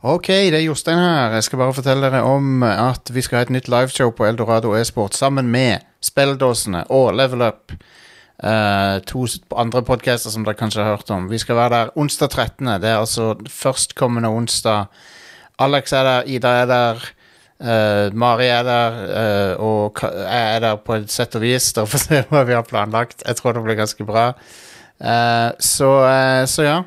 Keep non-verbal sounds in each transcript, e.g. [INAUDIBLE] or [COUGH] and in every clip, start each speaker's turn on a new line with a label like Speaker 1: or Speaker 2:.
Speaker 1: Ok, det er Jostein her. Jeg skal bare fortelle dere om eh, at vi skal ha et nytt liveshow på Eldorado e-sport sammen med Spelldåsene og Level Up. Eh, to s- andre podcaster som dere kanskje har hørt om. Vi skal være der onsdag 13. Det er altså førstkommende onsdag. Alex er der, Ida er der, eh, Mari er der, eh, og Ka- jeg er der på et sett og vis. [LAUGHS] Dere får se hva vi har planlagt. Jeg tror det blir ganske bra. Eh, så, eh, så ja.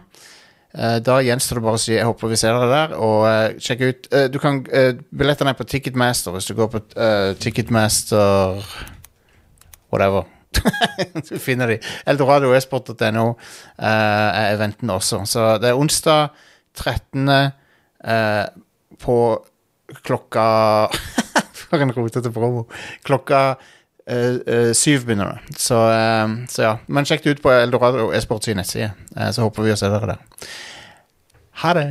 Speaker 1: Eh, Da gjenstår det bare å si jeg håper vi ser dere der. Og eh, sjekk ut eh, du kan, eh, Billettene er på Ticketmaster hvis du går på eh, Ticketmaster Whatever. [LAUGHS] du finner de. Eldoradoesport.no eh, er eventen også. Så det er onsdag 13. eh, på klokka [LAUGHS] For en rotete promo. Klokka eh, eh, syv begynner det. Så, eh, så ja. Men sjekk det ut på Eldorado Esport sin nettside, eh, så håper vi å se dere der. Ha det.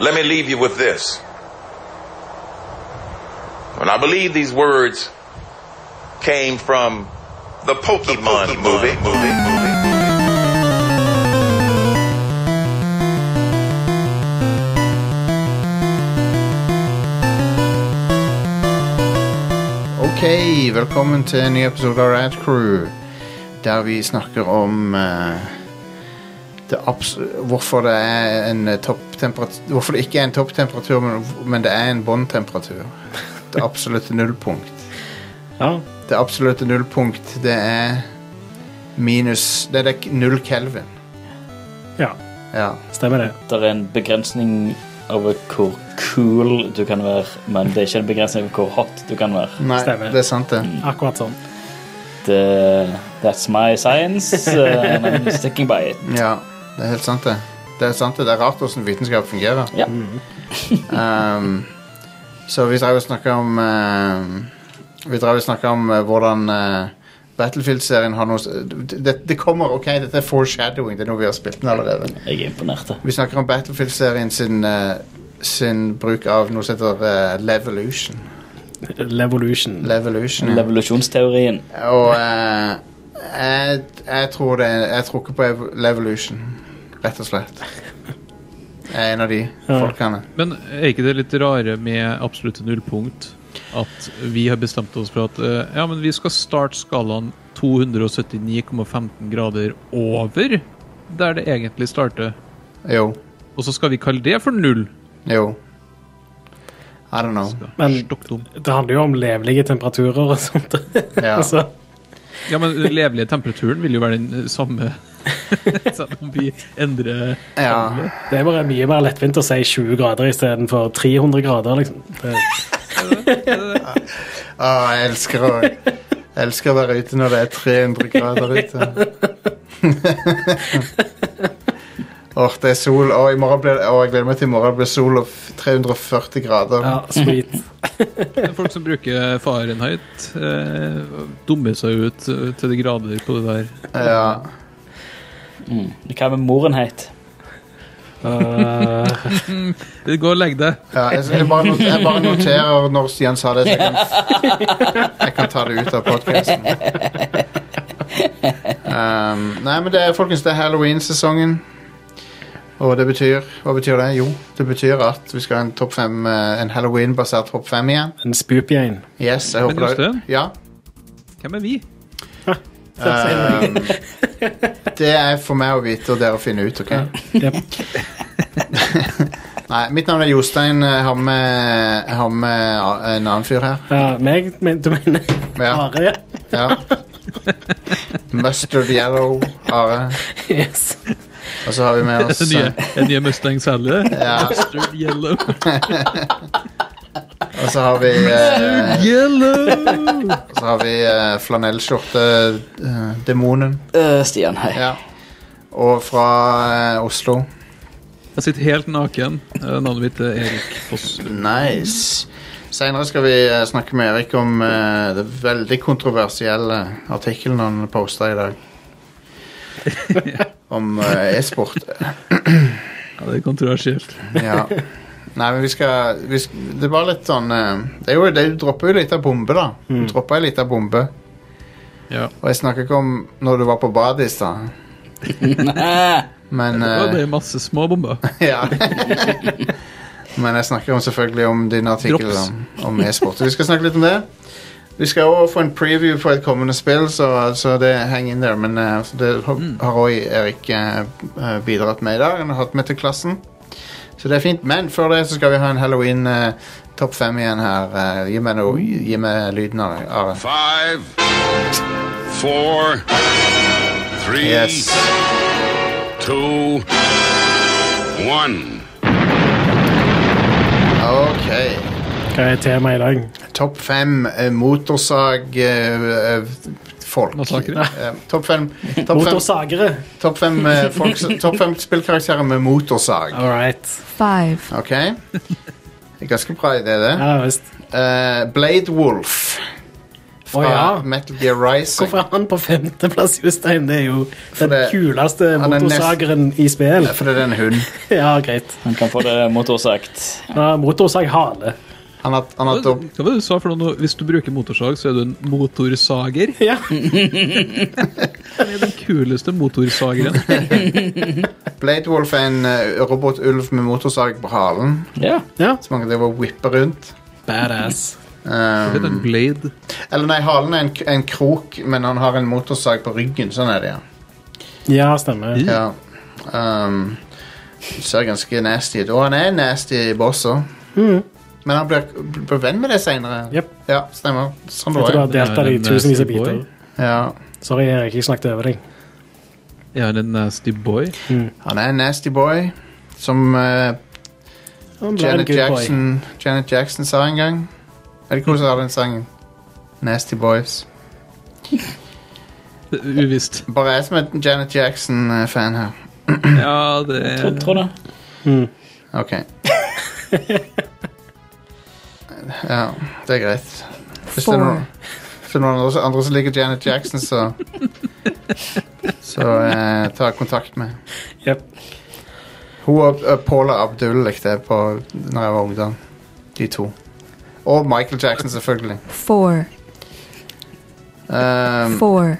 Speaker 2: Let me leave you with this. And I believe these words came from the Pokemon, movie.
Speaker 1: Ok, velkommen til en ny episode av Rad Crew. Der vi snakker om eh, det abs hvorfor, det er en eh, topptemperatur- hvorfor det ikke er en topptemperatur, men, men det er en båndtemperatur. Det absolutte nullpunkt.
Speaker 3: Ja.
Speaker 1: Det absolutte nullpunkt, det er minus Det er det k- null kelvin.
Speaker 3: ja.
Speaker 1: Ja.
Speaker 3: Stemmer det.
Speaker 4: Det er en begrensning over hvor cool du kan være, men det er ikke en begrensning over hvor hot du kan være.
Speaker 1: Nei,
Speaker 3: Stemmer.
Speaker 1: det er sant, det.
Speaker 3: Akkurat sånn.
Speaker 4: Det, that's my science, uh, and I'm sticking by it.
Speaker 1: Ja, det er helt sant, det. Det er sant det. Det er rart hvordan vitenskap fungerer.
Speaker 4: Ja.
Speaker 1: Um, så vi drev og snakka om eh, Vi drev og snakka om eh, hvordan eh, Battlefield-serien har noe s- det, det kommer, ok, dette er foreshadowing. Det er noe vi har spilt med allerede.
Speaker 4: Jeg er imponert. da.
Speaker 1: Vi snakker om Battlefield-serien sin, eh, sin bruk av noe som heter eh, Levolution.
Speaker 3: Levolution.
Speaker 1: Levolution ja.
Speaker 4: Levolusjonsteorien.
Speaker 1: Og eh, jeg, jeg tror det Jeg tror ikke på ev- Levolution, rett og slett. Jeg er en av de folkene.
Speaker 5: Men er ikke det litt rare med absolutt nullpunkt at vi har bestemt oss for at eh, ja, men vi skal starte skalaen 279,15 grader over der det egentlig starter,
Speaker 1: Jo.
Speaker 5: og så skal vi kalle det for null?
Speaker 1: Jo. I don't know.
Speaker 3: Men-
Speaker 5: Stokk dum.
Speaker 3: Det handler jo om levelige temperaturer og sånt. [LAUGHS]
Speaker 1: Ja.
Speaker 3: altså,
Speaker 5: Ja, men den levelige temperaturen vil jo være den samme [LAUGHS] selv om vi endrer
Speaker 1: ja.
Speaker 3: det er bare mye mer lettvint å si 20 grader istedenfor 300 grader, liksom. Det,
Speaker 1: Å, jeg elsker å jeg elsker å være ute når det er 300 grader ute. Åh, det er sol. Åh, i morgen blir det, åh, jeg gleder meg til i morgen. Det blir sol og f- 340 grader.
Speaker 3: ja, sweet.
Speaker 5: folk som bruker Fahrenheit. Eh, dummer seg ut eh, til de grader på det der.
Speaker 1: Ja.
Speaker 4: Mm. Hva med moren het?
Speaker 3: Uh,
Speaker 5: Gå og legg deg.
Speaker 1: ja jeg, jeg, bare not, jeg bare noterer når Stian sa det, så jeg kan, jeg kan ta det ut av podkasten. Um, nei, men det er, folkens, det er halloween-sesongen. Og det betyr Hva betyr det? Jo, det betyr at vi skal ha en, topp fem, eh, en halloween-basert topp fem igjen.
Speaker 3: en spoopjane.
Speaker 1: Yes, jeg
Speaker 5: Men
Speaker 1: håper det.
Speaker 5: Jostein?
Speaker 1: Ja.
Speaker 5: Hvem er vi?
Speaker 1: ehm, det er for meg å vite og dere å finne ut, OK?
Speaker 3: Yep.
Speaker 1: Nei, mitt navn er Jostein. Jeg har med, jeg har med a- en annen fyr her.
Speaker 3: Ja, meg, men, du mener
Speaker 1: Ja.
Speaker 3: Are? Ja.
Speaker 1: ja. Mustard Yellow, Are.
Speaker 3: Yes.
Speaker 1: Og så har vi med oss
Speaker 5: Den [LAUGHS] nye,
Speaker 1: eh,
Speaker 5: den nye Mustang Sally.
Speaker 1: [LAUGHS] Ja.
Speaker 5: Mustard Yellow.
Speaker 1: Og så har vi, eh,
Speaker 5: Yellow!
Speaker 1: så har vi eh, flanellskjorte-demonen.
Speaker 4: Øh, Stian, hei.
Speaker 1: ja. Og fra eh, Oslo.
Speaker 5: Jeg sitter helt naken. Eh, Navnet mitt er Erik Foss.
Speaker 1: Nice. Senere skal vi eh, snakke med Erik om eh, det veldig kontroversielle artikkelen han posta i dag. om eh, e-sport.
Speaker 5: Ja, det er kontroversielt.
Speaker 1: ja. Nei, men vi skal, vi sk- Det var litt sånn eh, Det, er jo, det dropper jo litt av bombe, da. Du dropper ei lita bombe.
Speaker 5: Ja.
Speaker 1: Og jeg snakker ikke om når du var på badet i stad, men
Speaker 5: Ja,
Speaker 1: eh,
Speaker 5: det er masse små bomber.
Speaker 1: Ja. [LAUGHS] Men jeg snakker om selvfølgelig om din artikkel
Speaker 5: Drops.
Speaker 1: om, om e-sport. Vi skal snakke litt om det. Vi skal òg få en preview på et kommende spill, så, så det hang in there. Men eh, så det har- har òg Erik eh, eh, bidratt med i dag. Han har hatt med til klassen. Så det er fint. Men før det så skal vi ha en halloween eh, topp fem igjen her. Eh, gi meg noe, gi meg lyden av det. Are.
Speaker 6: Five, four, three,
Speaker 1: Yes.
Speaker 6: two, one.
Speaker 1: OK.
Speaker 3: Hva er temaet i dag?
Speaker 1: Topp fem eh, motorsag... eh, eh, Folk.
Speaker 5: Massakre.
Speaker 1: Eh, Topp fem, topp fem,
Speaker 3: Motorsagere.
Speaker 1: topp fem, eh, folk, topp fem spillkarakterer med motorsag.
Speaker 3: All right.
Speaker 7: Five.
Speaker 1: Ok? Det er ganske bra idé, det.
Speaker 3: Ja visst.
Speaker 1: Eh, Blade Wolf fra
Speaker 3: Å, ja.
Speaker 1: Metal Gear Rising.
Speaker 3: Hvorfor er han på femteplass, Jostein? Det er jo den
Speaker 1: det-
Speaker 3: kuleste
Speaker 1: han er nest-
Speaker 3: motorsageren i spill.
Speaker 1: For det er en hund.
Speaker 3: [LAUGHS] Ja, greit.
Speaker 4: Han kan få det motorsagt.
Speaker 3: Ja, motorsag hale.
Speaker 1: Han har, han har
Speaker 5: Hva
Speaker 1: dob
Speaker 5: var det du sa for noe? nå? Hvis du bruker motorsag, så er du en motorsager?
Speaker 3: Ja.
Speaker 5: Det er den kuleste
Speaker 1: [LAUGHS]
Speaker 5: motorsageren.
Speaker 1: Blade Wolf er en eh, robotulv med motorsag på halen.
Speaker 4: Ja.
Speaker 3: ja.
Speaker 1: Som han kan drive og whippe rundt.
Speaker 3: Badass. [LAUGHS]
Speaker 5: Det er
Speaker 1: Um,
Speaker 5: en blade.
Speaker 1: eller nei, halen er en, k- en krok, men han har en motorsag på ryggen. Sånn er det, ja.
Speaker 3: Ja, stemmer.
Speaker 1: Ja. Um, ser ganske nasty ut. Og han er en nasty boss òg. Men han blir, blir venn med det seinere.
Speaker 3: Mm. Jep.
Speaker 1: Ja, stemmer. Sånn
Speaker 3: Jeg tror du
Speaker 1: var
Speaker 3: har
Speaker 1: det.
Speaker 3: delt
Speaker 5: Det
Speaker 3: den
Speaker 5: er
Speaker 3: i
Speaker 5: en
Speaker 3: tusenvis av
Speaker 5: nasty boy.
Speaker 3: biter.
Speaker 1: Ja.
Speaker 3: Sorry, Erik, jeg snakket over deg.
Speaker 5: Jeg er en nasty boy.
Speaker 1: Han er en nasty boy, som eh,
Speaker 3: Han ble en
Speaker 1: Janet,
Speaker 3: good boy.
Speaker 1: Jackson, Janet Jackson sa en gang. Er det ikke hun som har den sangen? Nasty Boys.
Speaker 5: Det er Eh, Uvisst.
Speaker 1: Bare jeg som er Janet Jackson-fan her.
Speaker 5: Ja, det er
Speaker 4: Tror, tror det.
Speaker 1: Ok. ja, det er greit. Hvis det er noen, hvis det er noen andre, andre som liker Janet Jackson, så Så eh, ta kontakt med
Speaker 3: Jep.
Speaker 1: Hun og og Paula Abdul likte jeg på når jeg var ungdom. De to. Og Michael Jackson, selvfølgelig.
Speaker 7: Four.
Speaker 1: Um,
Speaker 7: Four.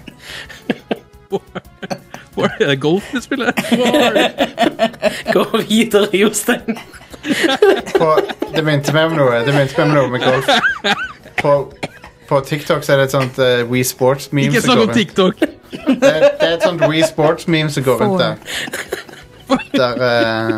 Speaker 5: Hvor er det golf vi spiller?
Speaker 1: [LAUGHS]
Speaker 3: Gå videre, Jostein.
Speaker 1: på, det minte meg om noe. Det minte meg om noe med golf. På, på TikTok så er det et sånt eh, We Sports-meme
Speaker 5: Ikke sånn
Speaker 1: som
Speaker 5: snakk
Speaker 1: går
Speaker 5: om
Speaker 1: rundt.
Speaker 5: TikTok!
Speaker 1: Det, er- det er et sånt We Sports-meme som går rundt der. Der eh,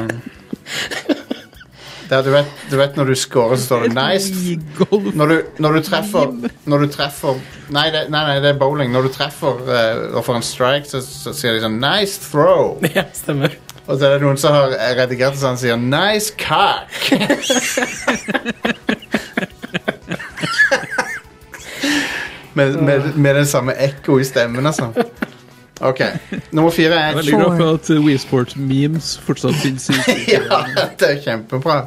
Speaker 1: Der du vet, du vet når du scorer, så står det 'nice'.
Speaker 5: I golf.
Speaker 1: Når du, når du treffer Når du treffer Nei, det, nei, nei, det er bowling. Når du treffer eh, og får en strike, så, så sier de sånn 'nice throw'.
Speaker 3: [LAUGHS] Ja, stemmer.
Speaker 1: Og så er det noen som har redigert det sånn og sier 'nice cock'. [LAUGHS] med, med, med den samme ekko i stemmen, altså. OK. Nummer fire
Speaker 5: Jeg er
Speaker 1: er
Speaker 5: veldig glad for at WeSport-memes fortsatt finnes. i-
Speaker 1: [LAUGHS] Ja, det er kjempebra.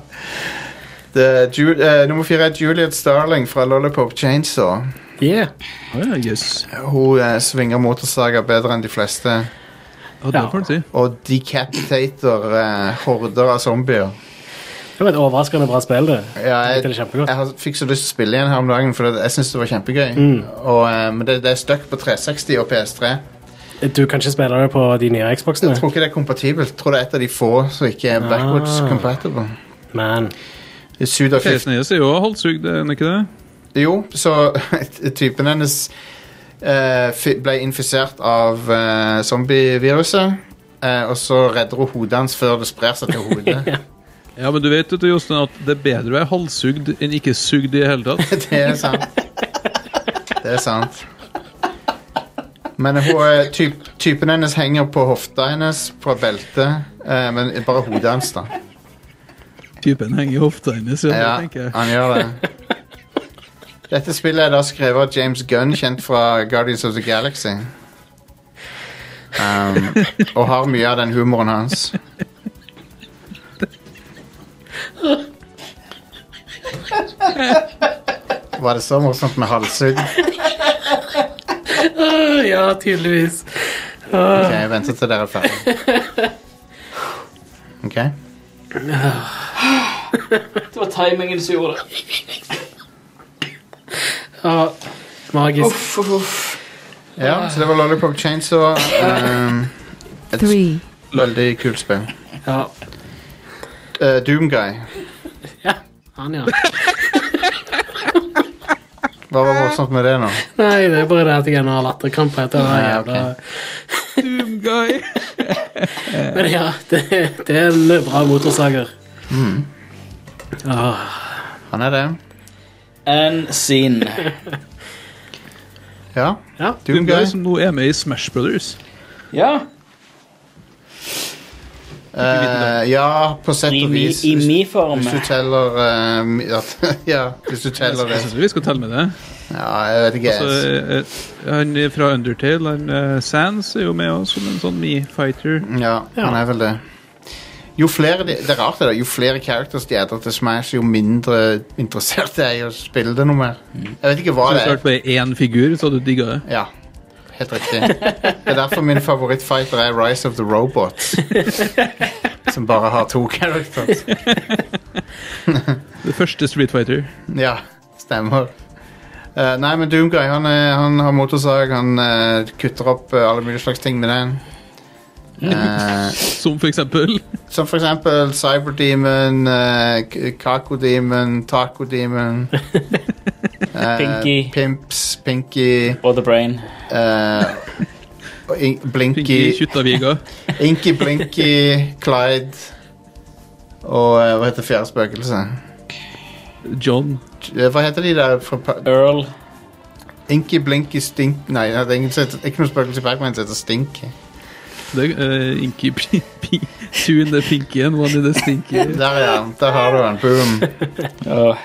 Speaker 1: Det er Ju eh, nummer fire er Juliet Starling fra Lollipop Chainsaw.
Speaker 3: Yeah.
Speaker 5: Å ja, jøss.
Speaker 1: Hun eh, svinger motorsager bedre enn de fleste.
Speaker 5: Ja, det får en si.
Speaker 1: Og decapitator eh, horder av zombier.
Speaker 3: Det var et overraskende bra spill, det.
Speaker 1: Ja,
Speaker 3: Jeg
Speaker 1: jeg,
Speaker 3: likte det kjempegodt.
Speaker 1: jeg har- fikk så lyst til å spille igjen her om dagen, for det- jeg syns det var kjempegøy.
Speaker 3: Mm.
Speaker 1: Og, eh, men det, det er stuck på 360 og PS3.
Speaker 3: Du kan ikke spille det på de nye Xboxene,
Speaker 1: Jeg tror ikke det er kompatibelt. Jeg tror det er et av de få som ikke er backwards
Speaker 3: Ah.
Speaker 1: compatible.
Speaker 3: men
Speaker 1: Det suger fif-
Speaker 5: Pesen hennes er jo halshugd, er den ikke det?
Speaker 1: Jo, så [LAUGHS] typen hennes eh, fi- ble infisert av eh, zombieviruset. eh, og så redder hun hodet hans før det sprer seg til
Speaker 3: [LAUGHS]
Speaker 1: hodet.
Speaker 5: Ja, men du vet vet du, Jostein, at det er bedre å være halshugd enn ikke sugd i det hele tatt.
Speaker 1: [LAUGHS] det er sant. Det er sant. Men hun, er- typ, typen hennes henger på hofta hennes, på beltet, eh, men bare hodet hans, da.
Speaker 5: Typen henger i hofta hennes, ja,
Speaker 1: Ja,
Speaker 5: tenker jeg.
Speaker 1: han gjør det. Dette spillet er da skrevet av James Gunn, kjent fra Guardians of the Galaxy. Um, og har mye av den humoren hans. Var det så morsomt med halshugg?
Speaker 3: Ah, Ja, tydeligvis. Ah.
Speaker 1: Ok, jeg venter til dere er ferdige. Ok.
Speaker 4: Det var timingen som gjorde det.
Speaker 3: Ja, magisk.
Speaker 1: Ja, så det var Lollipop Chainsaw. Um,
Speaker 7: Three.
Speaker 1: veldig kult spill.
Speaker 3: Ja.
Speaker 1: Eh, Doomguy
Speaker 3: Ja, han, ja. [LAUGHS]
Speaker 1: Hva var morsomt med det nå?
Speaker 3: Nei, det er bare det at jeg ennå har latterkrampe etter det
Speaker 1: Ja,
Speaker 3: jævla [LAUGHS]
Speaker 5: Doomguy.
Speaker 3: Men ja, det, det er en bra motorsager. Mm. Ah. Åh,
Speaker 1: Han er det.
Speaker 4: And scene.
Speaker 1: Ja.
Speaker 3: ja.
Speaker 5: Doomguy
Speaker 1: Doomguy.
Speaker 5: som nå er med i Smash Brothers.
Speaker 4: Ja.
Speaker 1: Eh, ja, på sett
Speaker 4: I,
Speaker 1: og
Speaker 4: mi,
Speaker 1: vis.
Speaker 4: i
Speaker 1: Hvis,
Speaker 4: mi form.
Speaker 1: hvis du teller eh, mi- at, [LAUGHS] Ja, hvis du teller
Speaker 5: Jeg
Speaker 1: det.
Speaker 5: synes vi skal telle med det.
Speaker 1: Ja, jeg vet ikke.
Speaker 5: Så, eh, han fra Undertale, han eh, Sans, er jo med også som en sånn me-fighter.
Speaker 1: Ja, han er vel det. Jo flere, de, det er rart det da, jo flere characters de adder til Smash, jo mindre interessert jeg er i å spille det noe mer. Jeg vet ikke hva det
Speaker 5: Hvis du
Speaker 1: er.
Speaker 5: klarte bare én figur, så hadde du digga det.
Speaker 1: Ja, helt riktig. Det er derfor min favorittfighter er Rise of the Robots. Som bare har to characters.
Speaker 5: Det første Street Fighter.
Speaker 1: Ja, stemmer. Eh, nei, men Doomguy han, er, han har motorsag, han eh, kutter opp eh, alle mulige slags ting med den. Eh,
Speaker 5: Som for eksempel
Speaker 1: som for eksempel Cyberdemon, eh, K- Kakodemon, Takodemon eh,
Speaker 4: Pinky.
Speaker 1: Pimps, Pinky,
Speaker 4: Og The Brain.
Speaker 1: eh, og In-
Speaker 5: Pinky
Speaker 1: Blinky,
Speaker 5: Kjuttaviga.
Speaker 1: Inky Blinky, Clyde og eh, hva heter fjerde spøkelse?
Speaker 5: John.
Speaker 1: Eh, Hva heter de der? fra Pa-
Speaker 4: Earl.
Speaker 1: Inky Blinky Stink Nei, det er ingen som heter, ikke noe spøkelse i Pac-Man som heter Stinky.
Speaker 5: Det, eh, Inky P- P- Tune the Pinky and One in the Stinky.
Speaker 1: Der, ja. Der har du den. Boom.
Speaker 4: Åh,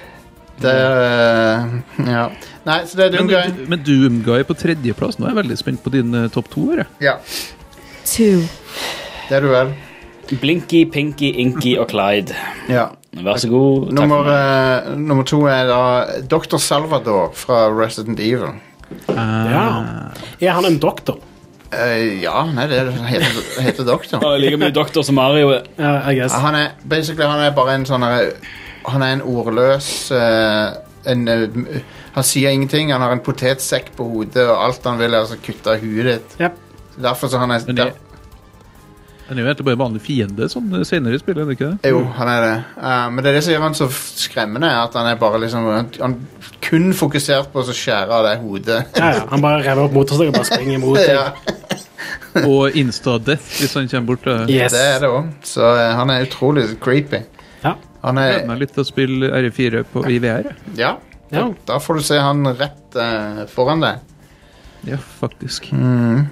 Speaker 1: Det er, eh, Ja. Nei, så det er
Speaker 5: Men,
Speaker 1: Doomguy.
Speaker 5: men Doomguy på tredjeplass. Nå er jeg veldig spent på din eh, topp to. her, jeg.
Speaker 1: Ja,
Speaker 7: two,
Speaker 1: det er du vel.
Speaker 4: Blinky, Pinky, Inky og Clyde.
Speaker 1: Ja.
Speaker 4: Vær så god. Takk
Speaker 1: Nummer,
Speaker 4: for meg.
Speaker 1: eh, nummer to er da Dr. Salvador fra Resident Evil.
Speaker 3: ja. Er han en doktor?
Speaker 1: Eh, ja, nei, det er- han heter, heter doktor.
Speaker 4: Åh, Jeg liker mye Doktor som Mario.
Speaker 3: Ja, I guess.
Speaker 1: Ja, Han er, basically, han er bare en sånn her- Han er en ordløs eh, en, eh, m- Han sier ingenting. Han har en potetsekk på hodet, og alt han vil, er å kutte av huet ditt.
Speaker 3: Yep.
Speaker 1: Derfor så han er
Speaker 5: Men
Speaker 1: der,
Speaker 5: det- Han er jo egentlig bare en vanlig fiende sånn eh, senere i spillet, er han ikke det?
Speaker 1: Jo, han er det. Eh, men det er det som gjør han så f- skremmende, er at han er bare liksom Han, han kun fokusert på å så skjære av det hodet.
Speaker 3: Ja, ja. Han bare rev opp motorsagen og bare springer [LAUGHS] imot deg.
Speaker 1: ja,
Speaker 5: Og Insta-Death, hvis han kommer bort. eh.
Speaker 3: Yes.
Speaker 1: det er det òg. Så eh, han er utrolig creepy.
Speaker 3: Ja.
Speaker 1: Han
Speaker 5: Gleder
Speaker 1: er
Speaker 5: meg litt til å spille R4 på i VR. jeg.
Speaker 1: Ja,
Speaker 3: Ja.
Speaker 1: da får du se han rett eh, foran deg.
Speaker 5: Ja, faktisk.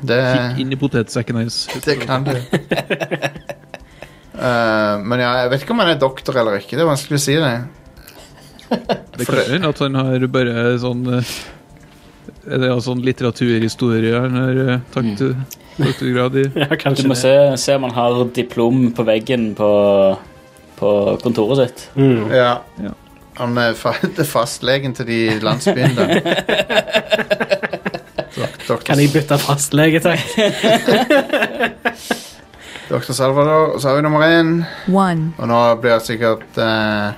Speaker 1: Det,
Speaker 5: Kikk inn i potetsekken hans.
Speaker 1: det kan du. Eh, men ja, jeg vet ikke om han er doktor eller ikke. Det er vanskelig å si det.
Speaker 5: Det kan hende at han har bare sånn eh, Er det jo sånn litteraturhistorie han har eh, takt- doktorgrad i?
Speaker 3: ja,
Speaker 4: Du
Speaker 3: kanskje
Speaker 4: må
Speaker 3: det.
Speaker 4: se, se om han har diplom på veggen på, på kontoret sitt.
Speaker 3: Mm.
Speaker 1: Ja.
Speaker 5: Ja.
Speaker 1: Han er fa [LAUGHS] fastlegen til de i landsbyen,
Speaker 3: [LAUGHS]
Speaker 1: da. Dok-
Speaker 3: Kan jeg bytte fastlege, takk?
Speaker 1: Dr. Salvador, og så har vi nummer én.
Speaker 7: one,
Speaker 1: Og nå blir jeg sikkert eh,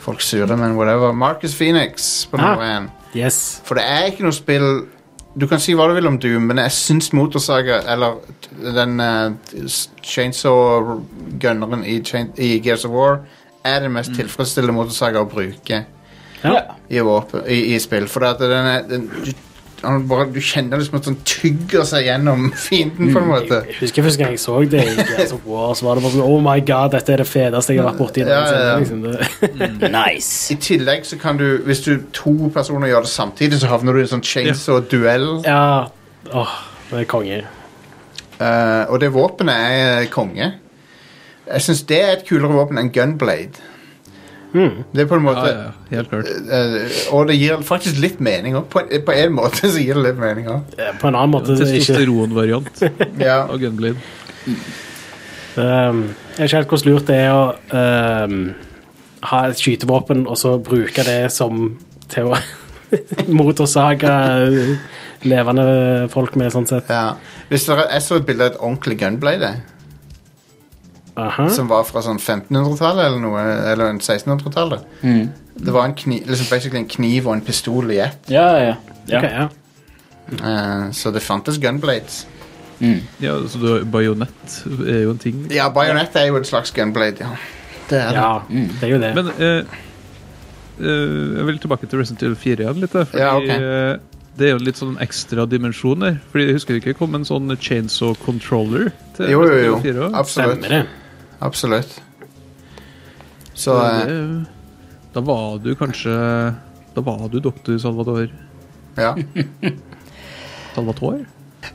Speaker 1: folk sure, men whatever. Marcus Phoenix på nummer
Speaker 3: Ah.
Speaker 1: én.
Speaker 3: Yes.
Speaker 1: For det er ikke noe spill Du kan si hva du vil om Doom, men jeg syns motorsaga, eller t- den eh, s- chainsaw-gunneren i, chain, i Gears of War, er den mest tilfredsstillende motorsaga å bruke
Speaker 3: Ja.
Speaker 1: i, våpen, i, i spill. For at den er den, du, han bare, du kjenner liksom at den tygger seg gjennom [LAUGHS] fienden, på en måte.
Speaker 3: Jeg husker første gang jeg så det i Gears of War, så var det bare sånn Oh my god, dette er det fedeste jeg har vært borti. i
Speaker 1: Ja, ja, ja.
Speaker 3: verden, Liksom. Det-
Speaker 4: Nice.
Speaker 1: I tillegg så kan du Hvis du to personer gjør det samtidig, så havner du i en sånn chainsaw-duell.
Speaker 3: Ja. Åh, det er konge.
Speaker 1: Eh, og det våpenet er eh, konge. Jeg syns det er et kulere våpen enn gunblade. Det er på en
Speaker 5: Ja,
Speaker 1: måte
Speaker 5: ja, helt klart.
Speaker 1: eh, Og det gir faktisk litt mening òg. På, en- på en måte så gir det litt mening òg.
Speaker 3: Eh, På en annen måte det er ikke,
Speaker 5: Testosteronvariant
Speaker 1: [LAUGHS] Ja.
Speaker 5: av Gunblade.
Speaker 3: um, Jeg vet ikke helt hvordan lurt det er å um, ha et skytevåpen og så bruke det som til å [LAUGHS] motorsage eh, levende folk med, sånn sett.
Speaker 1: Ja. Hvis dere, jeg så et bilde av et ordentlig gunblade
Speaker 3: Aha.
Speaker 1: som var fra sånn 1500-tallet eller noe, eller en 1600-tallet. Det var en kniv, liksom basically en kniv og en pistol i ett.
Speaker 4: Ja, ja. ja.
Speaker 3: Ok, ja.
Speaker 1: Eh, så det fantes gunblades.
Speaker 5: Ja, så du har bajonett er jo en ting.
Speaker 1: Ja, bajonett er jo et slags gunblade, ja. Det er det.
Speaker 3: Ja, det er jo det.
Speaker 5: Men eh, eh, jeg vil tilbake til Resident Evil 4 igjen litt. eh, Fordi
Speaker 1: Ja, ok.
Speaker 5: eh, det er jo litt sånn ekstra dimensjon der. Fordi jeg husker det ikke kom en sånn chainsaw controller til
Speaker 1: Jo, jo,
Speaker 5: Resident Evil
Speaker 1: jo.
Speaker 5: 4 også.
Speaker 1: Absolutt.
Speaker 3: Stemmer det.
Speaker 1: Absolutt. Så
Speaker 5: Og
Speaker 1: eh,
Speaker 5: det- Da var du kanskje Da var du doktor Salvador
Speaker 3: [LAUGHS]
Speaker 1: Ja.
Speaker 5: Salvatore?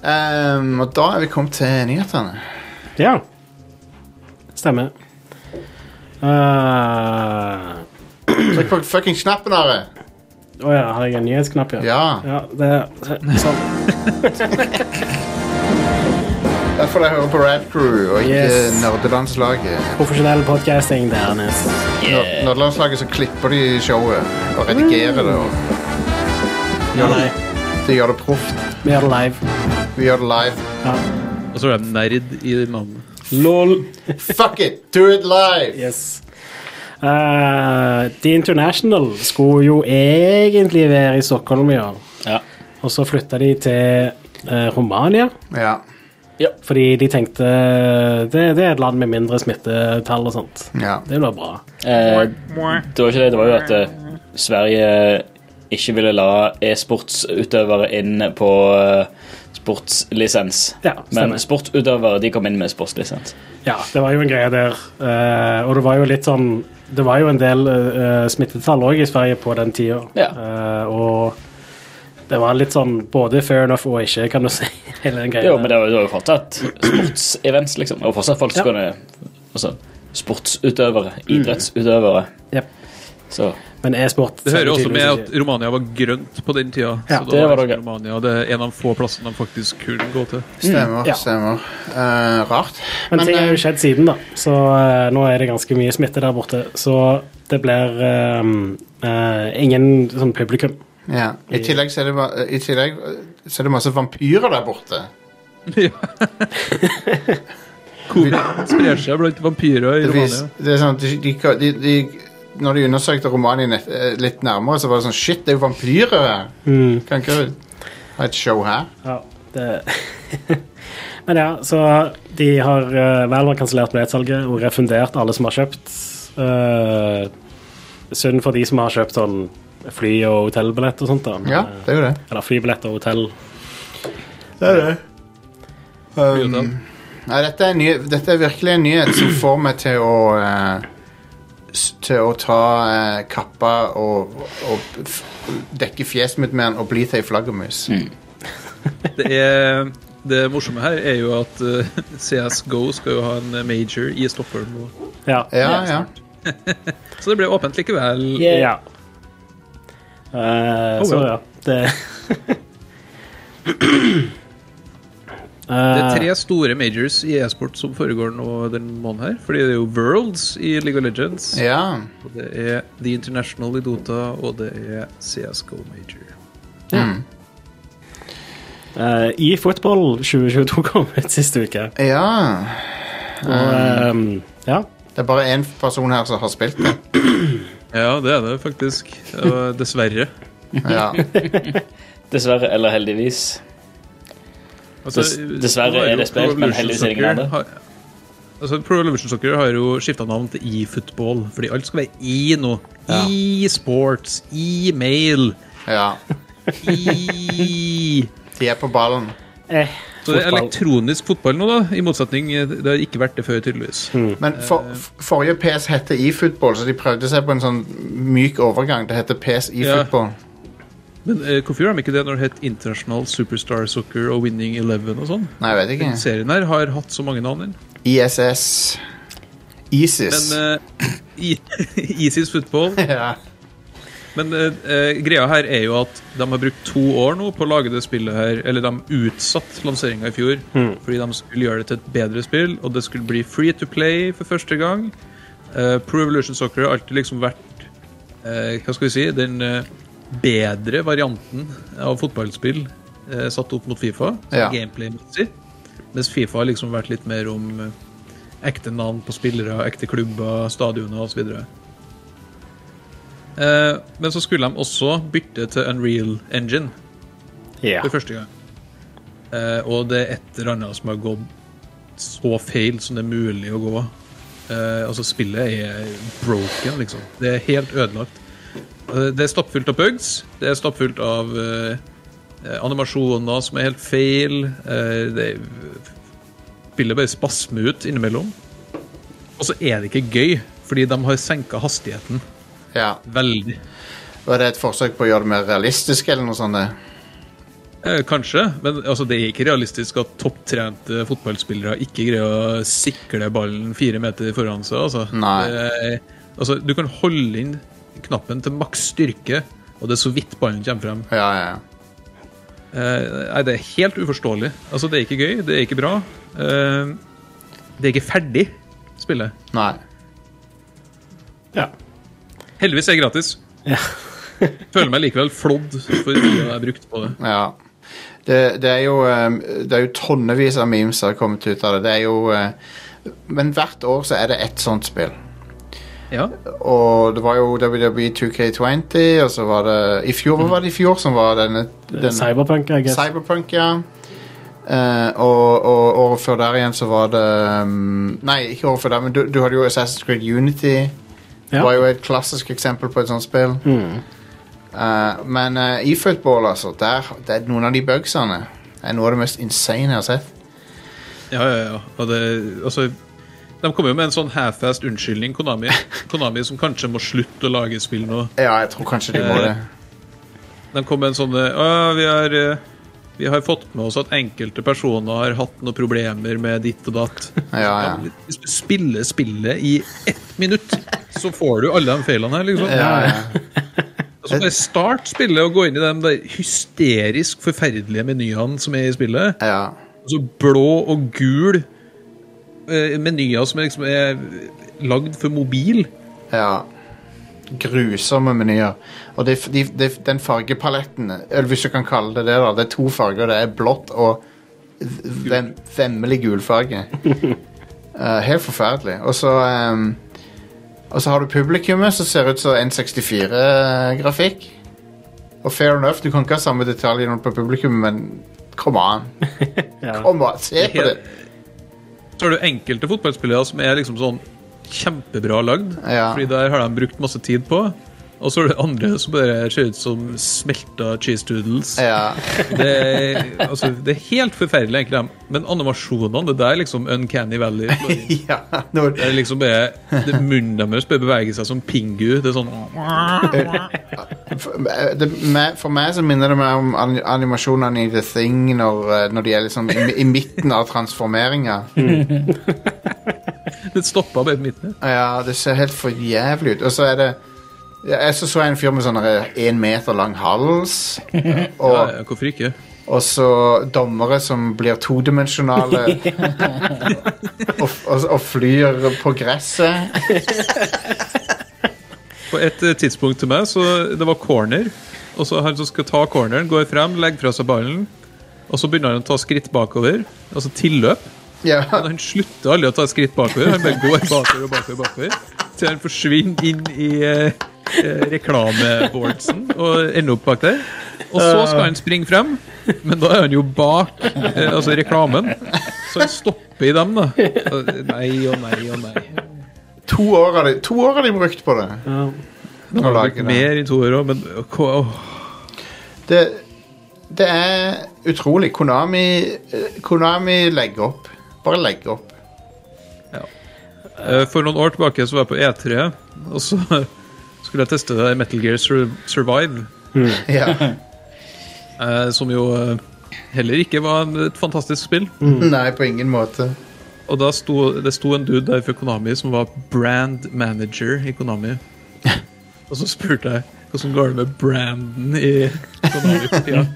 Speaker 1: Ehm, og da er vi kommet til nyhetene.
Speaker 3: Ja. Stemmer. Eh,
Speaker 1: Trykk på fuckings knappen, Are!
Speaker 3: Å ja, har jeg en nyhetsknapp, ja?
Speaker 1: Ja.
Speaker 3: Ja, det er sånn.
Speaker 1: Derfor jeg hører på Rad Crew og ikke
Speaker 3: Yes.
Speaker 1: Nerdelandslaget.
Speaker 3: Profesjonell podcasting, det er Nes.
Speaker 1: Når- Nerdelandslaget så klipper de showet og redigerer det. Og
Speaker 3: Ja, nei.
Speaker 1: de gjør det proft.
Speaker 3: Vi gjør det live.
Speaker 1: Vi gjør det live.
Speaker 5: Og så er det nerd i navnet.
Speaker 3: LOL.
Speaker 1: Fuck it! Do it live!
Speaker 3: Yes. Eh, The International skulle jo egentlig være i Stockholm i år,
Speaker 4: Ja.
Speaker 3: og så flytta de til eh, Romania.
Speaker 1: Ja.
Speaker 3: Fordi de tenkte det, det er et land med mindre smittetall og sånt.
Speaker 1: ja.
Speaker 3: Det blir bra.
Speaker 4: Eh, det var ikke det. Det var jo at eh, Sverige ikke ville la e-sportsutøvere inn på eh, sportslisens.
Speaker 3: Ja,
Speaker 4: Men
Speaker 3: stemmer.
Speaker 4: sportsutøvere de kom inn med sportslisens.
Speaker 3: Ja, det var jo en greie der. eh, og det var jo litt sånn Det var jo en del eh, smittetall òg i Sverige på den tida.
Speaker 4: Ja.
Speaker 3: Eh, og det var litt sånn både fair enough og ikke, kan du si. [LAUGHS] Hele den greia
Speaker 4: Jo,
Speaker 3: der.
Speaker 4: men det var det var jo fortsatt sportsevents, liksom. Og fortsatt folk som
Speaker 3: Ja.
Speaker 4: kunne altså, Sportsutøvere. Idrettsutøvere.
Speaker 3: Jep.
Speaker 4: Så
Speaker 3: Men e-sport
Speaker 5: Det hører
Speaker 3: selger
Speaker 5: også med
Speaker 3: tydeligvis
Speaker 5: at Romania var grønt på den tida.
Speaker 3: Ja,
Speaker 5: så da
Speaker 4: det var det
Speaker 5: liksom
Speaker 4: gøy.
Speaker 5: Romania det er en av få plassene de faktisk kunne gå til.
Speaker 1: Stemmer.
Speaker 3: Mm, ja.
Speaker 1: stemmer. Eh, rart.
Speaker 3: ikke. Men ting har
Speaker 1: eh,
Speaker 3: jo skjedd siden, da. Så eh, nå er det ganske mye smitte der borte. Så det blir eh, eh, ingen sånn publikum.
Speaker 1: ja. I tillegg, så er det, ma- I tillegg eh, så er det masse vampyrer der borte.
Speaker 5: Covid sprer seg blant vampyrer i
Speaker 1: Det, vis,
Speaker 5: Romania.
Speaker 1: det er sånn, at de, de, de, de, når de undersøkte Romania nett- eh, litt nærmere, så var det sånn Shit, det er jo vampyrer her! Kan ikke ha et show her?
Speaker 3: Ja, det [LAUGHS] Men ja, så de har uh, Valve har kansellert billettsalget og refundert alle som har kjøpt. Uh, synd for de som har kjøpt sånn fly- og hotellbillett og sånt. da. Eh,
Speaker 1: Ja, det er jo det.
Speaker 3: Eller flybillett og hotell.
Speaker 1: Det er det. Um, nei, dette er, en ny, dette er virkelig en nyhet som får meg til å eh, s- Til å ta eh, kappa og, og f dekke fjeset mitt med den og bli til ei flaggermus.
Speaker 5: Det, er, det morsomme her er jo at eh, CSGO skal jo ha en major i Stockholm. nå.
Speaker 3: Ja.
Speaker 1: Ja, ja.
Speaker 5: Så det ble åpent likevel.
Speaker 3: ja. Eh,
Speaker 5: Oh,
Speaker 3: så
Speaker 5: well.
Speaker 3: ja, det [LAUGHS]
Speaker 5: Det er tre store majors i e-sport som foregår nå den måneden her. Fordi det er jo Worlds i League of Legends,
Speaker 1: ja.
Speaker 5: og det er The International i Dota, og det er CSGO Major.
Speaker 3: Eh, I Football 2022 kom ut siste uke.
Speaker 1: ja.
Speaker 3: Og ehm, ja,
Speaker 1: Det er bare én person her som har spilt det.
Speaker 5: Ja, det er det faktisk. Og Dessverre.
Speaker 1: Ja.
Speaker 4: dessverre, eller heldigvis
Speaker 5: Altså,
Speaker 4: Dess- dessverre er det spilt, men heldigvis er det ingen andre.
Speaker 5: Har, altså, Pro Evolution Soccer har jo skifta navn til eFootball, fordi alt skal være i nå.
Speaker 1: Ja.
Speaker 5: E-sports, e-mail,
Speaker 1: ja.
Speaker 5: e...
Speaker 1: De er på ballen.
Speaker 3: eh,
Speaker 5: Så det er
Speaker 3: Fotball.
Speaker 5: elektronisk fotball nå, da. I motsetning eh, Det har ikke vært det før, tydeligvis.
Speaker 1: Men for, f- forrige PS hette eFootball, så de prøvde seg på en sånn myk overgang. Det heter PS eFootball.
Speaker 5: Men eh, hvorfor gjør de ikke det når det het International Superstar Soccer og Winning Eleven og sånn?
Speaker 1: Nei, jeg vet ikke.
Speaker 5: Serien her har hatt så mange navn. den.
Speaker 1: ISS. ISIS.
Speaker 5: Men eh, [LAUGHS] i- Isis Football
Speaker 1: [LAUGHS] ja.
Speaker 5: Men eh, eh, greia her er jo at de har brukt to år nå på å lage det spillet her. Eller de utsatt lanseringa i fjor fordi de skulle gjøre det til et bedre spill. Og det skulle bli free to play for første gang. Eh, Pro Evolution Soccer har alltid liksom vært eh, Hva skal vi si den eh, bedre varianten av fotballspill eh, satt opp mot Fifa,
Speaker 1: Ja.
Speaker 5: ja. gameplay-messig. Mens Fifa har liksom vært litt mer om eh, ekte navn på spillere, ekte klubber, stadioner osv. Eh, men så skulle de også bytte til Unreal Engine
Speaker 3: ja.
Speaker 5: for første gang. Eh, og det er et eller annet som har gått så feil som det er mulig å gå. Eh, altså, spillet er broken, liksom. Det er helt ødelagt. Eh, det er stappfullt av bugs. Det er stappfullt av eh, eh, animasjoner som er helt feil. Eh, det spillet bare spasmer ut innimellom. Og så er det ikke gøy, fordi de har senka hastigheten
Speaker 1: Ja.
Speaker 5: veldig.
Speaker 1: Var det et forsøk på å gjøre det mer realistisk, eller noe sånt? det?
Speaker 5: Eh, Kanskje, men altså, det er ikke realistisk at topptrente fotballspillere ikke greier å sikle ballen fire meter foran seg. Altså.
Speaker 1: Nei.
Speaker 5: Det er- altså, du kan holde inn knappen til maks styrke, og det er så vidt ballen kommer frem.
Speaker 1: Ja, ja, ja.
Speaker 5: Eh, nei, det er helt uforståelig. Altså, det er ikke gøy, det er ikke bra. Eh, det er ikke ferdig, spillet.
Speaker 1: Nei.
Speaker 3: Ja.
Speaker 5: Heldigvis er det gratis. Føler meg likevel flådd for tida jeg har brukt på det.
Speaker 1: Ja. Det, det, er jo, ehm, det er jo tonnevis av memes som har kommet ut av det. Det er jo eh, Men hvert år så er det ett sånt spill.
Speaker 5: Ja.
Speaker 1: Og det var jo E WWE 2K20, og så var det I fjor, hva var det i fjor som var denne? denne-
Speaker 3: Cyberpunk, jeg guess.
Speaker 1: Cyberpunk, ja. Eh, og, og året før der igjen så var det um, Nei, ikke året før der, men du, du hadde jo Assassin's Creed Unity. Det
Speaker 3: Ja. Mm.
Speaker 1: var jo et klassisk eksempel på et sånt spill. Eh, men eh, i football, altså, der, det er noen av de bugsene er noe av det mest insane jeg har sett.
Speaker 5: Ja, ja, ja. Og det, altså, de kommer jo med en sånn half-fast unnskyldning, Konami. Konami som kanskje må slutte å lage spill nå.
Speaker 1: Ja, jeg tror kanskje de må
Speaker 5: Eh,
Speaker 1: det.
Speaker 5: De kom med en sånn eh, «Å, vi, har, eh, vi har fått med oss at enkelte personer har hatt noen problemer med ditt og datt.
Speaker 1: Ja, ja.
Speaker 5: men Hvis du spiller spillet i ett minutt, så får du alle de feilene her, liksom.
Speaker 1: Ja, ja.
Speaker 5: Og så bare start spillet og gå inn i de der hysterisk forferdelige menyene som er i spillet.
Speaker 1: ja.
Speaker 5: Altså blå og gul eh, menyer som er liksom er lagd for mobil.
Speaker 1: Ja. Grusomme menyer. Og det, de, de, den fargepaletten, eller hvis du kan kalle det det, da. Det er to farger. Det er blått og vem, vemmelig [LAUGHS] gulfarge. Eh, helt forferdelig. Og så ehm, Og så har du publikummet som ser ut som N64-grafikk. Og fair enough, du kan ikke ha samme detaljer på publikum, men kom an.
Speaker 3: Ja.
Speaker 1: Kom an, se på det!
Speaker 5: Så har du enkelte fotballspillere som er liksom sånn kjempebra lagd,
Speaker 1: Ja.
Speaker 5: fordi der har de brukt masse tid på. Og så er det andre som bare ser ut som smelta cheese doodles.
Speaker 1: [LAUGHS] Ja.
Speaker 5: Det, er, altså, det er helt forferdelig, egentlig. dem. Men animasjonene, det der er liksom uncanny valley. Det
Speaker 1: [LAUGHS] ja. Når,
Speaker 5: er liksom bare det Munnen deres bare beveger seg som pingu. Det er sånn
Speaker 1: For, det, me- for meg så minner det meg om an- animasjonene i The Thing når, eh, når de er liksom i, i midten av transformeringa.
Speaker 5: Det stoppa bare på midten.
Speaker 1: Ja, det ser helt for jævlig ut. Og så er det ja, Jeg så, så jeg en fyr med sånn eh, én meter lang hals.
Speaker 5: Ja,
Speaker 1: Og,
Speaker 5: ja, hvorfor ikke?
Speaker 1: og så dommere som blir todimensjonale. og, og, og flyr på gresset.
Speaker 5: På et eh, tidspunkt til meg, så det var corner. Og så han som skal ta corneren, går frem, legger fra seg ballen. Og så begynner han å ta skritt bakover. Altså tilløp.
Speaker 1: Ja,
Speaker 5: Men han slutter aldri å ta skritt bakover. Han bare går bakover og bakover. og bakover Til han forsvinner inn i eh, eh, reklameboardsen og ender opp bak der. Og så skal han springe frem, men da er han jo bak eh, altså reklamen. Så han stopper i dem, da. Og Nei og nei og nei.
Speaker 1: to år har de, to år har de brukt på det.
Speaker 3: Ja.
Speaker 5: Nå
Speaker 1: Å
Speaker 5: har
Speaker 1: lage
Speaker 5: det
Speaker 1: det.
Speaker 5: blitt mer i to år òg, men åh.
Speaker 1: Det, det er utrolig. Konami, eh, Konami legger opp. Bare legger opp.
Speaker 5: Eh, For noen år tilbake så var jeg på E3, og så [LAUGHS] skulle jeg teste det i Metal Gear Sur Survive,
Speaker 3: Mm.
Speaker 1: [LAUGHS] Ja.
Speaker 5: eh, som jo eh, heller ikke var en- et fantastisk spill.
Speaker 3: Mm.
Speaker 1: Nei, på ingen måte.
Speaker 5: Og da sto, det sto en dude der fra Konami som var brand manager i Konami. Og så spurte jeg hvordan går det med branden i Konami for tida.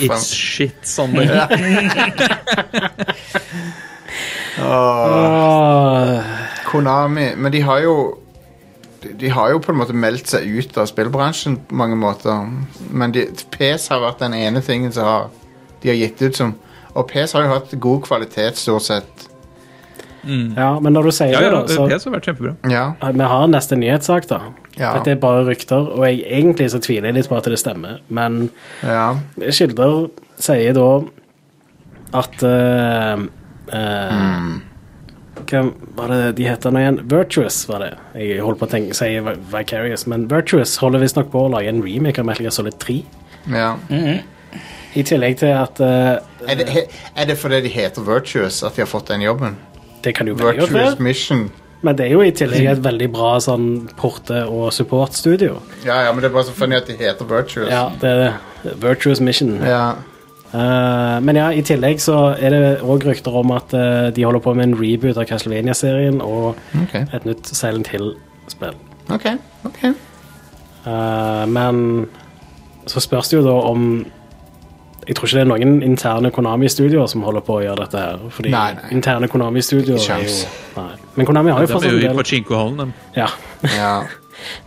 Speaker 5: It's shit, Sander.
Speaker 3: Åh,
Speaker 1: Konami Men de har jo de- De har jo på en måte meldt seg ut av spillbransjen på mange måter. Men de, PS har vært den ene tingen som har de har gitt ut som Og PS har jo hatt god kvalitet, stort sett.
Speaker 3: ja, men når du sier
Speaker 5: Ja, ja,
Speaker 3: det, da,
Speaker 5: det har vært kjempebra.
Speaker 1: Ja.
Speaker 3: så Vi har neste nyhetssak, da.
Speaker 1: Ja.
Speaker 3: Dette er bare rykter, og jeg, egentlig så tviler jeg litt på at det stemmer, men
Speaker 1: ja.
Speaker 3: Kilder
Speaker 1: Hmm.
Speaker 3: sier da at eh, eh, Hva var det de heter nå igjen? Virtuous, var det. Jeg holdt på å tenke, si Vi- Vicarious, men Virtuous holder visstnok på å lage en remake av Metal Gear Solid 3.
Speaker 1: Ja.
Speaker 3: I tillegg til at eh,
Speaker 1: Er, det, he- er det fordi de heter Virtuous at de har fått den jobben?
Speaker 3: Det kan jo være gjort,
Speaker 1: Virtuous
Speaker 3: det.
Speaker 1: Mission.
Speaker 3: Men det er jo i tillegg et veldig bra sånn porte- og supportstudio.
Speaker 1: Ja, ja, men det er bare så funny at de heter Virtuous.
Speaker 3: Ja, det er det. Virtuous Mission.
Speaker 1: Ja.
Speaker 3: Eh, men ja, i tillegg så er det òg rykter om at eh, de holder på med en reboot av Castlevania-serien og
Speaker 1: Ok.
Speaker 3: et nytt Silent Hill-spill.
Speaker 1: Ok. ok.
Speaker 3: Eh, men så spørs det jo da om Jeg tror ikke det er noen interne Konami-studioer som holder på å gjøre dette her. Fordi
Speaker 1: Nei, nei.
Speaker 3: interne Konami-studioer
Speaker 1: Ikke
Speaker 3: er jo
Speaker 1: sjans.
Speaker 3: nei. Men Konami har jo
Speaker 5: De er
Speaker 3: fortsatt
Speaker 5: jo i
Speaker 3: en del
Speaker 5: Pachinko-hallen,
Speaker 3: ja.
Speaker 1: Ja.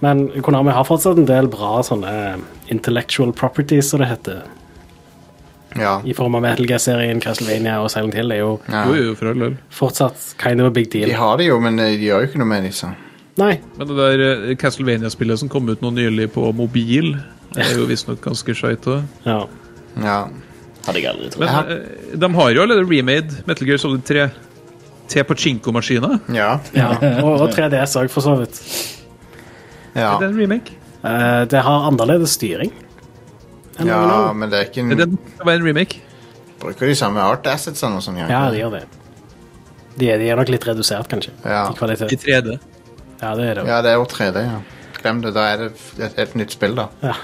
Speaker 3: Men Konami har fortsatt en del bra sånne eh, intellectual properties, som det heter.
Speaker 1: ja.
Speaker 3: I form av Metal Gear-serien, Castlevania og Silent Hill er jo
Speaker 1: ja.
Speaker 5: de. Jo, jo, for all del.
Speaker 3: fortsatt kind of a big deal.
Speaker 1: De har det jo, men eh, de gjør jo ikke noe med det. så.
Speaker 3: Nei,
Speaker 5: Men det der eh, Castlevania-spillet som kom ut nå nylig på mobil, er jo visstnok ganske skeit òg.
Speaker 3: ja.
Speaker 1: Ja.
Speaker 4: Hadde jeg aldri trodd.
Speaker 5: Men
Speaker 1: Ja.
Speaker 5: eh, de har jo allerede remade Metal Gear Solid 3 til Pachinko-maskiner.
Speaker 1: Ja.
Speaker 3: ja. Og, og 3DS òg, for så vidt.
Speaker 1: ja.
Speaker 5: Er det en remake?
Speaker 3: Eh, det har annerledes styring. enn
Speaker 1: Ja,
Speaker 3: originalen.
Speaker 1: men det er ikke
Speaker 5: Er det
Speaker 1: en,
Speaker 5: det var en remake?
Speaker 1: Bruker de samme art assetsene og sånn? gjør de
Speaker 3: Ja,
Speaker 1: ikke
Speaker 3: de gjør det. De er, de er nok litt redusert, kanskje.
Speaker 1: Ja.
Speaker 3: I kvalitet.
Speaker 5: I 3D.
Speaker 3: Ja, det er det.
Speaker 1: det? Ja, det er jo 3D, ja. Glem det. Da er det f- et helt nytt spill, da.
Speaker 3: Eh,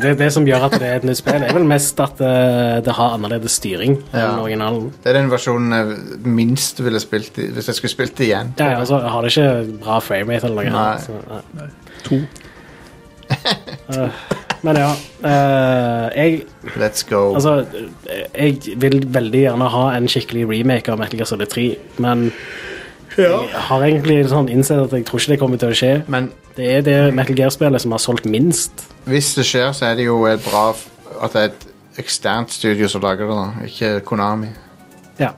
Speaker 3: Det, det som gjør at det er et nytt spill, er vel mest at eh, det har annerledes styring
Speaker 1: Ja.
Speaker 3: enn originalen.
Speaker 1: Det er den versjonen jeg minst ville spilt i, hvis jeg skulle spilt det igjen.
Speaker 3: Ja, ja, altså, har det ikke bra framerate eller noe.
Speaker 1: Nei.
Speaker 3: Så, nei. [LAUGHS]
Speaker 5: To.
Speaker 3: Men ja, eh, jeg,
Speaker 1: Let's go.
Speaker 3: altså, eh, jeg vil veldig gjerne ha en skikkelig remake av Metal Gear Solid 3, men jeg har egentlig sånn innsett at jeg tror ikke det kommer til å skje.
Speaker 1: men
Speaker 3: Det er det Metal Gear-spillet som har solgt minst.
Speaker 1: hvis det skjer, så er det jo et bra f- at det er et eksternt studio som lager det, da. Ikke Konami.
Speaker 3: Ja.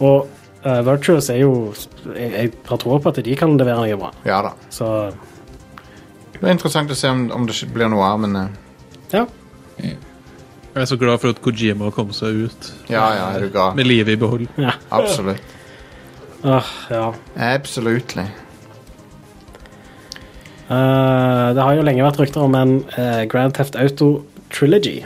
Speaker 3: Og eh, Virtuous er jo Jeg, jeg har tro på at de kan levere noe bra,
Speaker 1: Ja da.
Speaker 3: så
Speaker 1: Det blir interessant å se om, om det blir noe av, men eh,
Speaker 3: ja.
Speaker 5: Jeg er så glad for at Kojima kom seg ut
Speaker 1: ja, ja, er du gal.
Speaker 5: med livet i behold.
Speaker 3: ja.
Speaker 1: Absolutt.
Speaker 3: Åh, ja.
Speaker 1: Absolutt.
Speaker 3: Eh, det har jo lenge vært rykter om en eh, Grand Theft Auto-trilogy.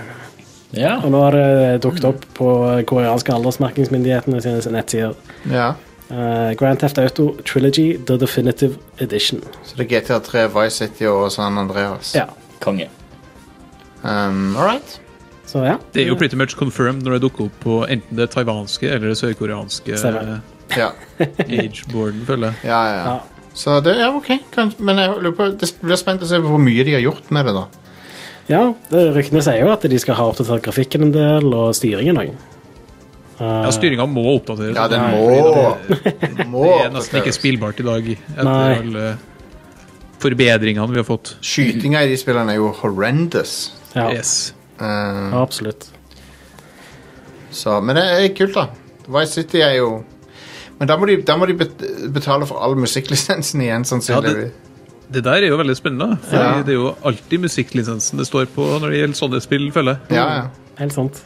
Speaker 4: Ja.
Speaker 3: Og nå har det eh, dukket opp på koreanske aldersmerkingsmyndighetene sine nettsider.
Speaker 1: Ja.
Speaker 3: Eh, Grand Theft Auto Trilogy The Definitive Edition.
Speaker 1: Så det er GTA3, Vice City og San Andreas.
Speaker 3: Ja.
Speaker 4: Konge.
Speaker 1: Um, all right.
Speaker 3: Så ja.
Speaker 5: Det er jo pretty much confirmed når det dukker opp på enten det taiwanske eller det sørkoreanske
Speaker 3: Stemmer.
Speaker 1: Ja.
Speaker 5: [LAUGHS] ageboarden, føler jeg.
Speaker 1: Ja, ja.
Speaker 3: Ja.
Speaker 1: Så det er ok. Kan, men jeg lurer på, det blir spent å se hvor mye de har gjort med det, da.
Speaker 3: ja det- ryktene sier jo at de skal ha oppdatert grafikken en del, og styringen òg.
Speaker 5: Ja, Styringa må oppdateres.
Speaker 1: Ja, den
Speaker 5: Nei,
Speaker 1: må
Speaker 5: fordi Det,
Speaker 1: Må
Speaker 5: [LAUGHS] det er nesten ikke
Speaker 1: oppdateres.
Speaker 5: spillbart i dag etter
Speaker 3: Nei.
Speaker 5: alle forbedringene vi har fått.
Speaker 1: Skytinga i de spillene er jo horrendous.
Speaker 3: Ja,
Speaker 5: Yes.
Speaker 1: Eh,
Speaker 3: ja, absolutt.
Speaker 1: så, men det er kult, da. Vice City er jo Men da må de, da må de bet- betale for all musikklisensen igjen, sannsynligvis.
Speaker 5: Det der er jo veldig spennende. For
Speaker 1: Ja.
Speaker 5: Det er jo alltid musikklisensen det står på når det gjelder sånne spill, føler jeg.
Speaker 1: Ja, ja.
Speaker 3: Helt sant.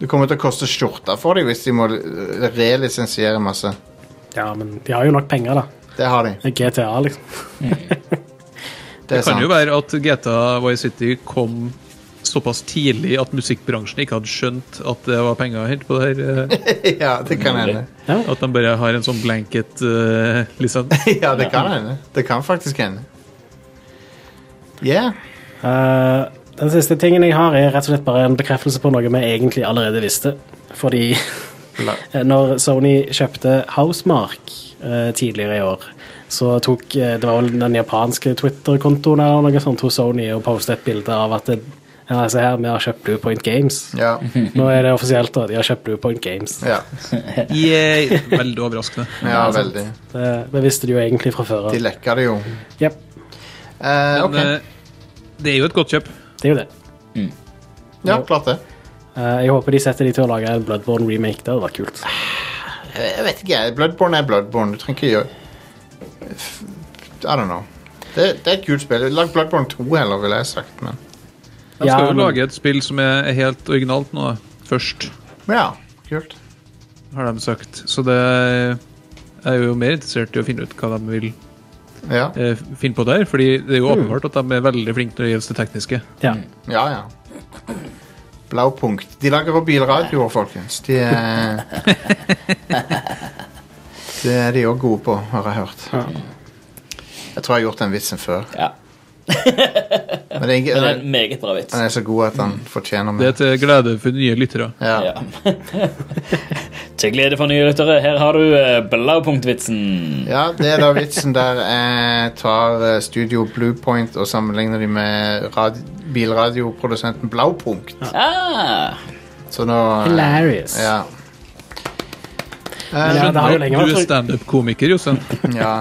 Speaker 1: Det kommer til å koste skjorta for dem hvis de må eh, relisensiere masse.
Speaker 3: Ja, men de har jo nok penger, da.
Speaker 1: Det har de.
Speaker 3: Det er GTA, liksom.
Speaker 1: Det
Speaker 5: Det
Speaker 1: er
Speaker 5: kan jo
Speaker 1: sant.
Speaker 5: være at GTA Vice City kom såpass tidlig at musikkbransjen ikke hadde skjønt at det var penger å hente på det her. eh,
Speaker 1: [LAUGHS] Ja, det kan hende.
Speaker 5: At de bare har en sånn eh, blanket-lisens.
Speaker 1: Ja, det kan hende. Det kan faktisk hende. Yeah.
Speaker 3: Eh, den siste tingen jeg har, er rett og slett bare en bekreftelse på noe vi egentlig allerede visste. Fordi [LAUGHS] eh, når Sony kjøpte Housemark eh, tidligere i år, så tok eh, Det var vel den japanske Twitter-kontoen eller noe sånt hos Sony og postet et bilde av at det, ja, se her, vi har kjøpt Bluepoint Games.
Speaker 1: Ja.
Speaker 3: Nå er det offisielt, da. De har kjøpt Bluepoint Games.
Speaker 1: ja.
Speaker 5: Yay! Veldig overraskende.
Speaker 1: Ja, veldig.
Speaker 3: Det, det visste de jo egentlig fra før
Speaker 1: De
Speaker 3: av.
Speaker 1: lekker det jo.
Speaker 3: Jep,
Speaker 1: Eh, ok,
Speaker 5: Men, eh, det er jo et godt kjøp.
Speaker 3: det er jo det.
Speaker 1: ja, klart det.
Speaker 3: Eh, jeg håper de setter de til å lage en Bloodborne remake. Det hadde vært kult.
Speaker 1: Jeg vet ikke, jeg. Bloodborne er Bloodborne. Du trenger ikke gjøre F- I don't know. Det, det er et kult spill. Lag Bloodborne 2 heller, ville jeg sagt. Men
Speaker 5: De skal
Speaker 3: Ja,
Speaker 5: jo
Speaker 3: men-
Speaker 5: lage et spill som er helt originalt nå, da. først,
Speaker 1: men ja, kult.
Speaker 5: har de sagt. Så det Jeg er jo mer interessert i å finne ut hva de vil
Speaker 1: Ja,
Speaker 5: eh, finne på der, fordi det er jo åpenbart at de er veldig flinke når det gjelder det tekniske.
Speaker 3: Ja.
Speaker 1: ja. ja. Blaupunkt. De lager også bilradioer, folkens. De er Det er de òg gode på, har jeg hørt. Jeg tror jeg har gjort den vitsen før.
Speaker 4: Ja.
Speaker 1: Men det er ikke,
Speaker 4: Men det er en meget bra vits. Mm.
Speaker 1: han er så god at han fortjener
Speaker 5: Det
Speaker 1: mer.
Speaker 5: er til glede for nye lyttere.
Speaker 1: Ja.
Speaker 4: Ja. [LAUGHS] Til glede for nye lyttere, her har du eh, bladpunktvitsen.
Speaker 1: ja, det er da vitsen der jeg tar eh, Studio Bluepoint og sammenligner de med radi bilradioprodusenten Blaupunkt.
Speaker 4: Ah,
Speaker 1: Så nå eh,
Speaker 3: Hilarious.
Speaker 1: Ja.
Speaker 3: Men ja, det har jo lenge
Speaker 5: du er altså.
Speaker 3: vært,
Speaker 5: standup-komiker, Jostein.
Speaker 1: ja.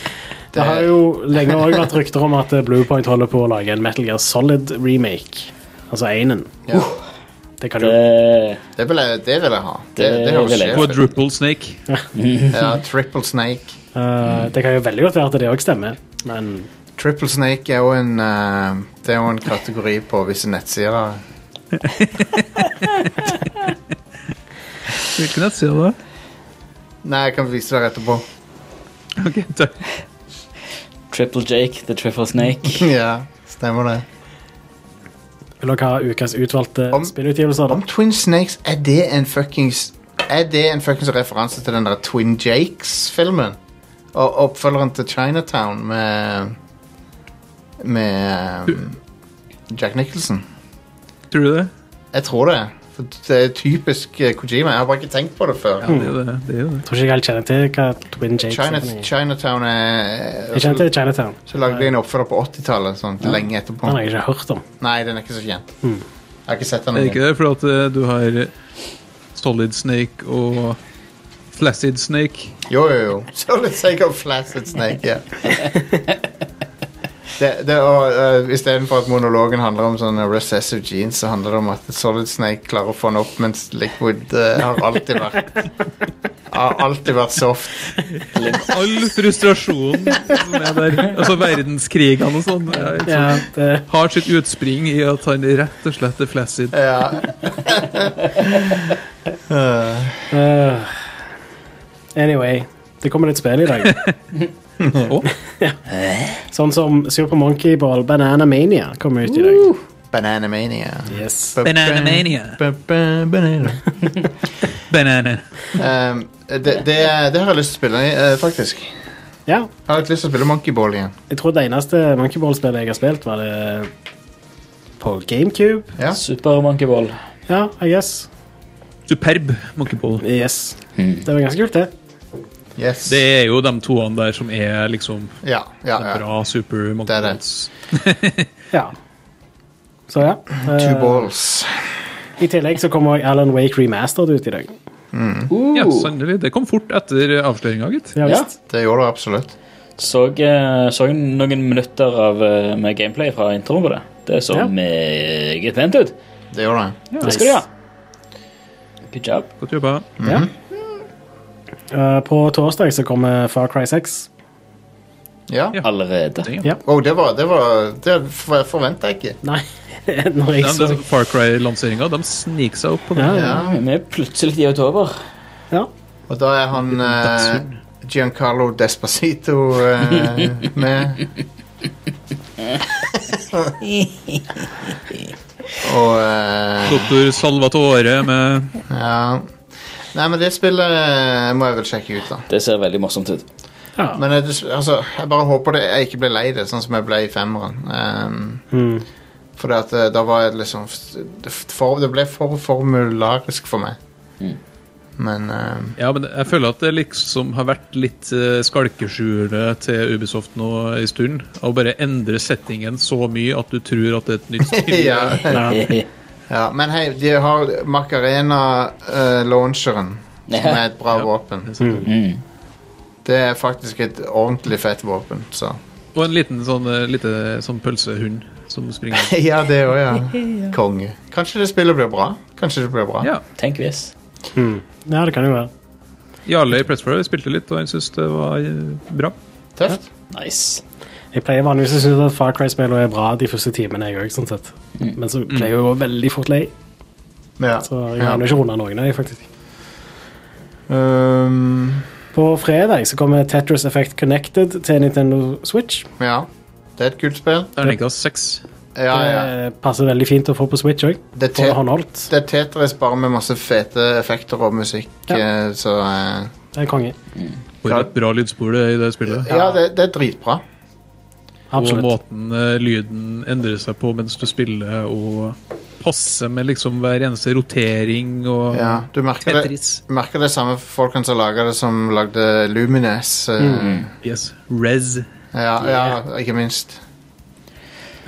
Speaker 4: [LAUGHS]
Speaker 3: det har jo lenge også vært rykter om at eh, Bluepoint holder på å lage en Metal Gear Solid-remake. Altså Einen.
Speaker 1: ja.
Speaker 3: Det kan jo
Speaker 4: det,
Speaker 1: Det vil jeg, det vil jeg ha. Det,
Speaker 4: Det
Speaker 1: det høres
Speaker 4: vil jeg.
Speaker 1: sjef ut.
Speaker 5: Quadruple snake.
Speaker 1: Ja, Triple Snake.
Speaker 3: Eh, det kan jo veldig godt være at det òg stemmer, men
Speaker 1: Triple Snake er jo en eh, Det er jo en kategori på visse nettsider.
Speaker 5: Hvilken nettside er det?
Speaker 1: Nei, jeg kan vise dere etterpå.
Speaker 5: Ok, takk.
Speaker 4: Triple Jake, The Triple Snake.
Speaker 1: [LAUGHS] ja, stemmer det.
Speaker 3: vil dere ha ukas utvalgte
Speaker 1: Om-
Speaker 3: spillutgivelser?
Speaker 1: Om
Speaker 3: da?
Speaker 1: Twin Snakes, er det en fuckings Er det en fuckings referanse til den der Twin Jakes-filmen? Og oppfølgeren til Chinatown med Med um, Jack Nicholson?
Speaker 5: Tror du det?
Speaker 1: Jeg tror det. For det er typisk eh, Kojima. Jeg har bare ikke tenkt på det før.
Speaker 5: Ja, det er jo det. det, er jo det.
Speaker 3: Tror ikke jeg helt kjenner til hva Twin Jakes er.
Speaker 1: China,
Speaker 3: for noe.
Speaker 1: Chinatown er eh,
Speaker 3: Jeg kjenner til Chinatown.
Speaker 1: Så lagde de en oppfølger på 80-tallet, sånn, lenge etterpå.
Speaker 3: Den har jeg ikke hørt om.
Speaker 1: Nei, den er ikke så kjent. Jeg har ikke sett den.
Speaker 5: Hmm. Er det
Speaker 1: engang.
Speaker 5: ikke det? Fordi at eh, du har Solid Snake og Flaccid Snake.
Speaker 1: Jo, jo, jo. [LAUGHS] Solid Snake og Flaccid Snake,
Speaker 5: [LAUGHS]
Speaker 1: ja. Det, det, og, eh, istedenfor at monologen handler om sånne recessive genes, så handler det om at Solid Snake klarer å få den opp, mens Liquid eh, har alltid vært
Speaker 5: [LAUGHS]
Speaker 1: Har alltid vært soft.
Speaker 5: All frustrasjonen som er der. Altså verdenskrigene og sånn. er liksom-
Speaker 3: Ja, det,
Speaker 5: Har sitt utspring i at han rett og slett er flaccid.
Speaker 1: Ja.
Speaker 3: øh. anyway, det kommer litt spill i dag.
Speaker 1: [LAUGHS] Oh.
Speaker 5: Å,
Speaker 3: Sånn som Super Monkey Ball Banana Mania kommer ut i dag.
Speaker 1: Bananamania.
Speaker 3: Yes.
Speaker 1: Ba-
Speaker 5: Banana Mania.
Speaker 1: ba- ba- Banana.
Speaker 5: Banana.
Speaker 1: Um, det, det, det har jeg lyst til å spille, eh, faktisk.
Speaker 3: Ja,
Speaker 1: Jeg har litt lyst til å spille Monkey Ball igjen.
Speaker 3: jeg tror det eneste Monkey Ball-spillet jeg har spilt, var det på GameCube.
Speaker 1: Ja.
Speaker 4: Super Monkey Ball.
Speaker 3: Ja, I guess.
Speaker 5: Superb monkeyball.
Speaker 3: Yes. Det var ganske kult, det.
Speaker 1: Yes.
Speaker 5: Det er jo de toene der som er liksom
Speaker 1: ja, ja, ja.
Speaker 5: bra super
Speaker 1: Det er det.
Speaker 5: monkeyballs.
Speaker 3: Ja. Så ja.
Speaker 1: Two
Speaker 3: eh,
Speaker 1: balls.
Speaker 3: I tillegg så kommer også Alan Wake Remastered ut i dag.
Speaker 5: Ja, sannelig. Det kom fort etter avsløringa, gitt.
Speaker 3: Ja,
Speaker 4: Ja.
Speaker 3: visst.
Speaker 1: Det gjorde det absolutt.
Speaker 4: Så, eh, så noen minutter av, eh, med gameplay fra introen på det. Det så
Speaker 3: Ja.
Speaker 4: meget pent ut.
Speaker 1: Det gjorde det.
Speaker 4: Det skal du ha. Good job.
Speaker 5: Godt jobba.
Speaker 3: Ja. Eh, på torsdag så kommer Far Cry 6.
Speaker 1: Ja.
Speaker 5: Ja.
Speaker 4: Allerede.
Speaker 5: Det-
Speaker 1: Wow, det var Det, var, det for- forventa jeg ikke.
Speaker 3: [LAUGHS] Nei, når jeg
Speaker 5: Den,
Speaker 3: så
Speaker 5: den Far Cry-lanseringa, de sniker seg opp på det.
Speaker 3: ja, ja.
Speaker 1: Ja.
Speaker 4: Vi er plutselig i oktober.
Speaker 3: ja.
Speaker 1: Og da er han eh, Giancarlo Despacito [LAUGHS] eh, med. Og eh,
Speaker 5: Doktor Salvatore med
Speaker 1: Ja. Nei, men det spillet eh, må jeg vel sjekke ut, da.
Speaker 4: Det ser veldig morsomt ut.
Speaker 3: ja.
Speaker 1: Men jeg, altså, jeg bare håper det, jeg ikke ble lei det, sånn som jeg ble i femmeren. Um,
Speaker 3: Mm.
Speaker 1: Fordi at eh, da var jeg liksom det, for, det ble for formularisk for meg. Men
Speaker 5: [LAUGHS]
Speaker 1: eh, [LAUGHS]
Speaker 5: Ja, men jeg føler at det liksom har vært litt eh, skalkeskjulet til Ubisoft nå en stund. Å bare endre settingen så mye at du tror at det er et nytt spill.
Speaker 1: [LAUGHS] ja,
Speaker 4: [LAUGHS]
Speaker 1: ja. Men hei, de har Macarena-launcheren, som er et bra våpen.
Speaker 4: Mm.
Speaker 1: Det er faktisk et ordentlig fett våpen, så
Speaker 5: [LAUGHS] Og en liten sånn, eh, lite, sånn pølsehund som springer.
Speaker 1: [LAUGHS] Ja, det òg, ja. [LAUGHS] Konge. Kanskje det spillet blir bra? Kanskje det blir bra?
Speaker 5: Ja.
Speaker 4: Tenk hvis.
Speaker 3: ja, det kan jo være.
Speaker 5: Jarle i Pressfire spilte litt, og han syntes det var eh, bra.
Speaker 1: Tøft.
Speaker 4: Nice.
Speaker 3: Jeg pleier vanligvis å synes at Far Cry-spillene er bra de første timene, jeg òg, sånn sett. Men så pleier jeg å gå veldig fort lei,
Speaker 1: Ja.
Speaker 3: så jeg
Speaker 1: Ja.
Speaker 3: har jo ikke runda noen av dem, faktisk.
Speaker 1: Um,
Speaker 3: På fredag så kommer Tetris Effect Connected til Nintendo Switch.
Speaker 1: Ja. Det er et kult spill.
Speaker 5: Terningkast seks.
Speaker 1: Ja, ja.
Speaker 3: Det passer veldig fint å få på Switch òg.
Speaker 1: Det er
Speaker 3: Få det
Speaker 1: te-
Speaker 3: håndholdt.
Speaker 1: Det er Tetris bare med masse fete effekter og musikk, eh, så eh,
Speaker 3: Det er konge.
Speaker 5: For et bra lydspor det er i det spillet.
Speaker 1: Ja, det, det er dritbra.
Speaker 5: Og
Speaker 3: Absolutt.
Speaker 5: måten eh, lyden endrer seg på mens du spiller, og passer med liksom hver eneste rotering og
Speaker 1: Ja, du merker det,
Speaker 5: Tetris.
Speaker 1: du merker det samme folkene som laga det, som lagde Lumines. eh,
Speaker 5: Yes. Res.
Speaker 1: ja, ja, ikke minst.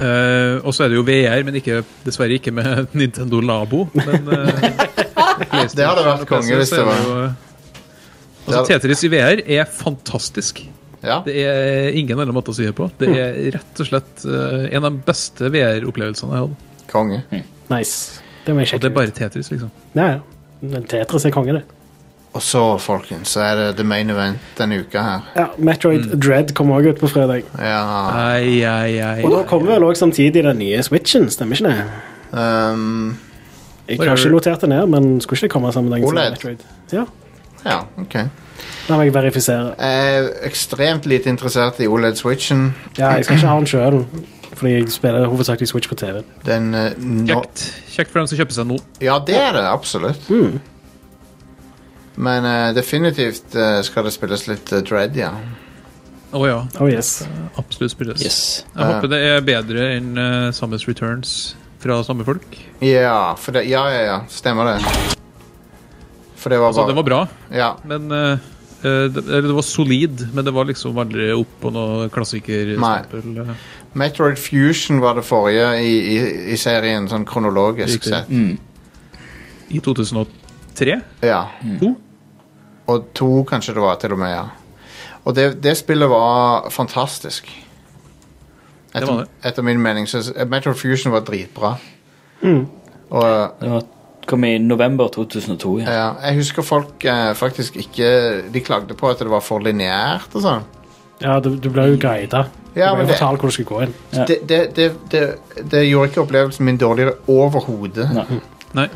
Speaker 5: Eh, og så er det jo VR, men ikke, dessverre ikke med [LAUGHS] Nintendo Labo. Men eh,
Speaker 1: [LAUGHS] Det hadde vært konge hvis det var
Speaker 5: jo, eh, Altså, Tetris i VR er fantastisk.
Speaker 1: Ja,
Speaker 5: Det er ingen andre måter å si det på. Det er rett og slett eh, en av de beste VR-opplevelsene jeg hadde.
Speaker 1: konge.
Speaker 3: Nice. Det må jeg
Speaker 5: Og det
Speaker 3: sjekke
Speaker 5: er
Speaker 3: ut.
Speaker 5: bare Tetris, liksom.
Speaker 3: Ja, ja. Men Tetris er konge, det.
Speaker 1: Og så, folkens, så er det the main event denne uka her.
Speaker 3: Ja, Metroid
Speaker 5: Mm.
Speaker 3: Dread kommer òg ut på fredag.
Speaker 1: Ja
Speaker 5: Ai, ai, ai.
Speaker 3: Og da kommer vel òg samtidig den nye Switchen, stemmer ikke det?
Speaker 1: ehm,
Speaker 3: Jeg har ikke notert det ned, men skulle ikke det komme samme dag som
Speaker 1: OLED.
Speaker 3: Metroid? Ja,
Speaker 1: Ja, OK.
Speaker 3: La meg verifisere.
Speaker 1: Jeg er ekstremt lite interessert i OLED Switchen.
Speaker 3: Ja, jeg skal ikke ha den sjøl, fordi jeg spiller hovedsakelig Switch på TV.
Speaker 1: Den eh, nå-
Speaker 5: Kjekt. Kjekt for dem som kjøper seg nå.
Speaker 1: Ja, det er det absolutt.
Speaker 5: Mm.
Speaker 1: Men eh, definitivt eh, skal det spilles litt eh, Dread, ja.
Speaker 5: Å ja,
Speaker 3: Oh yes.
Speaker 5: absolutt spilles.
Speaker 4: Yes.
Speaker 5: Jeg håper det er bedre enn eh, Summers Returns fra samme folk.
Speaker 1: Ja, for det, ja, ja, ja, stemmer det. For det var
Speaker 5: Altså, det
Speaker 1: bare
Speaker 5: var bra,
Speaker 1: Ja,
Speaker 5: men eh, eh, det, eller det var solid, men det var liksom aldri opp på noe klassikerstempel. eh,
Speaker 1: Metroid Fusion var det forrige i, i, i serien, sånn kronologisk
Speaker 5: Riktig. Mm.
Speaker 1: sett.
Speaker 5: I 2003?
Speaker 1: Ja.
Speaker 5: To?
Speaker 1: Og to kanskje det var til og med, ja. Og det, det spillet var fantastisk. Etter,
Speaker 5: var det.
Speaker 1: etter min mening så Metroid Fusion var dritbra.
Speaker 5: Mm.
Speaker 1: Og
Speaker 4: Det kom i november 2002. Ja.
Speaker 1: ja, jeg husker folk eh, faktisk ikke De klagde på at det var for lineært og sånn.
Speaker 3: Ja, du, du ble jo guida. Du
Speaker 1: Ja, men
Speaker 3: ble jo
Speaker 1: det-
Speaker 3: fortalt hvor du skulle gå inn.
Speaker 4: Ja.
Speaker 1: Det, det, det, det, det gjorde ikke opplevelsen min dårligere overhodet.
Speaker 4: Nei.
Speaker 5: Nei.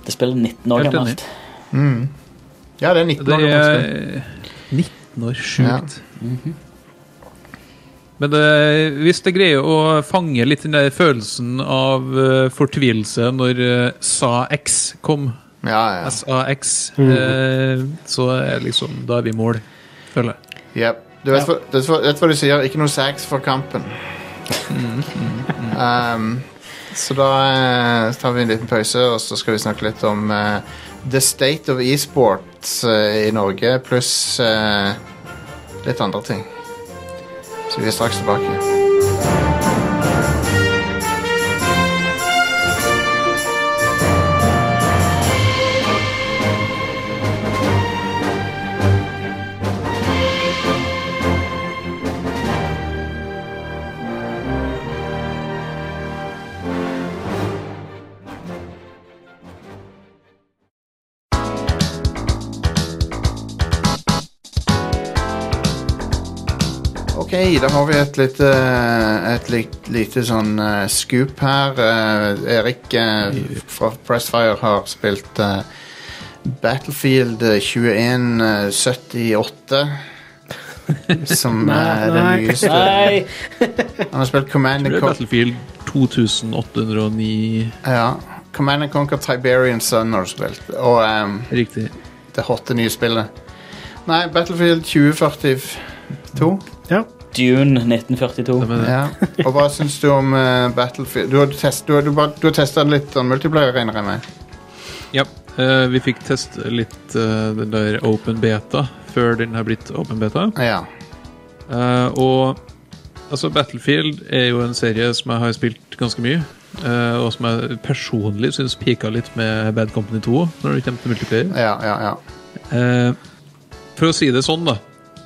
Speaker 4: Det spiller 19 år
Speaker 5: Helt enig.
Speaker 4: gammelt.
Speaker 1: Ja, det er 19
Speaker 5: Det
Speaker 1: år
Speaker 5: er
Speaker 1: gammelt.
Speaker 5: 19 år sjukt. Mhm. Men det, hvis det greier å fange litt den der følelsen av eh, fortvilelse når eh, SAX kom,
Speaker 1: Ja, ja.
Speaker 5: altså- SAX, eh, så er liksom Da er vi i mål, føler jeg.
Speaker 1: Yep. Du vet, hva- vet, hva- vet hva du sier? Ikke noe sex for kampen. Um, så da eh, tar vi en liten pause, og så skal vi snakke litt om eh, the state of e-sports eh, i Norge, pluss eh, litt andre ting. Så vi er straks tilbake. Ok, da har vi et lite, et litt, lite sånn eh, scoop her. Eh, Erik eh, fra Pressfire har spilt eh, Battlefield eh, 2178. som er det
Speaker 3: Nei.
Speaker 1: nyeste.
Speaker 4: Nei!
Speaker 1: Han har spilt Command
Speaker 5: Det
Speaker 1: and,
Speaker 5: er
Speaker 1: Con
Speaker 5: Battlefield 2809,
Speaker 1: ja, Command and Conquer Tiberian Sun har du spilt. Og ehm,
Speaker 5: riktig.
Speaker 1: det hotte nye spillet. Nei, Battlefield 2042.
Speaker 3: Ja.
Speaker 4: Dune 1942.
Speaker 5: Det med det.
Speaker 1: Ja. [LAUGHS] Og hva syns du om eh, Battlefield? Du har, test, du, har, du, bare, du har testet litt sånn multiplayer, regner jeg med?
Speaker 5: Ja, eh, vi fikk teste litt eh, den der open beta før den har blitt open beta.
Speaker 1: Ja.
Speaker 5: Eh, og altså Battlefield er jo en serie som jeg har spilt ganske mye. eh, og som jeg personlig syns pika litt med Bad Company 2 når det kommer til multiplayer.
Speaker 1: Ja, ja, ja.
Speaker 5: Eh, for å si det sånn, da.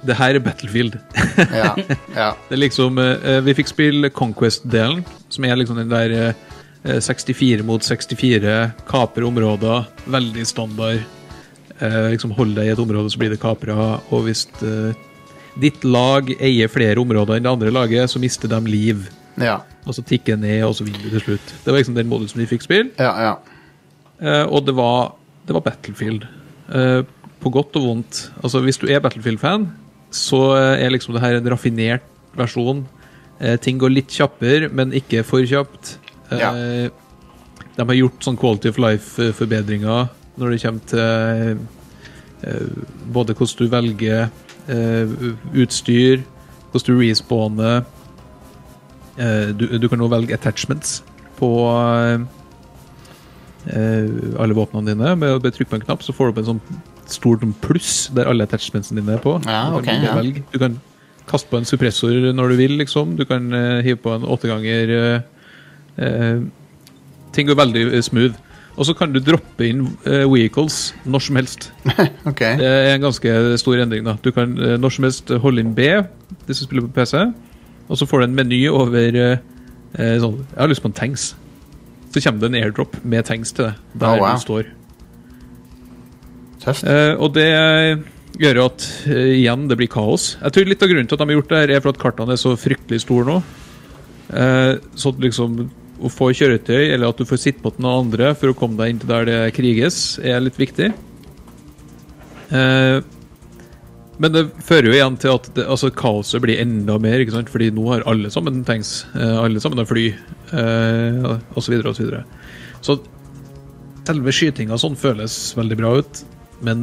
Speaker 5: Det her er Battlefield. [LAUGHS]
Speaker 1: ja, ja.
Speaker 5: Det er liksom, eh, Vi fikk spille Conquest-delen, som er liksom den der eh, 64 mot 64, kapre områder, veldig standard. Eh, liksom Hold deg i et område, så blir det kapra. Og hvis eh, ditt lag eier flere områder enn det andre laget, så mister de liv.
Speaker 1: Ja,
Speaker 5: Og så tikker det ned, og så vinner du til slutt. Det var liksom den modusen vi fikk spille.
Speaker 1: ja, ja.
Speaker 5: Eh, og det var, det var Battlefield. Eh, på godt og vondt. Altså, hvis du er Battlefield-fan, så er liksom det her en raffinert versjon. Eh, ting går litt kjappere, men ikke for kjapt. Eh,
Speaker 1: Ja.
Speaker 5: De har gjort sånn quality of life-forbedringer når det kommer til eh, både hvordan du velger eh, utstyr, hvordan du respawner. Eh, du, du kan nå velge attachments på eh, eh, alle våpnene dine. Med å bare trykke på en knapp så får du opp en sånn stort sånn pluss der alle attachmentsene dine er på.
Speaker 1: Ja,
Speaker 5: Du kan
Speaker 1: ok,
Speaker 5: velge-
Speaker 1: ja.
Speaker 5: velge. Du kan kaste på en suppressor når du vil, liksom. Du kan eh, hive på en åtteganger eh, eh, Ting går veldig eh, smooth. Og så kan du droppe inn eh, vehicles når som helst.
Speaker 1: OK.
Speaker 5: Det er en ganske stor endring. da Du kan eh, når som helst holde inn B hvis du spiller på PC, og så får du en meny over eh, eh, sånn, Jeg har lyst på en tanks. Så kommer det en airdrop med tanks til deg der
Speaker 1: Oh, wow.
Speaker 5: du står.
Speaker 1: Tøft.
Speaker 5: Eh, og det gjør jo at eh, igjen det blir kaos. Jeg tror litt av grunnen til at de har gjort det her, er for at kartene er så fryktelig store nå. Eh, så at liksom å få kjøretøy, eller at du får sitte på til noen andre for å komme deg inn til der det kriges, er litt viktig. Eh, men det fører jo igjen til at det, altså, kaoset blir enda mer, ikke sant? fordi nå har alle sammen tanks. eh, alle sammen har fly, eh, og så videre og Så, videre. så selve skytinga sånn føles veldig bra ut, men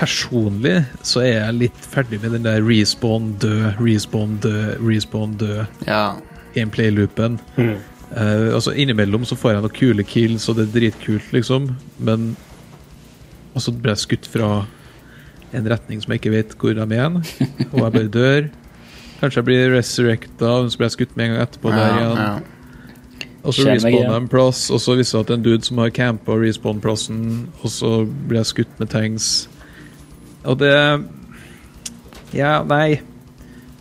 Speaker 5: personlig så er jeg litt ferdig med den der respawn, død, respawn, død, respawn, død
Speaker 1: Ja.
Speaker 5: gameplay-loopen.
Speaker 1: Mm.
Speaker 5: Eh, altså Innimellom så får jeg noen kule kills, og det er dritkult, liksom, men Og så ble jeg skutt fra en retning som jeg ikke vet hvor de er igjen, og jeg bare dør. Kanskje jeg blir resurrecta, og så blir jeg skutt med en gang etterpå der
Speaker 1: ja,
Speaker 5: igjen.
Speaker 1: ja.
Speaker 5: Og så
Speaker 4: Skjer meg
Speaker 5: respawner
Speaker 4: igjen.
Speaker 5: jeg en plass, og så viser det at det er en dude som har campa respawn-plassen, og så blir jeg skutt med tanks. Og det Ja, nei.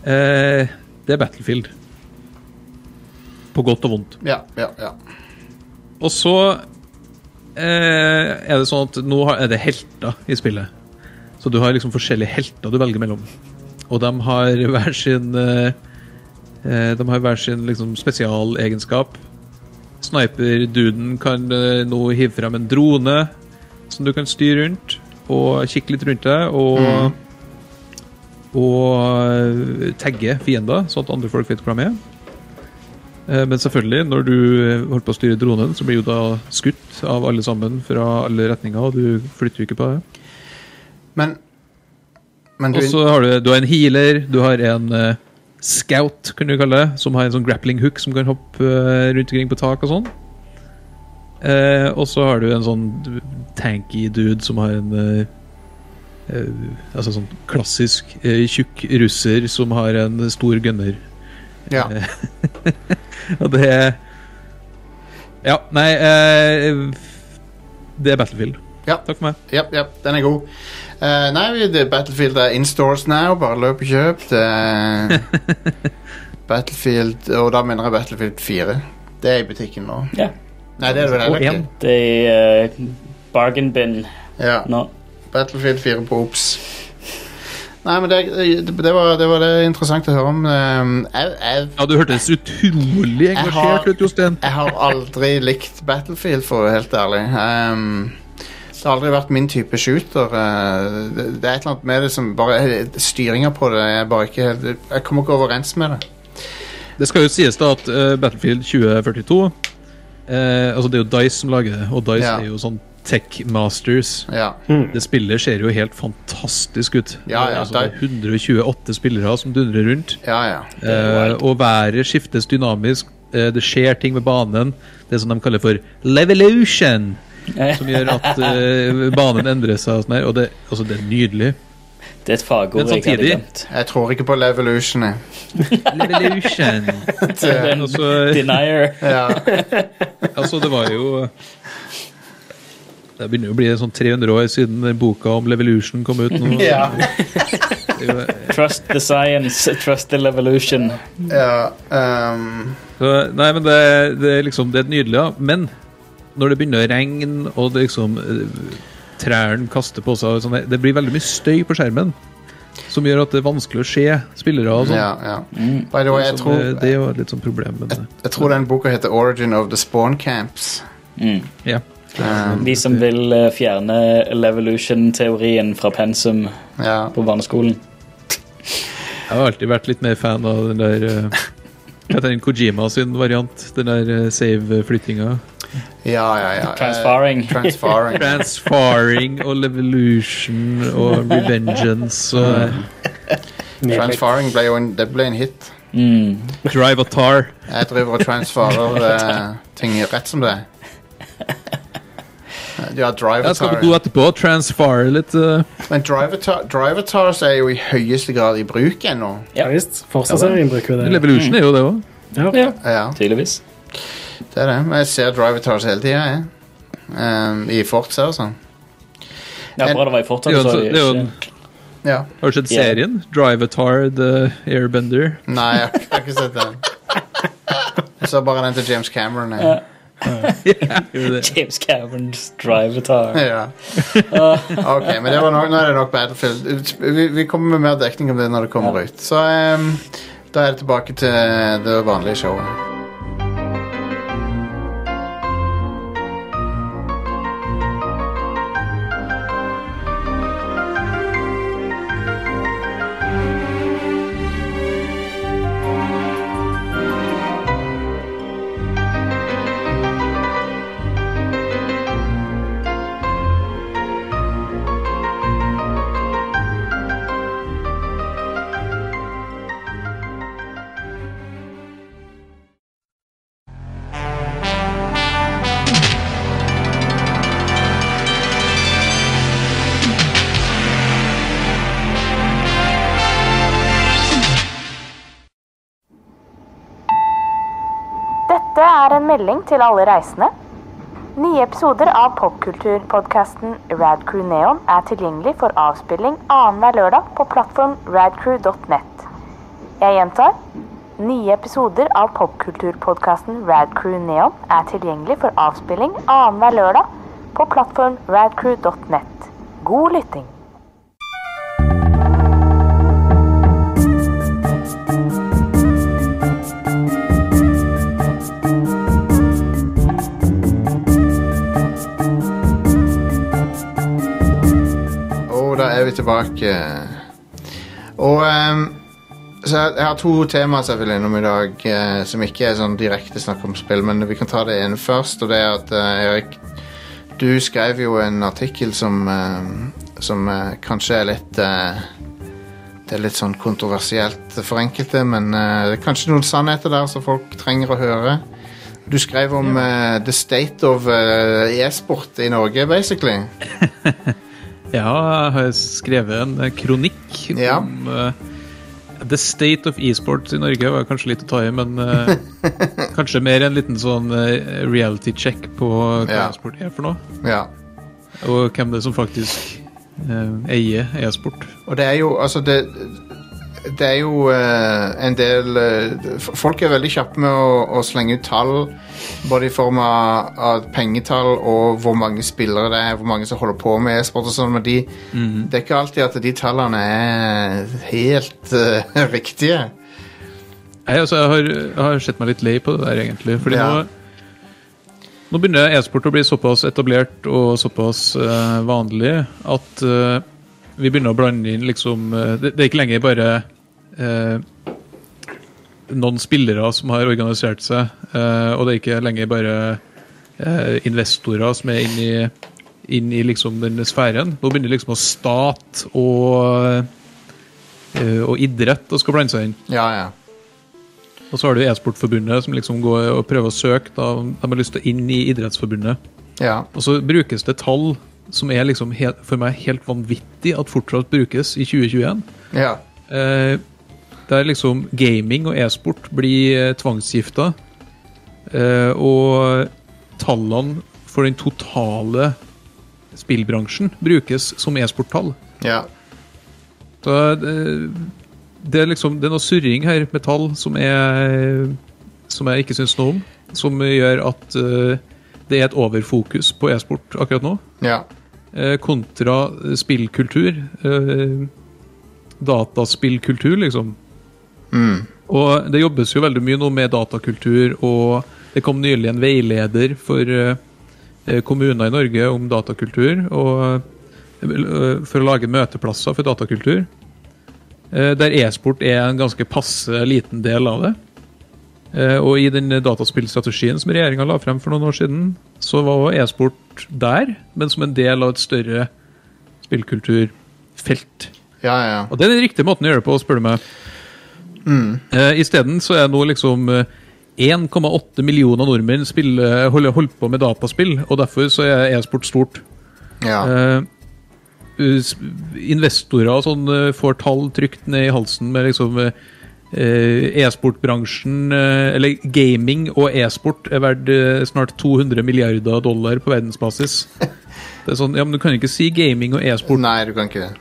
Speaker 5: Eh, det er Battlefield. På godt og vondt.
Speaker 1: ja, ja, ja.
Speaker 5: Og så eh, er det sånn at nå har, er det helter i spillet. Så du har liksom forskjellige helter du velger mellom. Og de har hver sin eh, eh, De har hver sin liksom spesialegenskap. Sniper-duden kan eh, nå hive frem en drone som du kan styre rundt, og kikke litt rundt deg, og Og eh, tagge fiender, sånn at andre folk vet hvor de er. Eh, Men selvfølgelig, når du eh, holder på å styre dronen, så blir jo da skutt av alle sammen fra alle retninger, og du flytter jo ikke på det.
Speaker 1: Men Men du
Speaker 5: Og så har du, du har en healer, du har en eh, scout, kunne du kalle det, som har en sånn grappling hook som kan hoppe eh, rundt omkring på tak og sånn. Eh, og så har du en sånn tanky dude som har en eh, eh, Altså sånn klassisk eh, tjukk russer som har en stor gunner.
Speaker 1: Ja.
Speaker 5: Og det Ja, nei eh, Det er Battlefield.
Speaker 1: Ja.
Speaker 5: Takk for meg.
Speaker 1: Ja, ja, den er god. Eh, nei, vi- det- Battlefield er in stores now. Bare løp og kjøp. Det er [LAUGHS] Battlefield Og da mener jeg Battlefield 4. Det er i butikken nå.
Speaker 4: Ja.
Speaker 1: Nei, det er det vel
Speaker 5: Og
Speaker 1: heller
Speaker 5: en.
Speaker 1: ikke.
Speaker 4: Det er eh, bargain bin
Speaker 1: Ja,
Speaker 4: nå.
Speaker 1: Battlefield 4 på Ops. Nei, men det, det, det, var, det var det interessant å høre om. Eh, jeg, jeg,
Speaker 5: Ja, du hørtes utrolig
Speaker 1: har-
Speaker 5: engasjert ut, Jostein.
Speaker 1: jeg har aldri [LAUGHS] likt Battlefield, for å være helt ærlig. Ehm, det har aldri vært min type shooter. eh, det, det er et eller annet med det som bare Styringa på det er bare ikke helt Jeg kommer ikke overens med det.
Speaker 5: Det skal jo sies da at eh, Battlefield 2042 eh, Altså, det er jo Dice som lager det, og Dice
Speaker 1: Ja.
Speaker 5: er jo sånn tech masters.
Speaker 1: Ja.
Speaker 5: Det spillet ser jo helt fantastisk ut.
Speaker 1: Ja, ja,
Speaker 5: altså, det er 128 spillere som dundrer rundt,
Speaker 1: Ja, ja.
Speaker 5: eh, og været skiftes dynamisk. eh, det skjer ting med banen. Det som de kaller for levolution. som gjør at eh, banen endrer seg. Og, sånn her, og det, altså, det er nydelig.
Speaker 4: Det er et fagord
Speaker 5: Men
Speaker 4: jeg hadde
Speaker 5: samtidig- [LAUGHS]
Speaker 4: glemt.
Speaker 1: Jeg tror ikke på Levolution. jeg.
Speaker 5: Revolution.
Speaker 4: Den
Speaker 5: altså,
Speaker 4: denier.
Speaker 1: Ja.
Speaker 5: altså, det var jo Det begynner jo å bli sånn 300 år siden boka om Levolution kom ut. Nå.
Speaker 1: Ja.
Speaker 5: Det er jo-
Speaker 4: Trust the science, trust the revolution.
Speaker 1: ja ehm,
Speaker 5: Så, nei, men det, det er liksom Det er nydelig, ja. Men når det begynner å regne, og det liksom eh, trærne kaster på seg og sånn, Det blir veldig mye støy på skjermen. Som gjør at det er vanskelig å se spillere og sånn.
Speaker 1: ja, ja. By the way, jeg
Speaker 5: Så
Speaker 1: tror,
Speaker 5: det, det er jo et litt sånn problem. Men,
Speaker 1: jeg tror den boka heter Origin of the Spawn Camps.
Speaker 4: Mm.
Speaker 5: ja.
Speaker 1: Um,
Speaker 4: De som vil eh, fjerne Levolution-teorien fra pensum
Speaker 1: Ja.
Speaker 4: på barneskolen.
Speaker 5: Jeg har alltid vært litt mer fan av den der eh, Hva heter den Kojima sin variant? Den der eh, save-flyttinga.
Speaker 1: ja, ja, ja.
Speaker 4: Transfaring.
Speaker 1: Eh,
Speaker 5: [LAUGHS]
Speaker 1: transfaring.
Speaker 5: Transfaring og Levolution og Revengeance og
Speaker 1: transfaring ble jo en, det ble en hit.
Speaker 4: Mm.
Speaker 5: Drive og Tar.
Speaker 1: Jeg driver og transfarer eh, ting rett som det. er. Ja,
Speaker 5: Jeg skal
Speaker 1: drivatar.
Speaker 5: på do etterpå og transfare litt. eh.
Speaker 1: Men drivatar, drivatars er jo i høyeste grad i bruk ennå.
Speaker 4: Ja.
Speaker 3: Ja visst. Forsa-serien bruker jo det.
Speaker 5: Levolution er jo det òg.
Speaker 3: Ja.
Speaker 4: Ja,
Speaker 1: Ja,
Speaker 4: tydeligvis.
Speaker 1: det er det. Men jeg ser drivatars hele tida, jeg. Ehm, I Forza og sånn.
Speaker 4: Ja, bra det var i Fortsatt,
Speaker 5: Det er jo en
Speaker 4: så
Speaker 5: så-
Speaker 4: er
Speaker 5: det er jo
Speaker 4: det
Speaker 5: en-
Speaker 4: ikke [LAUGHS]
Speaker 1: Ja.
Speaker 5: Har du sett
Speaker 4: Ja.
Speaker 5: serien? Drive a Tar, The
Speaker 1: [LAUGHS]
Speaker 5: Airbender.
Speaker 1: Nei, jeg har- jeg har ikke sett [LAUGHS] den. Jeg så bare den til James Cameron. Jeg.
Speaker 5: Gjør du det?
Speaker 4: James Camerons drive-tar.
Speaker 1: Ja. Ok, men det var nok, nå er det nok Battlefield. Vi, vi kommer med mer dekning om det når det kommer ut. Så ehm, da er det tilbake til det vanlige showet.
Speaker 8: Dette er en melding til alle reisende. Nye episoder av popkulturpodkasten Radcrew Neon er tilgjengelig for avspilling annenhver lørdag på plattform radcrew.net. Jeg gjentar. Nye episoder av popkulturpodkasten Radcrew Neon er tilgjengelig for avspilling annenhver lørdag på plattform radcrew.net. God lytting.
Speaker 1: Og da er vi tilbake. Og ehm, så jeg, jeg har to temaer som jeg vil innom i dag, eh, som ikke er sånn direkte snakk om spill, men vi kan ta det ene først, og det er at eh, Erik, du skrev jo en artikkel som, ehm, som eh, kanskje er litt eh, Det er litt sånn kontroversielt for enkelte, men eh, det er kanskje noen sannheter der som folk trenger å høre. Du skrev om eh, the state of eh, e-sport i Norge, basically.
Speaker 5: Ja, jeg har skrevet en eh, kronikk
Speaker 1: Ja.
Speaker 5: om eh, The State of Esports i Norge. var kanskje litt å ta i, men
Speaker 1: [LAUGHS]
Speaker 5: eh, kanskje mer en liten sånn eh, reality check på hva
Speaker 1: Ja.
Speaker 5: e-sport er for noe.
Speaker 1: Ja.
Speaker 5: Og hvem det er som faktisk eh, eier e-sport.
Speaker 1: Og det er jo, altså det, det er jo eh, en del eh, f- Folk er veldig kjappe med å, å slenge ut tall, både i form av, av pengetall og hvor mange spillere det er, hvor mange som holder på med e-sport og sånn, men de, det er ikke alltid at de tallene er helt eh, [LAUGHS] riktige.
Speaker 5: Nei, altså, jeg har, jeg har sett meg litt lei på det der, egentlig. Fordi
Speaker 1: Ja.
Speaker 5: nå, nå begynner e-sport å bli såpass etablert og såpass eh, vanlig at eh, vi begynner å blande inn liksom eh, det, det er ikke lenger bare eh, noen spillere som har organisert seg, eh, og det er ikke lenger bare eh, investorer som er inn i, inn i liksom den sfæren. Nå begynner liksom å stat og, eh, og idrett å skal blande seg inn.
Speaker 1: Ja, ja.
Speaker 5: Og så har du E-sportforbundet som liksom går og prøver å søke. Da de har lyst til å inn i Idrettsforbundet.
Speaker 1: ja.
Speaker 5: Og så brukes det tall som er liksom helt, for meg helt vanvittig at fortsatt brukes i 2021.
Speaker 1: ja.
Speaker 5: Eh, der liksom gaming og e-sport blir eh, tvangsgifta. Eh, og tallene for den totale spillbransjen brukes som e-sporttall.
Speaker 1: ja.
Speaker 5: Så det, det er liksom Det er noe surring her med tall som jeg, som jeg ikke syns noe om. Som gjør at eh, det er et overfokus på e-sport akkurat nå.
Speaker 1: ja.
Speaker 5: eh, kontra eh, spillkultur. eh, dataspillkultur, liksom. Og det jobbes jo veldig mye nå med datakultur, og det kom nylig en veileder for eh, eh, kommuner i Norge om datakultur og, eh, for å lage møteplasser for datakultur. Eh, Der e-sport er en ganske passe liten del av det. Eh, Og i den dataspillstrategien som regjeringa la frem for noen år siden, så var også e-sport der, men som en del av et større spillkulturfelt.
Speaker 1: Ja, ja.
Speaker 5: Og det er den riktige måten å gjøre det på, spør du meg. Eh, Isteden så er nå liksom eh, 1,8 millioner nordmenn spiller, holder, holder på med dataspill, og derfor så er e-sport stort.
Speaker 1: ja.
Speaker 5: Eh, us- investorer og sånn eh, får tall trykt ned i halsen med liksom eh, eh, E-sportbransjen, eh, eller gaming og e-sport, er verdt eh, snart 200 milliarder dollar på verdensbasis. Det er sånn, ja, men Du kan ikke si gaming og e-sport.
Speaker 1: Nei, du kan ikke det.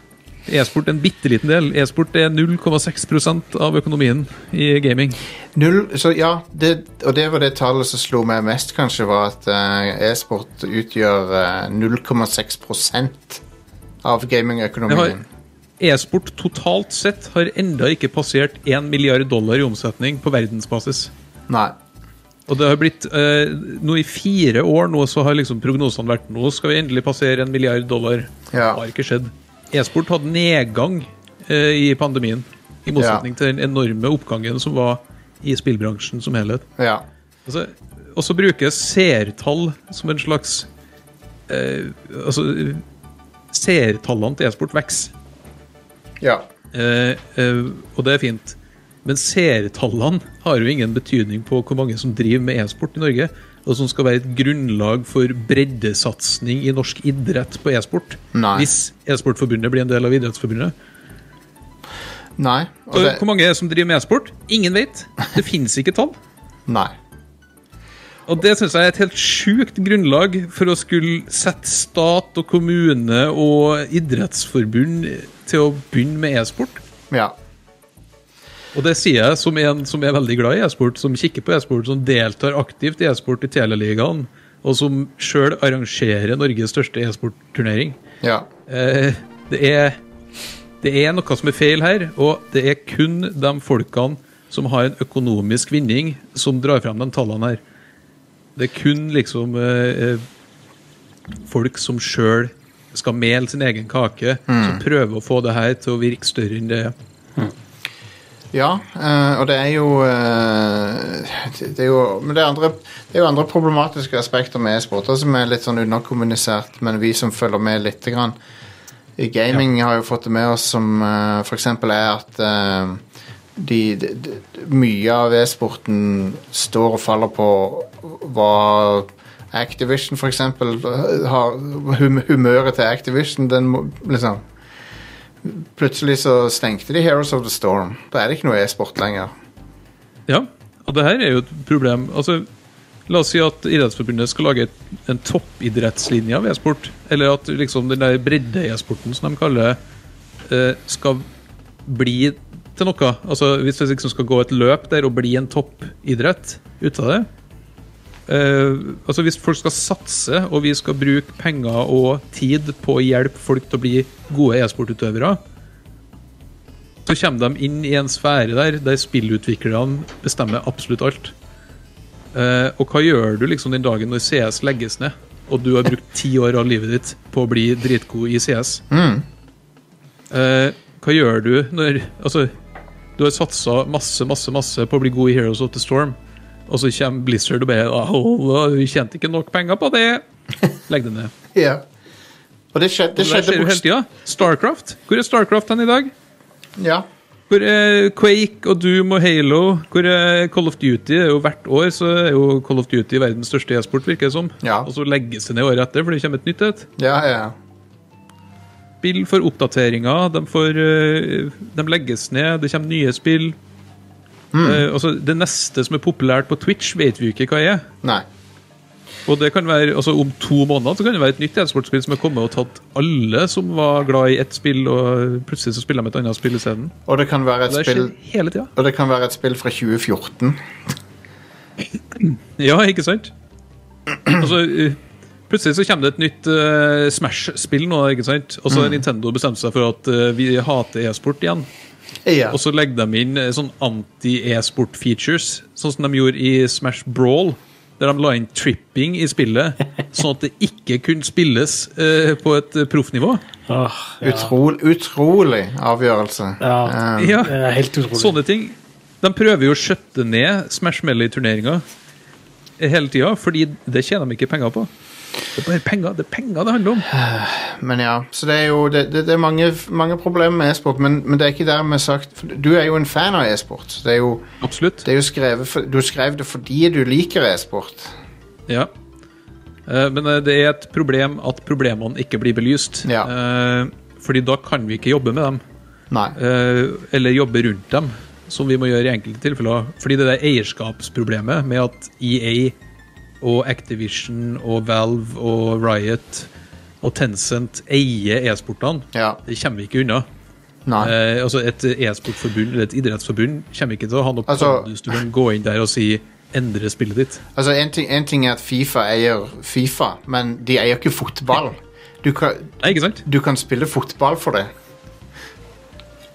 Speaker 5: E-sport er en bitte liten del. E-sport er 0,6 av økonomien i gaming.
Speaker 1: Null, så ja, det, og det var det tallet som slo meg mest, kanskje, var at eh, e-sport utgjør eh, 0,6 av
Speaker 5: Det har-
Speaker 1: gamingøkonomien.
Speaker 5: E-sport totalt sett har enda ikke passert 1 milliard dollar i omsetning på verdensbasis.
Speaker 1: Nei.
Speaker 5: Og det har blitt eh, nå I fire år nå så har liksom prognosene vært nå skal vi endelig passere en milliard dollar.
Speaker 1: Ja.
Speaker 5: Det har ikke skjedd. E-sport hadde nedgang eh, i pandemien, i motsetning til den enorme oppgangen som var i spillbransjen som helhet.
Speaker 1: Ja.
Speaker 5: Altså, og så bruker seertall som en slags eh, Altså, seertallene til e-sport vokser.
Speaker 1: ja.
Speaker 5: Eh, eh, og det er fint. Men seertallene har jo ingen betydning på hvor mange som driver med e-sport i Norge, og som skal være et grunnlag for breddesatsing i norsk idrett på e-sport.
Speaker 1: Nei.
Speaker 5: Hvis e-sportforbundet blir en del av Idrettsforbundet.
Speaker 1: Nei. Og
Speaker 5: Så
Speaker 1: det,
Speaker 5: Hvor mange er det som driver med e-sport? Ingen vet. Det fins ikke tall.
Speaker 1: nei.
Speaker 5: Og det syns jeg er et helt sjukt grunnlag for å skulle sette stat og kommune og idrettsforbund til å begynne med e-sport.
Speaker 1: Ja.
Speaker 5: Og det sier jeg som en som er veldig glad i e-sport, som kikker på e-sport, som deltar aktivt i e-sport i Teleligaen, og som sjøl arrangerer Norges største e-sportturnering.
Speaker 1: Ja.
Speaker 5: Eh, det, er, det er noe som er feil her, og det er kun de folkene som har en økonomisk vinning, som drar frem de tallene her. Det er kun liksom eh, eh, folk som sjøl skal mele sin egen kake, som prøver å få det her til å virke større enn det er.
Speaker 1: Ja, eh, og det er jo eh, det, det er jo Men det er andre, det er jo andre problematiske aspekter med e-sport også, som er litt sånn underkommunisert, men vi som følger med lite grann i gaming, har jo fått det med oss som eh, for eksempel er at eh, de, de, de, mye av e-sporten står og faller på hva Activision, for eksempel, har hum, humøret til Activision. Den må liksom Plutselig så stengte de Heroes of the Storm. Da er det ikke noe e-sport lenger.
Speaker 5: Ja, og det her er jo et problem. Altså, la oss si at Idrettsforbundet skal lage et, en toppidrettslinje av e-sport. Eller at liksom den der bredde-e-sporten, som de kaller det, eh, skal bli til noe. Altså, hvis det liksom skal gå et løp der og bli en toppidrett ut av det eh, altså Hvis folk skal satse, og vi skal bruke penger og tid på å hjelpe folk til å bli gode e-sportutøvere, så kommer de inn i en sfære der der spillutviklerne bestemmer absolutt alt. Eh, og hva gjør du liksom den dagen når CS legges ned, og du har brukt ti år av livet ditt på å bli dritgod i CS?
Speaker 1: Mm.
Speaker 5: Eh, hva gjør du når Altså, du har satsa masse, masse, masse på å bli god i Heroes of the Storm, og så kommer Blizzard og bare Åh, vi tjente ikke nok penger på det! Legg det ned.
Speaker 1: Ja. Og det skjedde, det
Speaker 5: Det
Speaker 1: skjedde
Speaker 5: skjer jo hele
Speaker 1: bokst-
Speaker 5: tida. Starcraft. Hvor er Starcraft hen i dag?
Speaker 1: Ja.
Speaker 5: Hvor eh, Quake og Doom og Halo Hvor eh, Call of Duty er jo hvert år Så er jo Call of Duty verdens største e-sport Virker det som
Speaker 1: Ja.
Speaker 5: Og så legges det ned året etter For det kommer et nytt et
Speaker 1: ja, ja.
Speaker 5: Spill for oppdateringer de, får, eh, de legges ned Det kommer nye spill
Speaker 1: Mm.
Speaker 5: Eh, altså, Det neste som er populært på Twitch Vet vi jo ikke hva er
Speaker 1: Nei.
Speaker 5: Og det kan være, altså om to måneder så kan det være et nytt e-sportspill som er kommet og tatt alle som var glad i et spill, og plutselig så spiller de et annet spill i stedet.
Speaker 1: Og det kan være et
Speaker 5: Det
Speaker 1: spill
Speaker 5: skjer hele tida.
Speaker 1: Og det kan være et spill fra 2014.
Speaker 5: Ja, ikke sant? Altså, eh, plutselig så kommer det et nytt eh, Smash-spill nå, ikke sant? Og så har Nintendo bestemt seg for at eh, vi hater e-sport igjen.
Speaker 1: Ja.
Speaker 5: Og så legger de inn eh, sånn anti-e-sport-features, sånn som de gjorde i Smash Brawl, der de la inn tripping i spillet sånn at det ikke kunne spilles eh, på et eh, proffnivå.
Speaker 3: Åh, ja.
Speaker 1: Utrol, utrolig avgjørelse.
Speaker 3: Ja.
Speaker 1: Um,
Speaker 5: Ja,
Speaker 3: Det er helt utrolig.
Speaker 5: Sånne ting. De prøver jo å skjøtte ned Smash Melly-turneringa hele tida, fordi det tjener de ikke penger på. Det er bare penger det, er penger det handler om.
Speaker 1: men ja, så det er jo det, det, det er mange, mange problemer med e-sport, men, men det er ikke dermed sagt for Du er jo en fan av e-sport. Det er jo,
Speaker 5: Absolutt.
Speaker 1: det er jo skrevet for, Du skrev det fordi du liker e-sport.
Speaker 5: Ja. Eh, Men eh, det er et problem at problemene ikke blir belyst.
Speaker 1: Ja.
Speaker 5: Eh, Fordi da kan vi ikke jobbe med dem,
Speaker 1: Nei.
Speaker 5: eh, eller jobbe rundt dem, som vi må gjøre i enkelte tilfeller. Fordi det der eierskapsproblemet med at EA og Activision og Valve og Riot og Tencent eier e-sportene,
Speaker 1: Ja.
Speaker 5: det kommer vi ikke unna.
Speaker 1: Nei.
Speaker 5: Eh, altså Et e-sportforbund eller et idrettsforbund kommer ikke til å ha noe
Speaker 1: Altså-
Speaker 5: pondus. Du kan gå inn der og si 'endre spillet ditt'.
Speaker 1: Altså, en ting, en ting er at Fifa eier Fifa, men de eier ikke fotball. Du kan,
Speaker 5: Nei, ikke sant?
Speaker 1: du kan spille fotball for det.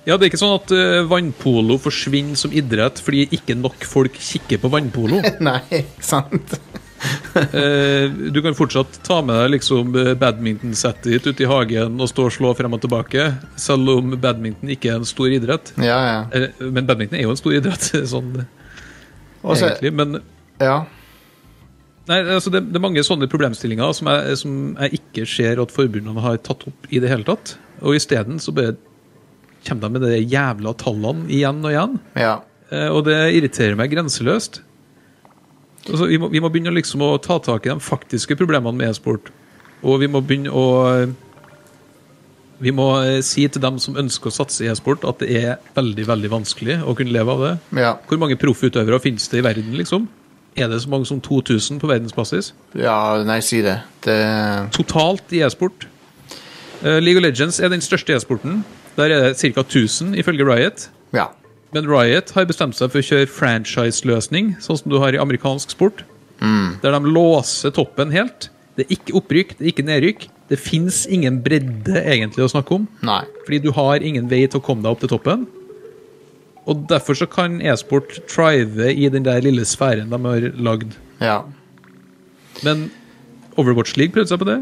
Speaker 5: Ja, Det er ikke sånn at eh, vannpolo forsvinner som idrett fordi ikke nok folk kikker på
Speaker 1: [LAUGHS]
Speaker 5: vannpolo.
Speaker 1: Nei, ikke sant?
Speaker 5: Eh, du kan fortsatt ta med deg liksom eh, badmintonsettet ditt ut i hagen og stå og slå frem og tilbake, selv om badminton ikke er en stor idrett.
Speaker 1: Ja, ja.
Speaker 5: Eh, Men badminton er jo en stor idrett, [LAUGHS] sånn
Speaker 1: Og så-
Speaker 5: egentlig. Men
Speaker 1: ja.
Speaker 5: nei, altså, det, det er mange sånne problemstillinger som jeg, som jeg ikke ser at forbundene har tatt opp i det hele tatt. Og isteden så bare kommer de med de jævla tallene igjen og igjen.
Speaker 1: ja.
Speaker 5: Eh, Og det irriterer meg grenseløst. Altså, vi, må, vi må begynne liksom å ta tak i de faktiske problemene med e-sport. Og vi må begynne å Vi må eh, si til dem som ønsker å satse i e-sport, at det er veldig veldig vanskelig å kunne leve av det.
Speaker 1: Ja.
Speaker 5: Hvor mange proffutøvere finnes det i verden, liksom? Er det så mange som 2000 på verdensbasis?
Speaker 1: Ja, nei, si det. Det
Speaker 5: Totalt i e-sport. Eh, League of Legends er den største e-sporten. Der er det ca. 1000, ifølge Riot.
Speaker 1: Ja.
Speaker 5: Men Riot har bestemt seg for å kjøre franchise-løsning, sånn som du har i amerikansk sport. Der de låser toppen helt. Det er ikke opprykk, det er ikke nedrykk. Det fins ingen bredde egentlig å snakke om,
Speaker 1: Nei.
Speaker 5: fordi du har ingen vei til å komme deg opp til toppen. Og derfor så kan e-sport thrive i den der lille sfæren de har lagd.
Speaker 1: Ja.
Speaker 5: Men Overwatch League prøvde seg på det.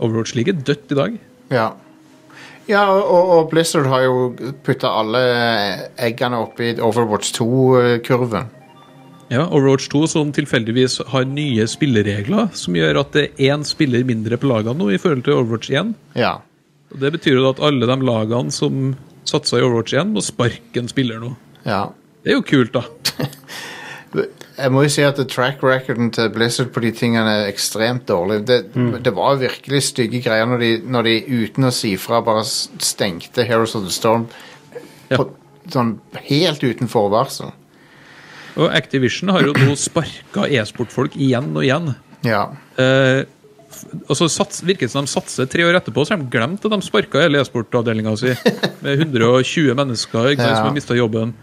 Speaker 5: Overwatch League er dødt i dag.
Speaker 1: Ja, ja og- og, og Blizzard har jo putta alle eggene oppi Overwatch 2-kurven.
Speaker 5: Ja, Overwatch 2 som tilfeldigvis har nye spilleregler, som gjør at det er én spiller mindre på lagene nå i forhold til Overwatch 1.
Speaker 1: Ja.
Speaker 5: Og Det betyr jo da at alle de lagene som satsa i Overwatch 1, må sparke en spiller nå.
Speaker 1: ja.
Speaker 5: Det er jo kult, da.
Speaker 1: Jeg må jo si at the track recorden til Blizzard på de tingene er ekstremt dårlig. Det, det var virkelig stygge greier når de, når de uten å si fra bare s- stengte Heroes of the Storm
Speaker 5: Ja.
Speaker 1: på, sånn helt uten forvarsel.
Speaker 5: Og Activision har jo nå sparka e-sportfolk igjen og igjen.
Speaker 1: Ja.
Speaker 5: Eh, f- og så sats, virker det som de satser tre år etterpå, så har de glemt at de sparka hele e-sportavdelinga si. Med 120 mennesker ikke sant,
Speaker 1: Ja.
Speaker 5: som har mista jobben.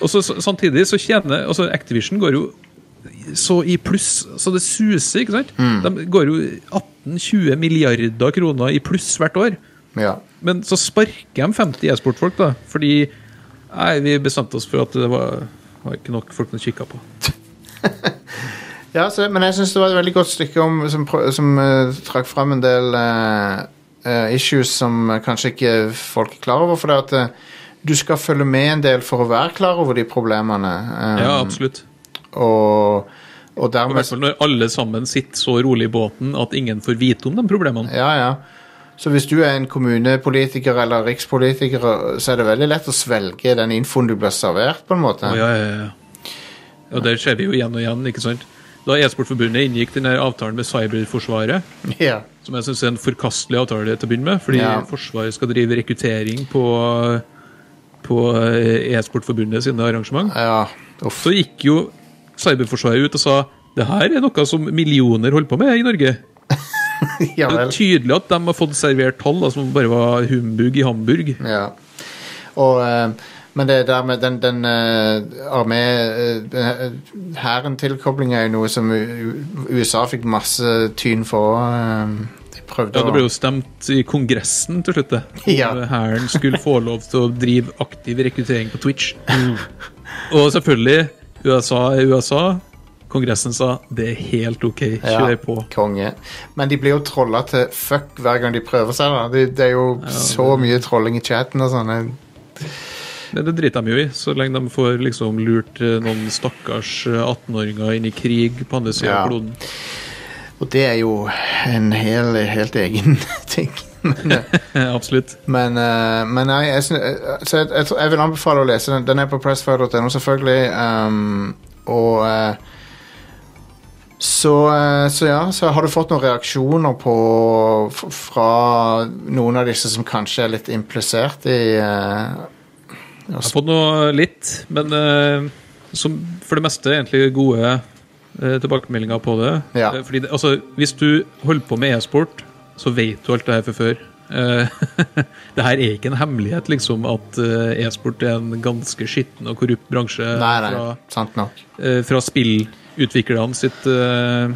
Speaker 5: Og så så- samtidig så tjener altså Activision går jo så i pluss, så det suser, ikke sant? De går jo 18-20 milliarder kroner i pluss hvert år.
Speaker 1: ja.
Speaker 5: Men så sparker de 50 e-sportfolk, da. Fordi nei, vi bestemte oss for at det var, var ikke nok folk som kikka på.
Speaker 1: Ja, så, men jeg syns det var et veldig godt stykke om, som, prø- som eh, trakk fram en del eh, eh, issues som eh, kanskje ikke folk er klar over. For det at eh, du skal følge med en del for å være klar over de problemene. eh,
Speaker 5: Ja, absolutt.
Speaker 1: og, og
Speaker 5: I
Speaker 1: dermed
Speaker 5: hvert fall når alle sammen sitter så rolig i båten at ingen får vite om de problemene.
Speaker 1: Ja, ja. Så hvis du er en kommunepolitiker eller rikspolitiker, så er det veldig lett å svelge den infoen du blir servert, på en måte.
Speaker 5: Å, ja, ja, ja. Og der ser vi jo igjen og igjen, ikke sant. Da E-sportforbundet inngikk den der avtalen med Cyberforsvaret,
Speaker 1: [LAUGHS] ja.
Speaker 5: som jeg syns er en forkastelig avtale til å begynne med, fordi
Speaker 1: Ja.
Speaker 5: Forsvaret skal drive rekruttering på, på eh, E-sportforbundet sine arrangement,
Speaker 1: ja. Uff.
Speaker 5: så gikk jo Cyberforsvaret ut og sa det her er noe som millioner holder på med i Norge.
Speaker 1: [LAUGHS] Ja
Speaker 5: Det er
Speaker 1: vel.
Speaker 5: tydelig at de har fått servert tall da, som bare var humbug i Hamburg.
Speaker 1: Ja. Og, eh, men det der med den, den eh, armé... Uh, Hæren-tilkoblinga er jo noe som U- U- USA fikk masse tyn for. eh, de prøvde
Speaker 5: Ja, Det
Speaker 1: å-
Speaker 5: ble jo stemt i Kongressen til slutt, det. Om
Speaker 1: Ja.
Speaker 5: Hæren skulle få lov til å drive
Speaker 1: Mm.
Speaker 5: aktiv rekruttering på Twitch. Og selvfølgelig, USA er USA. Kongressen sa det er helt OK, kjør på.
Speaker 1: Konge. Men de blir jo trolla til fuck hver gang de prøver seg. da. Det, det er jo så mye trolling i chatten og sånn.
Speaker 5: Men det driter de jo i, så lenge de får liksom lurt eh, noen stakkars eh, 18-åringer inn i krig på andre siden
Speaker 1: Ja.
Speaker 5: av kloden. [LAUGHS]
Speaker 1: Og det er jo en hel, helt egen [LAUGHS] ting. Men, eh,
Speaker 5: Absolutt.
Speaker 1: Men, eh, men nei, jeg, syn- eh, så jeg, jeg, tror- jeg vil anbefale å lese den. Den er på pressfire.no, selvfølgelig. ehm, og eh, så, eh, så ja, så har du fått noen reaksjoner på f- fra noen av disse som kanskje er litt implisert i eh,
Speaker 5: Jeg har fått noe litt, men eh, som for det meste egentlig gode eh, tilbakemeldinger på det.
Speaker 1: Ja.
Speaker 5: Eh, Fordi det, altså, hvis du holder på med e-sport, så vet du alt det her fra før. Eh, [LAUGHS] det her er ikke en hemmelighet, liksom, at eh, e-sport er en ganske skitten og korrupt bransje
Speaker 1: Nei, nei,
Speaker 5: fra,
Speaker 1: sant nok.
Speaker 5: eh, fra spillutviklerne sitt eh,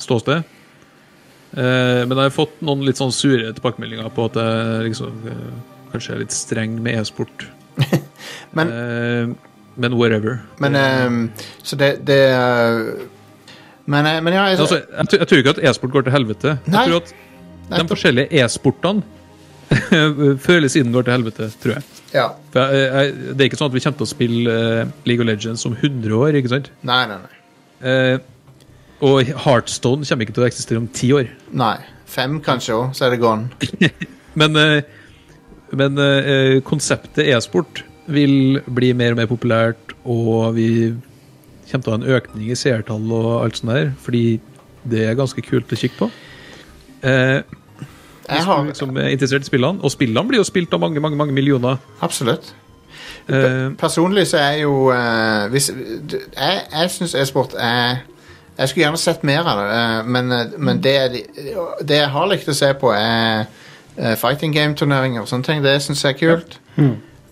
Speaker 5: ståsted. Eh, men jeg har fått noen litt sånn sure tilbakemeldinger på at jeg liksom, eh, kanskje er litt streng med e-sport.
Speaker 1: [LAUGHS] Men-
Speaker 5: Eh, men whatever.
Speaker 1: Men ehm, Så det, det eh, men, eh, men ja jeg,
Speaker 5: Altså, jeg, tror- jeg tror ikke at e-sport går til helvete.
Speaker 1: Nei,
Speaker 5: jeg tror at de
Speaker 1: nettopp.
Speaker 5: forskjellige e-sportene [LAUGHS] føles inn går til helvete, tror jeg.
Speaker 1: ja.
Speaker 5: For jeg, jeg. Det er ikke sånn at vi kommer til å spille eh, League of Legends om 100 år, ikke sant?
Speaker 1: Nei, nei, nei.
Speaker 5: Eh, og Heartstone kommer ikke til å eksistere om 10 år.
Speaker 1: nei. Fem kanskje òg, så er det gone.
Speaker 5: Men, eh, men eh, konseptet e-sport vil bli mer og mer populært, og vi kommer til å ha en økning i seertall og alt sånt der, fordi det er ganske kult å kikke på. Eh,
Speaker 1: Jeg
Speaker 5: hvis
Speaker 1: har,
Speaker 5: du liksom er interessert i spillene, og spillene blir jo spilt av mange, mange, mange millioner.
Speaker 1: absolutt.
Speaker 5: Eh,
Speaker 1: Personlig så er jo eh, hvis, d- Jeg, jeg syns e-sport er Jeg skulle gjerne sett mer av det, eh, men, eh, men det, er de- det jeg har likt å se på, er eh, fighting game-turneringer og sånne ting. Det syns jeg er kult.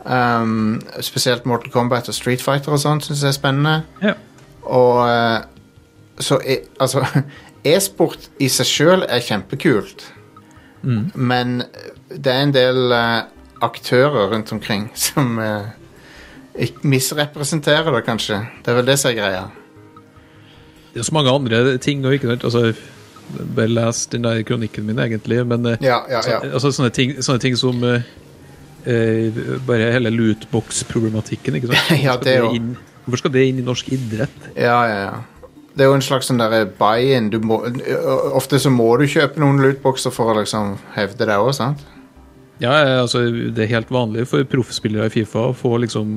Speaker 1: Um, spesielt Mortal Kombat og Street Fighter og sånt syns jeg er spennende.
Speaker 5: ja.
Speaker 1: Og eh, så e, Altså, [LAUGHS] e-sport i seg sjøl er kjempekult. Men det er en del eh, aktører rundt omkring [LAUGHS] som eh, ikk- misrepresenterer det, kanskje. Det er vel det som er greia.
Speaker 5: Det er så mange andre ting og ikke sant? Altså, bare les den der kronikken min, egentlig, men eh,
Speaker 1: Ja, ja, ja.
Speaker 5: Altså sånne ting, sånne ting som eh, eh, Bare hele lootbox-problematikken, ikke sant?
Speaker 1: [LAUGHS] Ja,
Speaker 5: Hvorfor skal
Speaker 1: det jo.
Speaker 5: inn- Hvorfor skal det inn i norsk idrett?
Speaker 1: Ja, ja, ja. Det er jo en slags sånn derre buy-in. Du må- ø- Ofte så må du kjøpe noen lootboxer for å liksom hevde deg òg, sant?
Speaker 5: Ja, eh, altså, Det er helt vanlig for proffspillere i Fifa å få liksom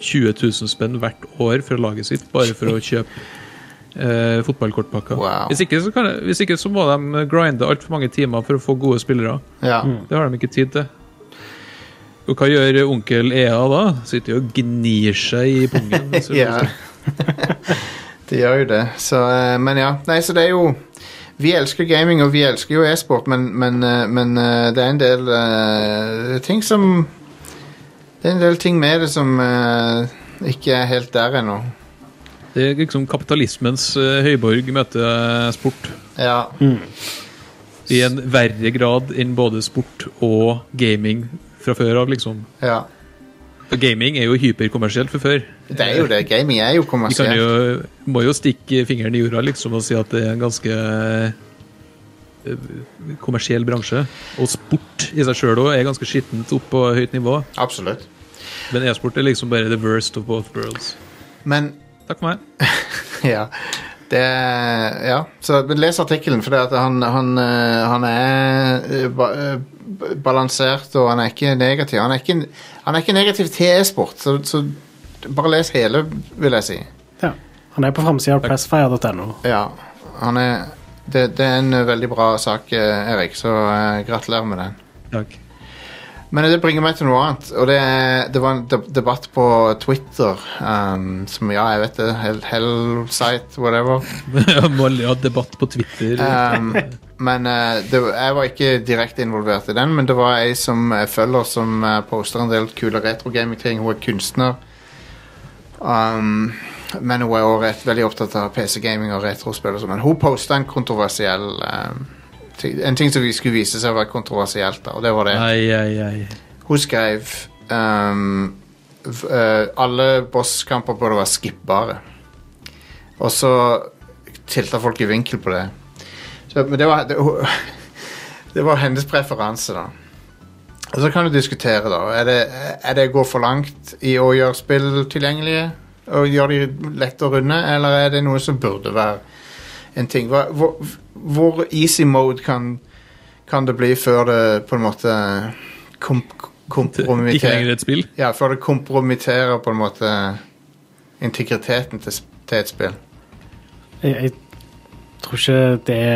Speaker 5: 20 000 spenn hvert år fra laget sitt bare for å kjøpe eh, fotballkortpakker.
Speaker 1: Wow.
Speaker 5: Hvis, ikke, så kan, hvis ikke så må de grinde altfor mange timer for å få gode spillere.
Speaker 1: Ja.
Speaker 5: Mm. Det har de ikke tid til. Og hva gjør onkel EA da? Sitter jo og gnir seg i
Speaker 1: [LAUGHS]
Speaker 5: pungen. Altså, hvis du-
Speaker 1: Ja. [LAUGHS] det gjør jo det. Så, eh, men ja. Nei, så det er jo Vi elsker gaming, og vi elsker jo e-sport, men, men, eh, men eh, det er en del eh, ting som Det er en del ting med det som eh, ikke er helt der ennå.
Speaker 5: Det er liksom kapitalismens eh, høyborg møter eh, sport.
Speaker 1: Ja.
Speaker 5: I en verre grad enn både sport og gaming fra før av, liksom.
Speaker 1: ja.
Speaker 5: For gaming er jo hyperkommersielt fra før. Eh,
Speaker 1: Det er jo det. altså. Gaming er jo
Speaker 5: Vi kan
Speaker 1: kommersielt.
Speaker 5: jo, må jo stikke fingeren i jorda liksom og si at det er en ganske eh, kommersiell bransje. Og sport i seg sjøl òg er ganske skittent opp på høyt nivå.
Speaker 1: Absolutt.
Speaker 5: Men e-sport er liksom bare the worst of both worlds.
Speaker 1: Men
Speaker 5: Takk for meg.
Speaker 1: [LAUGHS] ja. Det Ja. Så men les artikkelen, for det at han, han, eh, han er eh, ba, eh, b- balansert, og han er ikke negativ. Han er ikke, han er ikke negativ til e-sport, så, så bare les hele, vil jeg si.
Speaker 3: Ja. Han er på framsida av pressfire.no.
Speaker 1: Ja. Han er det, det er en eh, veldig bra sak, eh, Erik, så eh, gratulerer med den.
Speaker 5: Takk.
Speaker 1: Men det bringer meg til noe annet, og det, er, det var en deb- debatt på Twitter um, som Ja, jeg vet det. Hell, hell site, whatever.
Speaker 5: Jeg [LAUGHS] må aldri ha debatt på Twitter.
Speaker 1: Um, men eh, det, var- jeg var ikke direkte involvert i den, men det var ei som jeg følger, som eh, poster en del kule retrogaming-ting. Hun er kunstner. Um, men hun er også rett, veldig opptatt av PC-gaming og retrospill. og sånn, Men hun posta en kontroversiell um, ting, En ting som vi skulle vise seg å være kontroversielt, da, og det var det.
Speaker 5: Ai, ai, ai.
Speaker 1: Hun skrev um, v, eh, Alle bosskamper burde være skippbare. Og så tilta folk i vinkel på det. Så, men det var, det, [LAUGHS] hun- det var hennes preferanse, da. Og så kan du diskutere, da. Er det, er det å gå for langt i å gjøre spill tilgjengelige? Og gjøre de lette å runde, eller er det noe som burde være en ting? Hva, hvor, hvor easy mode kan, kan det bli før det på en måte kom, kompromitterer
Speaker 5: Ikke lenger et spill.
Speaker 1: ja, for det kompromitterer på en måte integriteten til, sp- til et spill.
Speaker 3: Jeg, jeg tror ikke det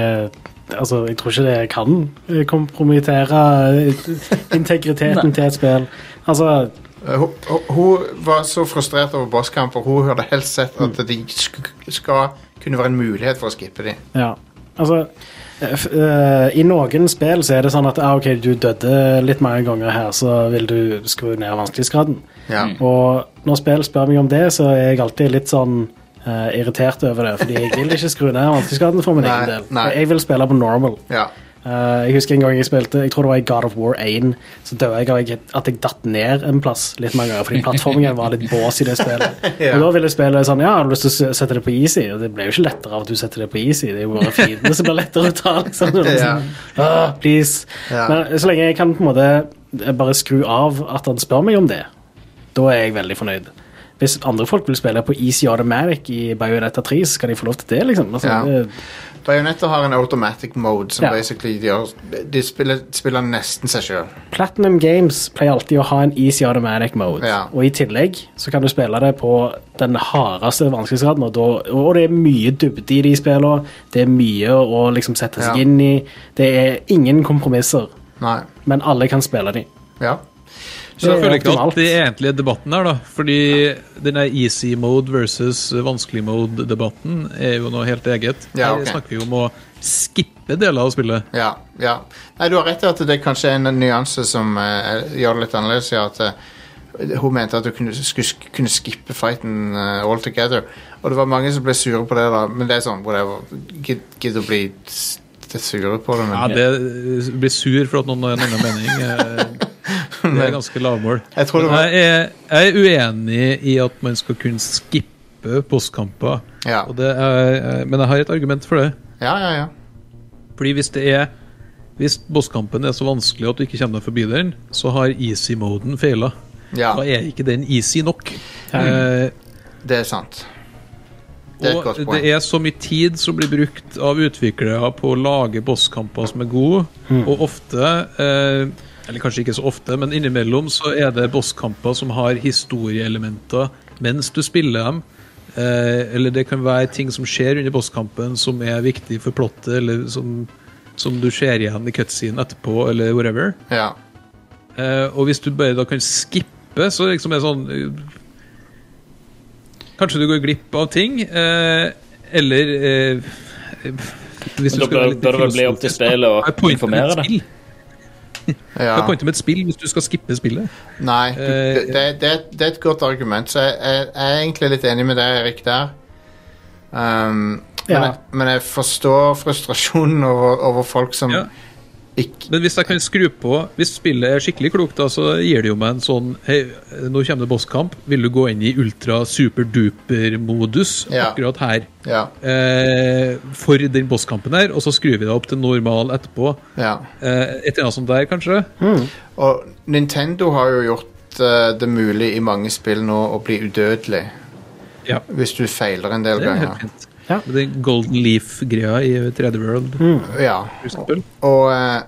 Speaker 3: Altså, jeg tror ikke det kan eh, kompromittere eh, [LAUGHS] integriteten til et spill. Altså,
Speaker 1: Eh, Hun, hun- hun var så frustrert over bosskamper. Hun hadde helst sett at de sk skal kunne være en mulighet for å skippe dem.
Speaker 3: Ja, altså eh, f- eh, I noen spill så er det sånn at ah, ok, du døde litt mange ganger her, så vil du skru ned vanskelighetsgraden.
Speaker 1: Ja.
Speaker 3: Mm. Og når spill spør meg om det, så er jeg alltid litt sånn eh, irritert over det. Fordi jeg vil ikke skru ned vanskelighetsgraden for min
Speaker 1: Nei,
Speaker 3: egen del.
Speaker 1: nei.
Speaker 3: Jeg vil spille på normal.
Speaker 1: ja.
Speaker 3: Eh, jeg husker en gang jeg spilte Jeg tror det var i God of War 1. Så døde jeg av jeg- at jeg datt ned en plass litt mange ganger, fordi plattformingen var litt bås i det spillet.
Speaker 1: [LAUGHS] Ja.
Speaker 3: Og da ville spillet sånn Ja, har du lyst til å s- sette det på easy? Og det ble jo ikke lettere av at du setter det på easy. Det er jo bare fiendene som blir lettere å ta. Liksom. Det er
Speaker 1: [LAUGHS] Ja.
Speaker 3: Sånn, ah, please.
Speaker 1: Ja.
Speaker 3: Men eh, så lenge jeg kan på en måte eh, bare skru av at han spør meg om det, da er jeg veldig fornøyd. Hvis andre folk vil spille på Easy Automatic i Bayonetta 3, så skal de få lov til det, liksom. Altså,
Speaker 1: Ja.
Speaker 3: det,
Speaker 1: Bajonetta har en automatic mode som
Speaker 3: Ja.
Speaker 1: basically gjør De spiller, spiller nesten seg sjøl.
Speaker 3: Platinum Games pleier alltid å ha en easy automatic mode.
Speaker 1: Ja.
Speaker 3: Og i tillegg så kan du spille det på den hardeste vanskelighetsgraden. Og, da, og det er mye dybde i de spillene. Det er mye å liksom sette
Speaker 1: Ja.
Speaker 3: seg inn i. Det er ingen kompromisser,
Speaker 1: Nei.
Speaker 3: men alle kan spille de.
Speaker 1: Ja.
Speaker 5: Så jeg
Speaker 3: Det er
Speaker 5: føler ikke
Speaker 3: optimalt.
Speaker 5: at det er egentlig debatten her, da. Fordi den der easy mode versus vanskelig mode-debatten er jo noe helt eget.
Speaker 1: Ja, ok.
Speaker 5: Her snakker vi om å skippe deler av spillet.
Speaker 1: Ja, ja. Nei, du har rett i at det kanskje er en nyanse som eh, gjør det litt annerledes. Ja, at, eh, hun mente at du kunne, skulle sk- kunne skippe fighten eh, all together. Og det var mange som ble sure på det, da. men det er sånn whatever. Gidd gidd å bli s- sure på det. Men.
Speaker 5: Ja, det eh, blir sur for at noen har en annen mening. eh,
Speaker 1: [LAUGHS]
Speaker 5: Det er ganske lavmål.
Speaker 1: Jeg tror det var-
Speaker 5: Men jeg er, jeg er uenig i at man skal kunne skippe postkamper.
Speaker 1: Ja.
Speaker 5: Og det er, eh, men jeg har et argument for det.
Speaker 1: ja, ja, ja.
Speaker 5: Fordi hvis det er Hvis bosskampen er så vanskelig at du ikke kommer deg forbi den, så har easy-moden feila.
Speaker 1: Ja, Mm.
Speaker 5: Da er ikke den easy nok. Eh,
Speaker 1: det er sant. Det er et
Speaker 5: og
Speaker 1: godt
Speaker 5: det
Speaker 1: poeng.
Speaker 5: er så mye tid som blir brukt av utviklere på å lage bosskamper som er gode, og ofte eh, Eller kanskje ikke så ofte, men innimellom så er det bosskamper som har historieelementer mens du spiller dem. Eh, eller det kan være ting som skjer under bosskampen som er viktig for plottet, eller som, som du ser igjen i cutscene etterpå, eller whatever.
Speaker 1: Ja.
Speaker 5: Eh, og hvis du bare da kan skippe, så liksom er det sånn eh, Kanskje du går glipp av ting, eh, eller eh, hvis
Speaker 4: Men da bør- bør det vel bli opp til spillet å informere deg.
Speaker 5: deg.
Speaker 1: ja.
Speaker 5: Hva er pointet med et spill hvis du skal skippe spillet?
Speaker 1: Nei, du,
Speaker 5: Eh,
Speaker 1: det, det, det, det er et godt argument, så jeg, jeg, jeg er egentlig litt enig med deg, Erik, der. Um, men,
Speaker 3: Ja.
Speaker 1: jeg, men jeg forstår frustrasjonen over, over folk som
Speaker 5: Ja.
Speaker 1: ikke
Speaker 5: Men hvis jeg kan skru på Hvis spillet er skikkelig klokt, da, så gir det jo meg en sånn Hei, nå kommer det bosskamp. Vil du gå inn i ultra super-duper-modus
Speaker 1: Ja.
Speaker 5: akkurat her?
Speaker 1: Ja.
Speaker 5: Eh, for den bosskampen her, og så skrur vi det opp til normal etterpå.
Speaker 1: ja.
Speaker 5: Eh, et eller annet sånt der, kanskje.
Speaker 1: Og Nintendo har jo gjort eh, det mulig i mange spill nå å bli udødelig
Speaker 5: Ja.
Speaker 1: hvis du feiler en del
Speaker 5: Det er helt
Speaker 1: ganger.
Speaker 5: fint.
Speaker 3: Ja.
Speaker 5: Med Den Golden Leaf-greia i 3D World,
Speaker 1: Ja.
Speaker 5: for eksempel.
Speaker 1: Og eh,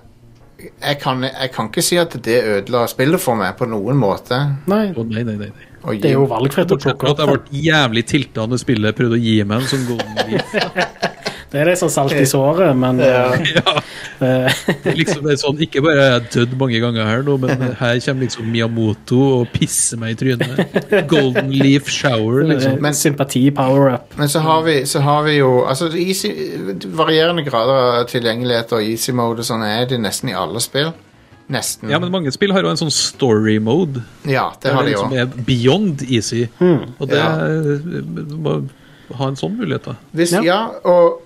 Speaker 1: jeg, kan, jeg kan ikke si at det ødela spillet for meg på noen måte.
Speaker 3: Nei,
Speaker 5: Å, nei, nei, nei. nei.
Speaker 1: Og
Speaker 3: det er jo
Speaker 1: gi-
Speaker 3: valgfritt å
Speaker 5: Bortsett
Speaker 3: plukke
Speaker 5: fra
Speaker 3: opp.
Speaker 5: at jeg ble jævlig tilta når spillet prøvde å gi meg en sånn Golden Leaf.
Speaker 3: Det er litt sånn salt i såret, men eh,
Speaker 5: Ja.
Speaker 3: eh,
Speaker 5: Det er Liksom det er sånn, ikke bare er jeg dødd mange ganger her nå, men her kommer liksom Miyamoto og pisser meg i trynet. Golden Leaf Shower, [LAUGHS]
Speaker 3: sånn.
Speaker 5: liksom.
Speaker 1: Men-
Speaker 3: sympati power-up.
Speaker 1: Men så har
Speaker 5: Mm.
Speaker 1: vi, så har vi jo altså easy, Varierende grader av tilgjengelighet og easy mode og sånn er det nesten i alle spill. Nesten.
Speaker 5: Ja, men mange spill har jo en sånn story mode.
Speaker 1: Ja, det har de
Speaker 5: der det
Speaker 1: jo.
Speaker 5: liksom er beyond easy. Og det
Speaker 1: Ja.
Speaker 5: Du må ha en sånn mulighet, da.
Speaker 1: Hvis, ja. og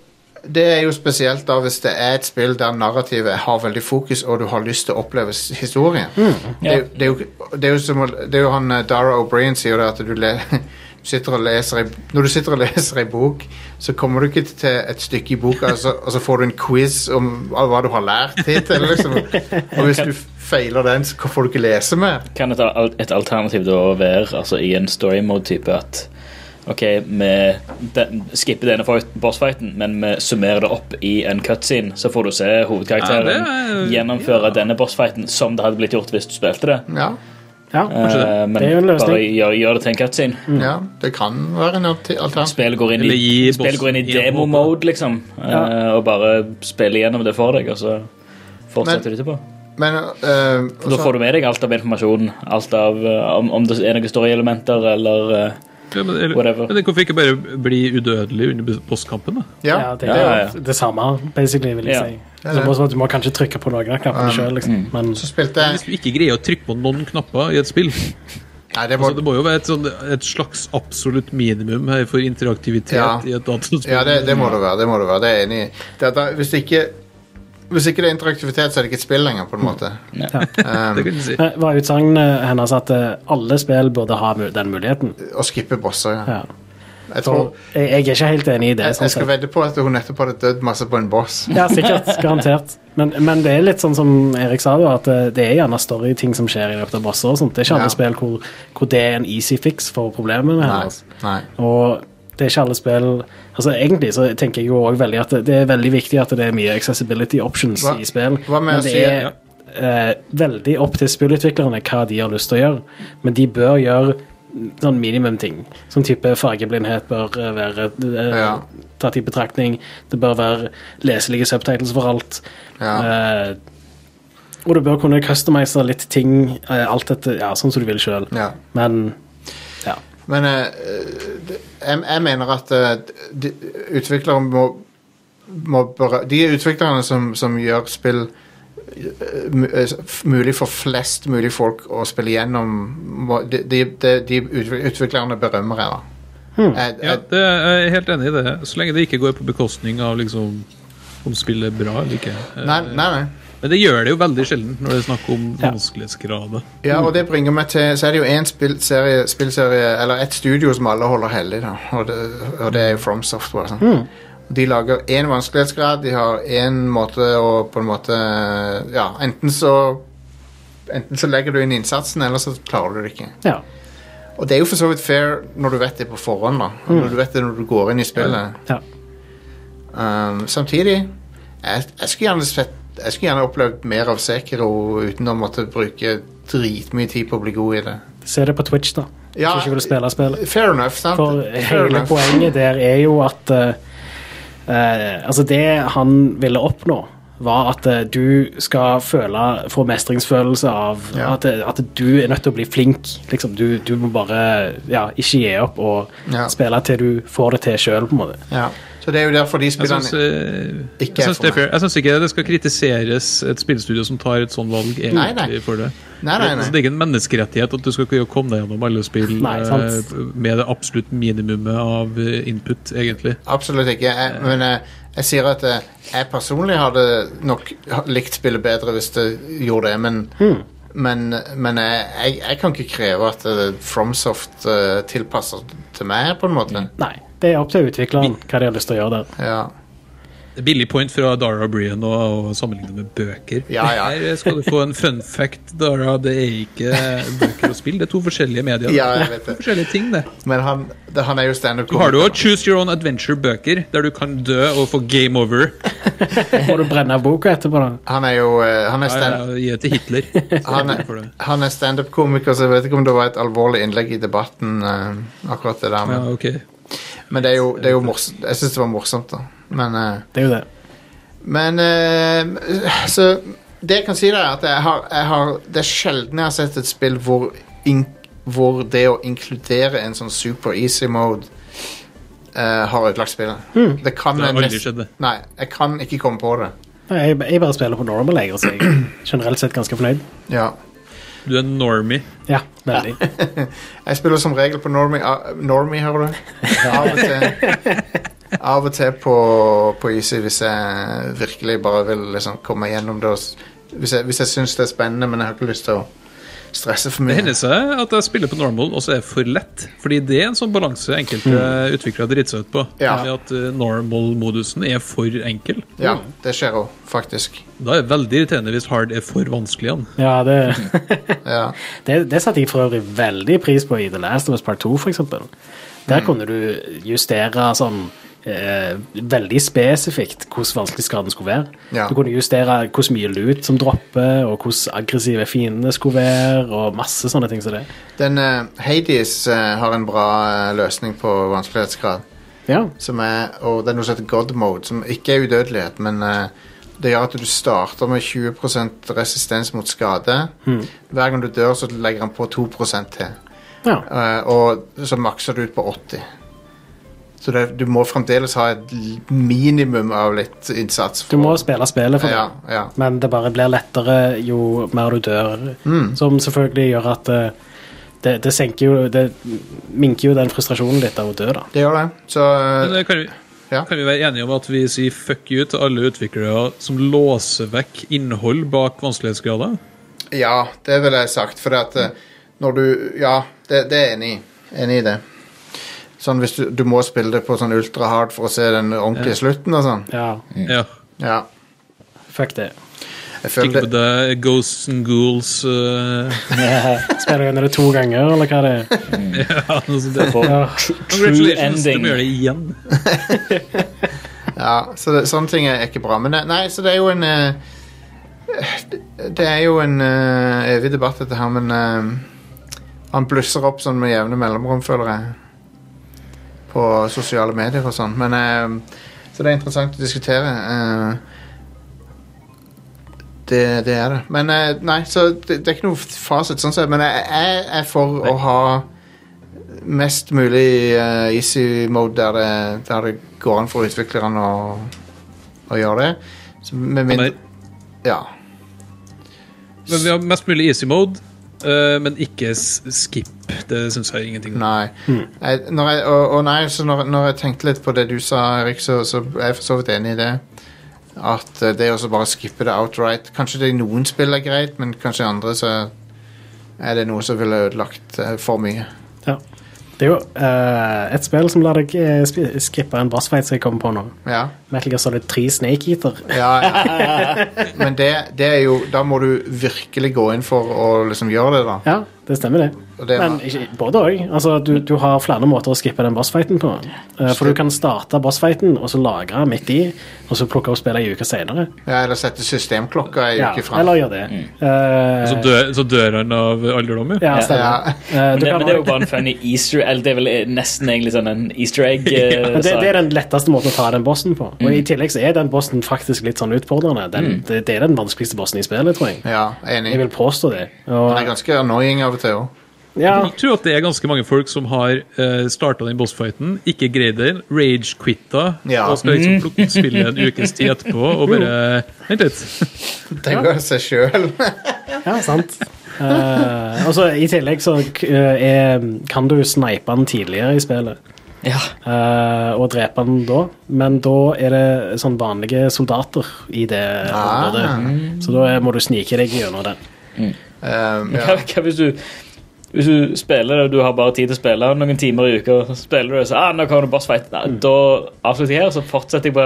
Speaker 1: det er jo spesielt da hvis det er et spill der narrativet har veldig fokus, og du har lyst til å oppleve s- historien. Det, er jo- det, er jo, det er jo som å- det er jo han eh, Dara O'Brien sier det, at du, le, [LAUGHS] sitter og leser ei, når du sitter og [LAUGHS] leser ei bok, så kommer du ikke til et stykke i boka, og så, og så får du en quiz om hva du har lært hittil. Liksom. Og hvis du feiler den, så får du ikke lese mer.
Speaker 4: Kan et, al- et alternativ da være altså i en story mode-type at OK, vi den, skipper denne fight, bossfighten, men vi summerer det opp i en cutscene, så får du se hovedkarakteren
Speaker 5: Ja, det er-
Speaker 4: gjennomføre denne bossfighten som det hadde blitt gjort hvis du spilte det.
Speaker 1: Ja,
Speaker 3: Ja.
Speaker 4: Eh, men
Speaker 3: Det er jo en løsning. Mm.
Speaker 4: bare gjør, gjør det til en cutscene.
Speaker 1: ja det kan være en alter- alternativ.
Speaker 4: Spillet går inn
Speaker 5: Eller
Speaker 4: i,
Speaker 5: gi
Speaker 4: spillet går inn i
Speaker 5: bossen i en
Speaker 4: demo-mode, liksom, eh, og bare spiller gjennom det for deg, og så fortsetter du etterpå.
Speaker 1: Men eh, og
Speaker 4: Da
Speaker 1: så-
Speaker 4: får du med deg alt av informasjon, alt av eh, om, om det er noen storyelementer eller eh,
Speaker 5: Ja, men, eller,
Speaker 4: Whatever.
Speaker 5: men den hvorfor ikke bare bli udødelig under bosskampen, da?
Speaker 1: ja,
Speaker 3: Ja, det
Speaker 4: Ja,
Speaker 3: er
Speaker 4: ja,
Speaker 3: jo det samme, basically, vil jeg
Speaker 4: Ja.
Speaker 3: si.
Speaker 1: Ja,
Speaker 3: Så
Speaker 1: ja.
Speaker 3: bare sånn at du må kanskje trykke på noen av knappene sjøl, liksom.
Speaker 5: Mm.
Speaker 3: Men
Speaker 1: så spilte jeg
Speaker 5: Hvis du ikke greier å trykke på noen knapper i et spill
Speaker 1: Nei, det
Speaker 5: altså,
Speaker 1: var
Speaker 5: Det må jo være et, sånn, et slags absolutt minimum her for interaktivitet
Speaker 1: Ja.
Speaker 5: i et dataspill.
Speaker 1: Ja, det, det må det være. Det må det være, det er jeg enig i. Det er da- hvis, ikke, hvis ikke det er interaktivitet, så er det ikke et spill lenger, på en måte.
Speaker 3: Mm.
Speaker 1: [LAUGHS] Um,
Speaker 5: Det kan du si.
Speaker 3: eh, var utsagnet hennes at eh, alle spill burde ha mu- den muligheten?
Speaker 1: Å skippe bosser, ja.
Speaker 3: Ja.
Speaker 1: Jeg,
Speaker 3: Så
Speaker 1: tror,
Speaker 3: jeg, jeg er ikke helt enig i det.
Speaker 1: jeg,
Speaker 3: sånn
Speaker 1: jeg skal
Speaker 3: sett.
Speaker 1: vedde på at hun nettopp hadde dødd masse på en boss.
Speaker 3: Ja, sikkert. Garantert. Men, men det er litt sånn som Erik sa, da, at eh, det er gjerne storyting som skjer i løpet av bosser. og sånt. Det er ikke
Speaker 1: Ja.
Speaker 3: alle spill hvor, hvor det er en easy fix for problemene
Speaker 1: Nei.
Speaker 3: hennes.
Speaker 1: nei.
Speaker 3: Og det er ikke alle spill altså Egentlig så tenker jeg jo også veldig at det, det er veldig viktig at det er mye accessibility options
Speaker 1: Hva-
Speaker 3: i spill.
Speaker 1: hva med å
Speaker 3: men det
Speaker 1: si-
Speaker 3: er eh, veldig opp til spillutviklerne hva de har lyst til å gjøre. Men de bør gjøre sånn minimum ting. Sånn type fargeblindhet bør eh, være eh,
Speaker 1: Ja.
Speaker 3: tatt i betraktning. Det bør være leselige subtitles for alt.
Speaker 1: Ja.
Speaker 3: Eh, og du bør kunne customize litt ting, eh, alt dette, ja, sånn som du vil sjøl.
Speaker 1: Ja.
Speaker 3: Men ja.
Speaker 1: Men eh, det- jeg, jeg mener at eh, de, utviklere må, må bare, De utviklerne som, som gjør spill eh, mu- eh, f- mulig for flest mulig folk å spille gjennom, må, de, de, de, de utvi- utviklerne berømmer jeg, da. Jeg,
Speaker 5: Ja,
Speaker 1: jeg,
Speaker 5: det, jeg er helt enig i det. Så lenge det ikke går på bekostning av liksom, om spillet er bra eller ikke. Eh,
Speaker 1: nei, nei, nei.
Speaker 5: Men det gjør det jo veldig sjelden når det er snakk om vanskelighetsgrader.
Speaker 1: Ja, og det bringer meg til Så er det jo én spillserie, spillserie Eller et studio som alle holder hellig, da. Og det, og det er jo From Software. Sant? De lager én vanskelighetsgrad, de har én måte å på en måte Ja, enten så Enten så legger du inn innsatsen, eller så klarer du det ikke.
Speaker 3: ja.
Speaker 1: Og det er jo for så vidt fair når du vet det på forhånd, da. Og Når du vet det når du går inn i spillet.
Speaker 3: Ja.
Speaker 1: Um, samtidig jeg, jeg skulle gjerne sett jeg skulle gjerne opplevd mer av Sekiro uten å måtte bruke dritmye tid på å bli god i det.
Speaker 3: Se det på Twitch, da.
Speaker 1: Ja,
Speaker 3: Hvis du ikke vil spille spillet.
Speaker 1: Fair enough, sant?
Speaker 3: For
Speaker 1: Fair
Speaker 3: hele
Speaker 1: enough.
Speaker 3: poenget der er jo at eh, eh, Altså, det han ville oppnå, var at eh, du skal føle Få mestringsfølelse av
Speaker 1: Ja.
Speaker 3: at, eh, at du er nødt til å bli flink. Liksom, du, du må bare ja, ikke gi opp og
Speaker 1: Ja.
Speaker 3: spille til du får det til sjøl, på en måte.
Speaker 1: Ja. Så det er jo derfor de
Speaker 5: Jeg syns,
Speaker 1: spillerne
Speaker 5: eh,
Speaker 1: Ikke
Speaker 5: jeg syns
Speaker 1: for
Speaker 5: det
Speaker 1: meg.
Speaker 5: er fair. Jeg syns ikke det skal kritiseres et spillstudio som tar et sånn valg egentlig
Speaker 1: Nei, nei.
Speaker 5: for det.
Speaker 1: Nei, nei,
Speaker 5: Altså,
Speaker 1: nei.
Speaker 5: det er ikke en menneskerettighet at du skal kunne komme deg gjennom alle spill
Speaker 3: Nei, sant.
Speaker 5: eh, med det absolutt minimumet av eh, input, egentlig.
Speaker 1: Absolutt ikke. Jeg, men jeg, jeg sier at eh, jeg personlig hadde nok ha- likt spillet bedre hvis det gjorde det, men Men, men jeg, jeg, jeg kan ikke kreve at eh, FromSoft eh, tilpasser til meg, på en måte.
Speaker 5: Mm.
Speaker 3: Nei. Det er opp til utvikleren hva de har lyst til å gjøre der.
Speaker 1: Ja.
Speaker 5: Billig point fra Dara O'Brien å å sammenligne med bøker.
Speaker 1: Ja, ja.
Speaker 5: Her skal du få en fun fact, Dara. Det er ikke eh, bøker og spill, det er to forskjellige medier.
Speaker 1: ja, jeg vet
Speaker 5: To
Speaker 1: det.
Speaker 5: forskjellige ting, det.
Speaker 1: Men han, det, han er jo standup
Speaker 5: Du har jo også Choose Your Own Adventure-bøker, der du kan dø og få game over.
Speaker 3: Må du brenne av boka etterpå, da?
Speaker 1: Han er jo eh, han er
Speaker 5: Ja,
Speaker 1: stand-
Speaker 5: ja, Gi det til Hitler.
Speaker 1: Han er,
Speaker 5: For det.
Speaker 1: han er standup-komiker, så jeg vet ikke om det var et alvorlig innlegg i debatten. eh, akkurat det der
Speaker 5: Ja,
Speaker 1: Men,
Speaker 5: ok.
Speaker 1: men det er jo, det er jo morsomt. Jeg syns det var morsomt, da. Men, eh,
Speaker 3: Det er jo det.
Speaker 1: men eh, Så det jeg kan si, da, er at jeg har, jeg har, det er sjelden jeg har sett et spill hvor, in, hvor det å inkludere en sånn super easy mode eh, har ødelagt spillet. Det kan
Speaker 5: Det har
Speaker 1: jeg
Speaker 5: aldri
Speaker 1: nest-
Speaker 5: skjedd, det.
Speaker 1: Nei, jeg kan ikke komme på det.
Speaker 3: Nei, Jeg, jeg bare spiller på normal, jeg, og så er jeg generelt sett ganske fornøyd.
Speaker 1: Ja.
Speaker 5: Du er normie.
Speaker 3: Ja, veldig.
Speaker 1: [LAUGHS] Jeg spiller som regel på Normie, uh, normie hører du? Av og til, av og til på, på Easy hvis jeg virkelig bare vil liksom komme gjennom det. Og, s- hvis jeg, hvis jeg syns det er spennende, men jeg har ikke lyst til å Stresser for
Speaker 5: Det
Speaker 1: mye.
Speaker 5: hender seg at jeg spiller på normal, og så er det for lett. Fordi det er en sånn balanse enkelte utviklere driter seg ut på.
Speaker 1: Mm. Ja.
Speaker 5: Nemlig At eh, normal-modusen er for enkel.
Speaker 1: Ja, det skjer òg, faktisk.
Speaker 5: Da er det veldig irriterende hvis hard er for vanskelig igjen.
Speaker 3: Ja, det, [LAUGHS]
Speaker 1: Ja.
Speaker 3: det, det satte jeg for øvrig veldig pris på i The Last of Us Part 2, for eksempel. Der
Speaker 1: Mm.
Speaker 3: kunne du justere sånn eh, veldig spesifikt hvordan vanskelig skaden skulle være.
Speaker 1: Ja.
Speaker 3: Du kunne justere hvor mye lut som dropper, og hvordan aggressive fiendene skulle være, og masse sånne ting som det.
Speaker 1: Den eh, Hades eh, har en bra eh, løsning på vanskelighetsgrad.
Speaker 3: Ja.
Speaker 1: Som er, og det er noe som heter God mode, som ikke er udødelighet, men eh, det gjør at du starter med 20 resistens mot skade.
Speaker 3: Hmm.
Speaker 1: Hver gang du dør, så legger han på 2 til.
Speaker 3: ja.
Speaker 1: Eh, og så makser du ut på 80. Så det, du må fremdeles ha et l- minimum av litt innsats.
Speaker 3: Du må spille spillet for det.
Speaker 1: Ja, ja.
Speaker 3: Men det bare blir lettere jo mer du dør.
Speaker 1: Mm.
Speaker 3: Som selvfølgelig gjør at eh, det, det senker jo Det minker jo den frustrasjonen litt av å dø, da.
Speaker 1: Det gjør det. Så eh,
Speaker 5: Men eh, kan vi,
Speaker 1: Ja.
Speaker 5: kan vi være enige om at vi sier fuck you til alle utviklere som låser vekk innhold bak vanskelighetsgrader?
Speaker 1: Ja, det ville jeg sagt, for at eh, når du Ja, det, det er jeg enig i. Enig i det. Sånn hvis du, du må spille det på sånn ultra hard for å se den ordentlige slutten og sånn.
Speaker 3: Ja,
Speaker 5: Ja.
Speaker 1: Ja.
Speaker 3: fuck det. [LAUGHS]
Speaker 1: Jeg
Speaker 5: Tenk
Speaker 1: føler
Speaker 5: på
Speaker 1: det,
Speaker 5: deg, Ghosts and Ghouls eh, [LAUGHS]
Speaker 3: Spiller gjennom det to ganger, eller hva det er.
Speaker 5: ja, noe
Speaker 1: [LAUGHS]
Speaker 5: sånt der.
Speaker 4: For
Speaker 3: Ja.
Speaker 4: true
Speaker 5: Congratulations, du må
Speaker 4: ending.
Speaker 5: gjøre det igjen.
Speaker 1: ja, så det, sånne ting er ikke bra. Men eh, nei, så det er jo en eh, Det det er jo en eh, evig debatt, dette her, men eh, han blusser opp sånn med jevne mellomrom, føler jeg. På sosiale medier og sånn. Men eh, Så det er interessant å diskutere. eh, det, det er det. Men eh, nei, så det, det er ikke noe fasit, sånn sett. Men jeg, jeg er for å ha mest mulig eh, easy mode der det, der det går an for utviklerne å, å gjøre det. Så med mindre
Speaker 5: Men-
Speaker 1: Ja.
Speaker 5: Men vi har mest mulig easy mode, eh, men ikke s- skip. Det syns jeg er ingenting om.
Speaker 1: Nei.
Speaker 3: Mm.
Speaker 1: Jeg, når jeg, og, og nei, så når, når jeg tenkte litt på det du sa, Erik, så, så er jeg for så vidt enig i det. At eh, det å så bare skippe det outright Kanskje det i noen spill er greit, men kanskje i andre så er det noe som ville ødelagt eh, for mye.
Speaker 3: Ja. Det er jo eh, et spill som lar deg eh, sp- skippe en bossfight som jeg kommer på nå.
Speaker 1: Ja,
Speaker 3: Metal Gear Solid 3 Snake Eater.
Speaker 1: ja, ja.
Speaker 3: [LAUGHS]
Speaker 1: Men det, det er jo Da må du virkelig gå inn for å liksom gjøre det, da.
Speaker 3: Ja, det stemmer, det.
Speaker 1: Og det
Speaker 3: Men
Speaker 1: var,
Speaker 3: ikke, både òg. Altså, du, du har flere måter å skippe den bossfighten på. Eh, For du kan starte bossfighten og så lagre midt i, og så plukke opp spillet ei uke senere.
Speaker 1: ja, eller sette systemklokka ei
Speaker 3: Ja,
Speaker 1: uke fram.
Speaker 3: eller gjør det. Eh,
Speaker 5: Så dør, så dør han av alderdom, jo.
Speaker 3: ja, stemmer.
Speaker 1: Ja.
Speaker 3: Eh,
Speaker 4: Men
Speaker 3: du
Speaker 4: det,
Speaker 3: kan
Speaker 4: men det er jo
Speaker 3: også-
Speaker 4: bare en funny easter eller Det er vel nesten egentlig sånn en easter
Speaker 3: [LAUGHS]
Speaker 4: egg. eh,
Speaker 3: Men det,
Speaker 4: sak.
Speaker 3: det er den letteste måten å ta den bossen på. Og
Speaker 1: Mm.
Speaker 3: I tillegg så er den bossen faktisk litt sånn utfordrende. Den, det, det er den vanskeligste bossen i spillet, tror jeg.
Speaker 1: ja,
Speaker 3: Jeg
Speaker 1: enig.
Speaker 3: vil påstå det.
Speaker 1: Den er
Speaker 3: Og,
Speaker 1: ganske annoying av og til òg.
Speaker 3: ja,
Speaker 1: [LAUGHS]
Speaker 5: Jeg tror at det er ganske mange folk som har uh, starta den bossfighten, ikke greid den, rage-quitta,
Speaker 1: Ja.
Speaker 5: og skal liksom plukke ut spillet en ukes tid etterpå og bare Vent litt.
Speaker 1: Tenk å se sjøl.
Speaker 3: ja, sant. Eh, og så I tillegg så eh, er, kan du snipe den tidligere i spillet.
Speaker 4: Ja.
Speaker 3: eh, og drepe den da. Men da er det sånn vanlige soldater i det
Speaker 1: Ah.
Speaker 3: området. Så da er- må du snike deg gjennom den.
Speaker 1: [LAUGHS] Um, ja.
Speaker 4: Hva, hva hvis du hvis du spiller det, og du har bare tid til å spille noen timer i uka, så spiller du det, så ah, nå kommer det bossfight. Nei,
Speaker 3: Mm.
Speaker 4: Da avslutter jeg her, og så fortsetter jeg på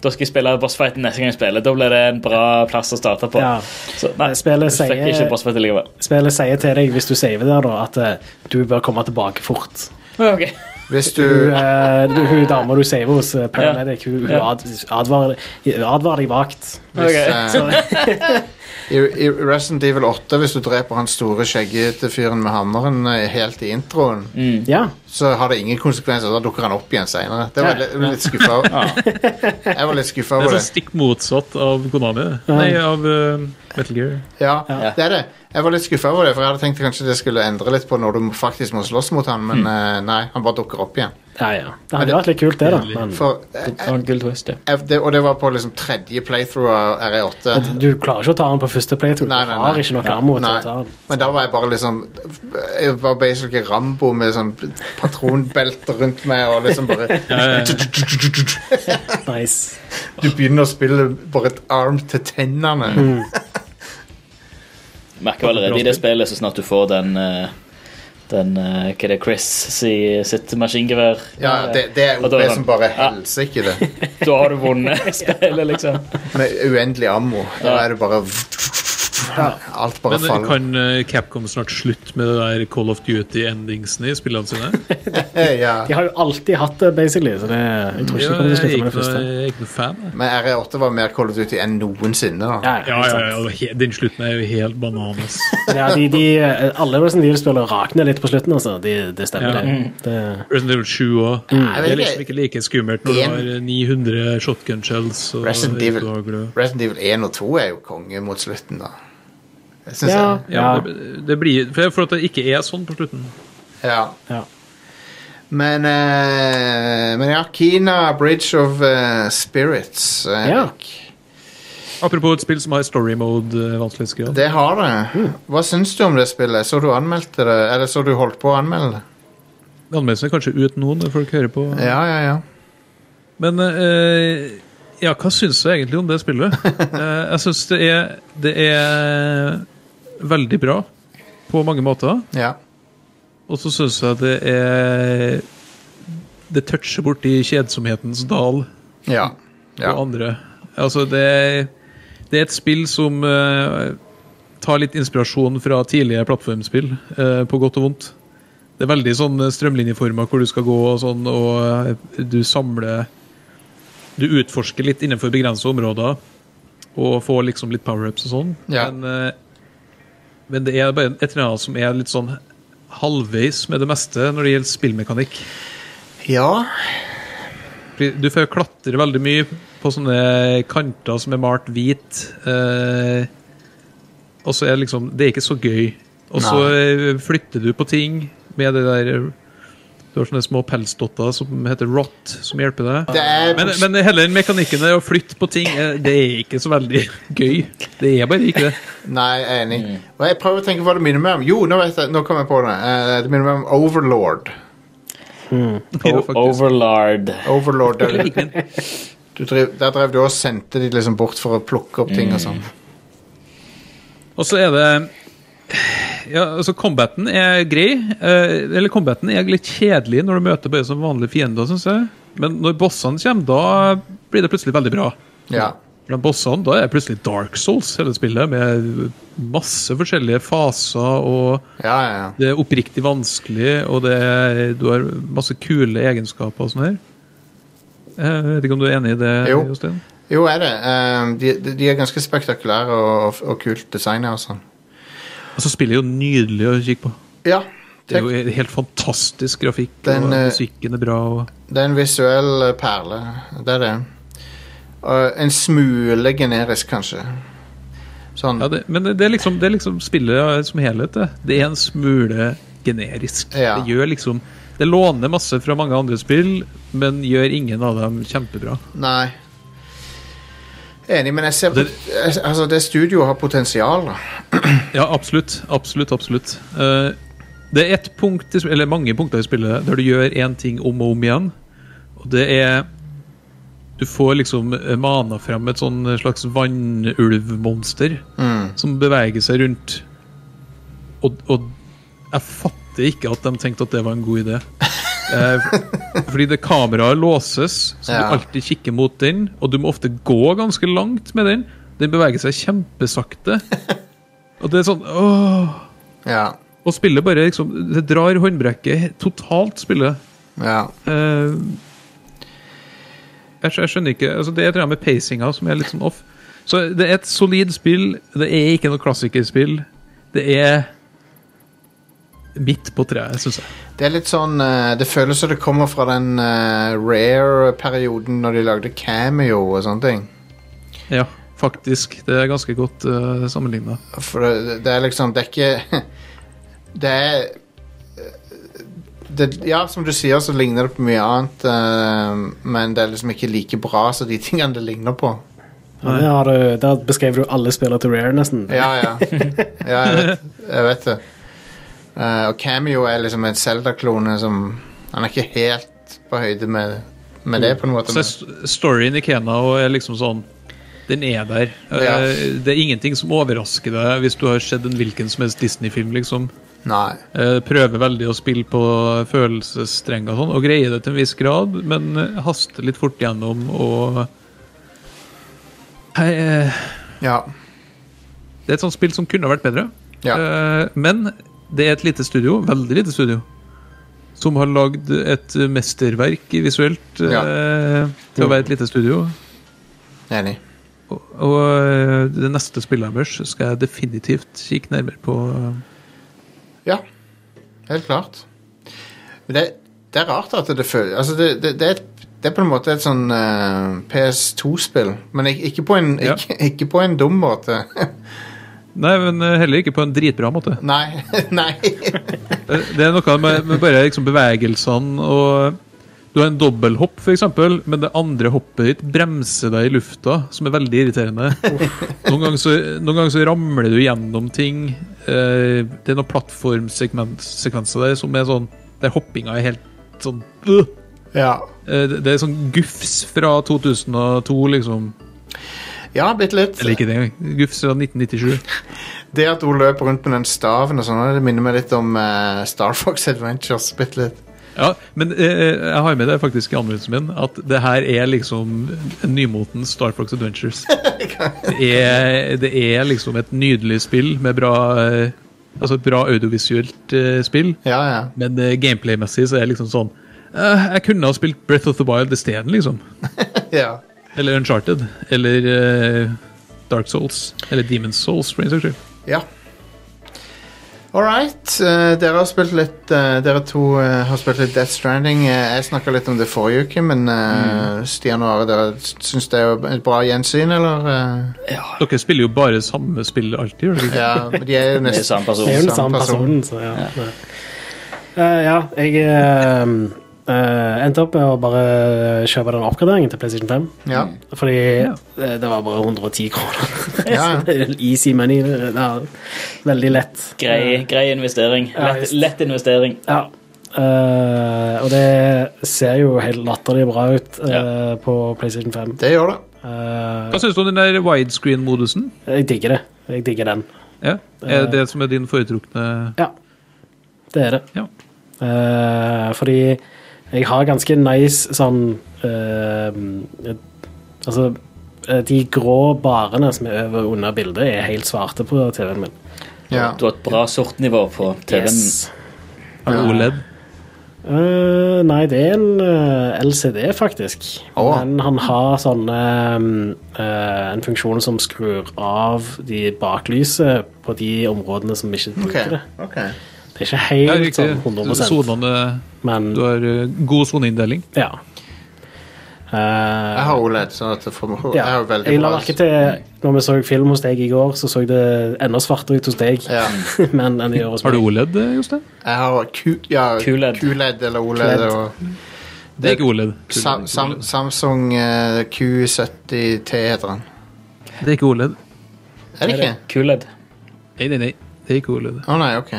Speaker 4: Da skal jeg spille bossfighten neste gang jeg spiller. Da blir det en bra plass å starte på.
Speaker 3: Ja.
Speaker 4: Så nei,
Speaker 3: Spillet
Speaker 4: jeg fikk
Speaker 3: sier-
Speaker 4: ikke bossfight likevel. [LAUGHS]
Speaker 3: Spillet sier til deg hvis du saver der, da, at eh, du bør komme tilbake fort.
Speaker 4: Ok.
Speaker 1: Hvis du
Speaker 3: Hun, eh, du- hun dama du saver hos, eh, Paramedic, hun, hun
Speaker 4: Ja.
Speaker 3: ad- advarer, advarer deg vagt.
Speaker 1: Hvis,
Speaker 4: Ok.
Speaker 1: eh, I, I Resident Evil 8, hvis du dreper han store skjeggete fyren med hammeren eh, helt i introen,
Speaker 3: Ja.
Speaker 1: så har det ingen konsekvenser. Da dukker han opp igjen seinere. Det var
Speaker 3: Ja.
Speaker 1: jeg litt- jeg var litt skuffa over. [LAUGHS] Jeg var litt skuffa
Speaker 5: Det er
Speaker 1: over
Speaker 5: sånn
Speaker 1: det.
Speaker 5: stikk motsatt av Konami. det. Nei, av eh, Metal Gear.
Speaker 1: Ja, det er det. Jeg var litt skuffa over det, for jeg hadde tenkt kanskje det skulle endre litt på når du faktisk må slåss mot han, men eh, nei, han bare dukker opp igjen.
Speaker 3: ja, ja. Det hadde vært litt kult, det, da. Men
Speaker 1: For, eh,
Speaker 4: Det var en gull twist, ja.
Speaker 1: eh, det, og det var på liksom tredje playthrough av E RE8.
Speaker 3: du klarer ikke å ta den på første playthrough.
Speaker 1: Nei,
Speaker 3: Du
Speaker 1: nei,
Speaker 3: har
Speaker 1: nei.
Speaker 3: ikke noe ammo til
Speaker 1: Nei,
Speaker 3: å ta den.
Speaker 1: men da var jeg bare liksom Jeg var basically Rambo med sånn patronbelte rundt meg og liksom
Speaker 3: [LAUGHS]
Speaker 1: bare
Speaker 3: Nice. Mm.
Speaker 1: Du begynner å spille bare et arm til tennene.
Speaker 4: merker jo allerede i det spillet så snart du får den eh, den, eh, Hva er det Chris si, sitt maskingevær? Eh,
Speaker 1: Ja, det, det er
Speaker 4: Og da
Speaker 1: OP
Speaker 4: er han-
Speaker 3: sånn,
Speaker 1: som bare
Speaker 4: Ja.
Speaker 1: helsike, det.
Speaker 4: [LAUGHS] Da har du vunnet [LAUGHS] spillet,
Speaker 3: [LAUGHS]
Speaker 4: liksom.
Speaker 1: Med uendelig ammo. Da er det bare Alt bare
Speaker 5: Men
Speaker 1: faller.
Speaker 5: kan eh, Capcom snart slutte med det der Call of Duty-endingsene i spillene sine?
Speaker 1: Eh, Ja.
Speaker 3: De har jo alltid hatt det, basically, så det, jeg tror ikke de
Speaker 5: Ja,
Speaker 3: kommer til å
Speaker 5: jeg, er
Speaker 3: slutte
Speaker 5: ikke
Speaker 3: med det
Speaker 5: noe,
Speaker 3: første.
Speaker 5: jeg er ikke noe fan. Jeg.
Speaker 1: Men RE8 var mer Call of Duty enn noensinne. da.
Speaker 3: Ja,
Speaker 5: Ja,
Speaker 3: ikke
Speaker 5: ja,
Speaker 3: sant.
Speaker 5: ja, og he- Den slutten er jo helt bananas.
Speaker 3: ja, de, de, eh, alle Resident Evil-spillere rakner litt på slutten, altså. De, det stemmer,
Speaker 5: Ja.
Speaker 3: det. det.
Speaker 5: Resident Evil 7
Speaker 1: Jeg
Speaker 5: òg. Det er
Speaker 1: vet
Speaker 5: liksom
Speaker 1: ikke,
Speaker 5: ikke like skummelt når du
Speaker 1: En-
Speaker 5: har 900 shotgun shells. Og
Speaker 1: Resident Evil.
Speaker 5: ikke har glød.
Speaker 1: Resident Evil 1 og 2 er jo konge mot slutten, da. Jeg synes
Speaker 3: Ja,
Speaker 1: jeg.
Speaker 5: Ja,
Speaker 3: ja,
Speaker 5: Det, det blir, for, for at det ikke er sånn på slutten.
Speaker 1: Ja.
Speaker 3: ja.
Speaker 1: Men, eh, men ja, Kina, Bridge of eh, Spirits. eh,
Speaker 3: Ja.
Speaker 5: Apropos et spill som har story mode eh, vanskelighetsgrad.
Speaker 1: Det har
Speaker 3: Mm.
Speaker 1: det. Hva syns du om det spillet? Så du anmeldte det? Eller så du holdt på å anmelde det?
Speaker 5: Anmeldelsen er kanskje ut nå når folk hører på.
Speaker 3: Mm.
Speaker 1: Ja, ja, ja.
Speaker 5: Men eh, ja, hva syns jeg egentlig om
Speaker 1: [LAUGHS]
Speaker 5: det spillet? Eh, jeg syns det, er- det er veldig bra på mange måter.
Speaker 1: ja.
Speaker 5: Og så syns jeg det er Det toucher borti kjedsomhetens dal
Speaker 1: Ja. ja.
Speaker 5: på andre. Altså, det er, det er et spill som eh, tar litt inspirasjon fra tidlige plattformspill, eh, på godt og vondt. Det er veldig sånn eh, strømlinjeformer hvor du skal gå og sånn, og eh, du samler Du utforsker litt innenfor begrensa områder og får liksom litt power-ups og sånn.
Speaker 1: Ja.
Speaker 5: Men, eh, men det er bare et eller annet som er litt sånn halvveis med det meste når det gjelder spillmekanikk.
Speaker 1: ja.
Speaker 5: Fordi Du får klatre veldig mye på sånne kanter som er malt hvit. Eh, og så er det liksom Det er ikke så gøy. Og så eh, flytter du på ting med det der eh, Du har sånne små pelsdotter som heter rot, som hjelper deg.
Speaker 1: Det er
Speaker 5: Men, men hele den mekanikken der å flytte på ting, eh, det er ikke så veldig gøy. Det er bare ikke det.
Speaker 1: Nei, jeg er enig. Og jeg prøver å tenke hva det minner meg om. Jo, nå vet jeg, nå kom jeg på det. Eh, det minner meg om Overlord.
Speaker 5: Ja,
Speaker 4: O-
Speaker 5: faktisk.
Speaker 4: Overlard.
Speaker 1: Overlord
Speaker 3: [LAUGHS]
Speaker 1: der, du drev, der drev du og sendte de liksom bort for å plukke opp ting og sånn.
Speaker 5: Og så er det ja, altså Combaten er grei. eh, Eller combaten er litt kjedelig når du møter bare som vanlige fiender, synes jeg. Men når bossene kommer, da blir det plutselig veldig bra.
Speaker 1: Ja.
Speaker 5: Blant bossene da er det plutselig Dark Souls, hele spillet, med masse forskjellige faser. og
Speaker 1: Ja, ja, ja.
Speaker 5: Det er oppriktig vanskelig, og det er, du har masse kule egenskaper og sånn her. Eh, Jeg vet ikke om du er enig i det,
Speaker 1: Jo.
Speaker 5: Jostein?
Speaker 1: Jo, er det. Eh, de, de- de er ganske spektakulære og, og, og kult designa og sånn.
Speaker 5: Altså, spillet er jo nydelig å kikke på.
Speaker 1: Ja.
Speaker 5: Det
Speaker 1: Det,
Speaker 5: er jo helt fantastisk grafikk,
Speaker 1: Den,
Speaker 5: og
Speaker 1: eh,
Speaker 5: musikken er bra. og...
Speaker 1: det er en visuell eh, perle. Det er det. Og en smule generisk, kanskje. Sånn.
Speaker 5: Ja, det, men det det er, liksom, det er liksom spillet som helhet. Det, det er en smule generisk.
Speaker 1: Ja.
Speaker 5: Det gjør liksom Det låner masse fra mange andre spill, men gjør ingen av dem kjempebra.
Speaker 1: Nei. Enig, men jeg ser
Speaker 5: Det-
Speaker 1: jeg- Altså, det studioet har potensial, da.
Speaker 5: Ja, absolutt. Absolutt, absolutt. Eh, det er ett punkt, i sp- eller mange punkter i spillet, der du gjør én ting om og om igjen. Og det er Du får liksom eh, mana frem et sånn slags vannulvmonster som beveger seg rundt. Og, og jeg fatter ikke at de tenkte at det var en god idé. Eh, f- fordi det kameraet låses, så
Speaker 1: Ja.
Speaker 5: du alltid kikker mot den. Og du må ofte gå ganske langt med den. Den beveger seg kjempesakte. Og det er sånn åh.
Speaker 1: Ja.
Speaker 5: Og spillet bare liksom Det drar håndbrekket totalt, spillet.
Speaker 1: ja.
Speaker 5: Eh, jeg, skj- jeg skjønner ikke altså, Det er et eller annet med pacinga som er litt sånn off. Så det er et solid spill. Det er ikke noe klassikerspill. Det er midt på treet, syns jeg.
Speaker 1: Det er litt sånn eh, Det føles som det kommer fra den eh, rare-perioden når de lagde cameo og sånne ting.
Speaker 5: Ja, faktisk. Det er ganske godt uh, sammenligna.
Speaker 1: For det, det er liksom Det er ikke [LAUGHS] Det er eh, det, Ja, som du sier, så ligner det på mye annet, eh, men det er liksom ikke like bra som de [LAUGHS] tingene det ligner på.
Speaker 3: Ja, det har du, der beskrev du alle spillere til Rare, nesten.
Speaker 1: Ja, ja. [LAUGHS] ja jeg, vet, jeg vet det. Eh, og Cameo er liksom en Zelda-klone som Han er ikke helt på høyde med, med det, på en måte.
Speaker 5: Så er
Speaker 1: Men,
Speaker 5: s- storyen i Kena og er liksom sånn Den er der.
Speaker 1: Ja.
Speaker 5: Eh, Det er ingenting som overrasker deg hvis du har sett en hvilken som helst Disney-film. liksom.
Speaker 1: Nei.
Speaker 5: Eh, Prøver veldig å spille på følelsesstrenger og sånn, og greier det til en viss grad, men eh, haster litt fort gjennom og Hei, eh,
Speaker 1: Ja.
Speaker 5: Det er et sånt spill som kunne ha vært bedre.
Speaker 1: Ja.
Speaker 5: Eh, Men det er et lite studio, veldig lite studio, som har lagd et mesterverk visuelt eh, til å være et lite studio.
Speaker 1: Enig.
Speaker 5: Og, og eh, det neste spillet deres skal jeg definitivt kikke nærmere på.
Speaker 1: Ja. Helt klart. Men det, det er rart at det føles Altså, det, det, det, er et, det er på en måte et sånn eh, PS2-spill, men ik [LAUGHS] ikke, på en,
Speaker 5: Ja.
Speaker 1: ikke, ikke på en dum måte. [LAUGHS]
Speaker 5: Nei, men eh, heller ikke på en dritbra måte.
Speaker 1: nei. [LAUGHS] nei.
Speaker 5: Det det er noe med, med bare liksom bevegelsene og Du har en dobbelthopp, f.eks., men det andre hoppet ditt bremser deg i lufta, som er veldig irriterende. Noen ganger så, noen ganger så ramler du gjennom ting. Eh, det er noen plattformsekvenser der som er sånn Der hoppinga er helt sånn øh.
Speaker 1: ja.
Speaker 5: Eh, det- Det er sånn gufs fra 2002, liksom.
Speaker 1: ja, bitte litt.
Speaker 5: Eller ikke det engang. Gufs fra 1997.
Speaker 1: Det at hun løper rundt med den staven og sånn, det minner meg litt om eh, Star Fox Adventures. Bitte litt. [LAUGHS]
Speaker 5: Ja, men eh, jeg har med det faktisk i anmeldelsen min, at det her er liksom en nymoten Star Fox Adventures. Det er, det er liksom et nydelig spill med bra eh, Altså et bra audiovisuelt eh, spill,
Speaker 1: Ja, ja. [LAUGHS]
Speaker 5: men eh, gameplay-messig så er det liksom sånn eh, Jeg kunne ha spilt Breath of the Wild isteden, liksom.
Speaker 1: ja.
Speaker 5: Eller Uncharted. Eller eh, Dark Souls. Eller Demon's Souls, for en saks skyld.
Speaker 1: Ja. All right. eh, dere har spilt litt eh, Dere to eh, har spilt litt Death Stranding. Eh, jeg snakka litt om det forrige uke, men eh, Stian og Are, dere syns det er et bra gjensyn, eller? eh?
Speaker 5: Dere spiller jo bare samme spill alltid, gjør dere ikke?
Speaker 1: ja, men de er jo
Speaker 4: Det er
Speaker 1: nesten
Speaker 4: samme person.
Speaker 3: Det er jo den
Speaker 1: Samme
Speaker 3: samme
Speaker 1: person.
Speaker 3: personen, så ja. Ja, Eh, ja jeg eh, eh, endte opp med å bare eh, kjøpe den oppgraderingen til PlayStation 5.
Speaker 1: Ja.
Speaker 3: Fordi eh, det var bare 110 kroner.
Speaker 1: [LAUGHS] Ja, ja.
Speaker 3: Så det er en easy money. Det er veldig lett.
Speaker 4: Grei, grei investering.
Speaker 3: Ja,
Speaker 4: Lett,
Speaker 3: just.
Speaker 4: lett investering.
Speaker 3: Ja. Eh, og det ser jo helt latterlig bra ut eh,
Speaker 4: Ja.
Speaker 3: på PlayStation 5.
Speaker 1: Det gjør det.
Speaker 3: Eh,
Speaker 5: Hva syns du om den der widescreen-modusen?
Speaker 3: jeg digger det. Jeg digger den.
Speaker 5: Ja. Er det det som er din foretrukne
Speaker 3: Ja, det er det.
Speaker 5: Ja.
Speaker 3: Eh, fordi jeg har ganske nice sånn eh, eh, Altså, eh, de grå barene som er over og under bildet, er helt svarte på TV-en min.
Speaker 1: Ja.
Speaker 4: Du har et bra sortnivå på TV-en.
Speaker 3: Yes.
Speaker 5: Har du E OLED?
Speaker 3: Eh, nei, det er en eh, LCD, faktisk.
Speaker 1: Åh.
Speaker 3: Men han har sånne mm, eh, En funksjon som skrur av de baklyset på de områdene som ikke bruker
Speaker 1: Ok.
Speaker 3: det.
Speaker 1: ok.
Speaker 3: Det er ikke
Speaker 5: Ja,
Speaker 3: helt
Speaker 5: riktig.
Speaker 3: sånn 100
Speaker 5: Sonene
Speaker 3: men
Speaker 5: Du har eh, god soneinndeling.
Speaker 3: ja. Eh,
Speaker 1: Jeg har OLED, så at det får, jeg
Speaker 3: ja.
Speaker 1: har veldig
Speaker 3: Jeg la
Speaker 1: bra
Speaker 3: merke til Når vi så film hos deg i går, så så det enda svartere ut hos deg.
Speaker 1: Ja.
Speaker 3: [LAUGHS] men enn det gjør hos
Speaker 5: Har du
Speaker 3: meg.
Speaker 5: OLED, eh, Jostein?
Speaker 1: Jeg har Q, ja,
Speaker 4: QLED.
Speaker 1: QLED eller OLED.
Speaker 3: QLED.
Speaker 1: Og
Speaker 5: Det er ikke E OLED.
Speaker 1: Sam, Sam, Samsung eh, Q70T heter den.
Speaker 5: Det er ikke E OLED.
Speaker 1: Er det ikke?
Speaker 4: QLED.
Speaker 5: Nei, nei, nei. Det er ikke OLED.
Speaker 1: Å nei, ok.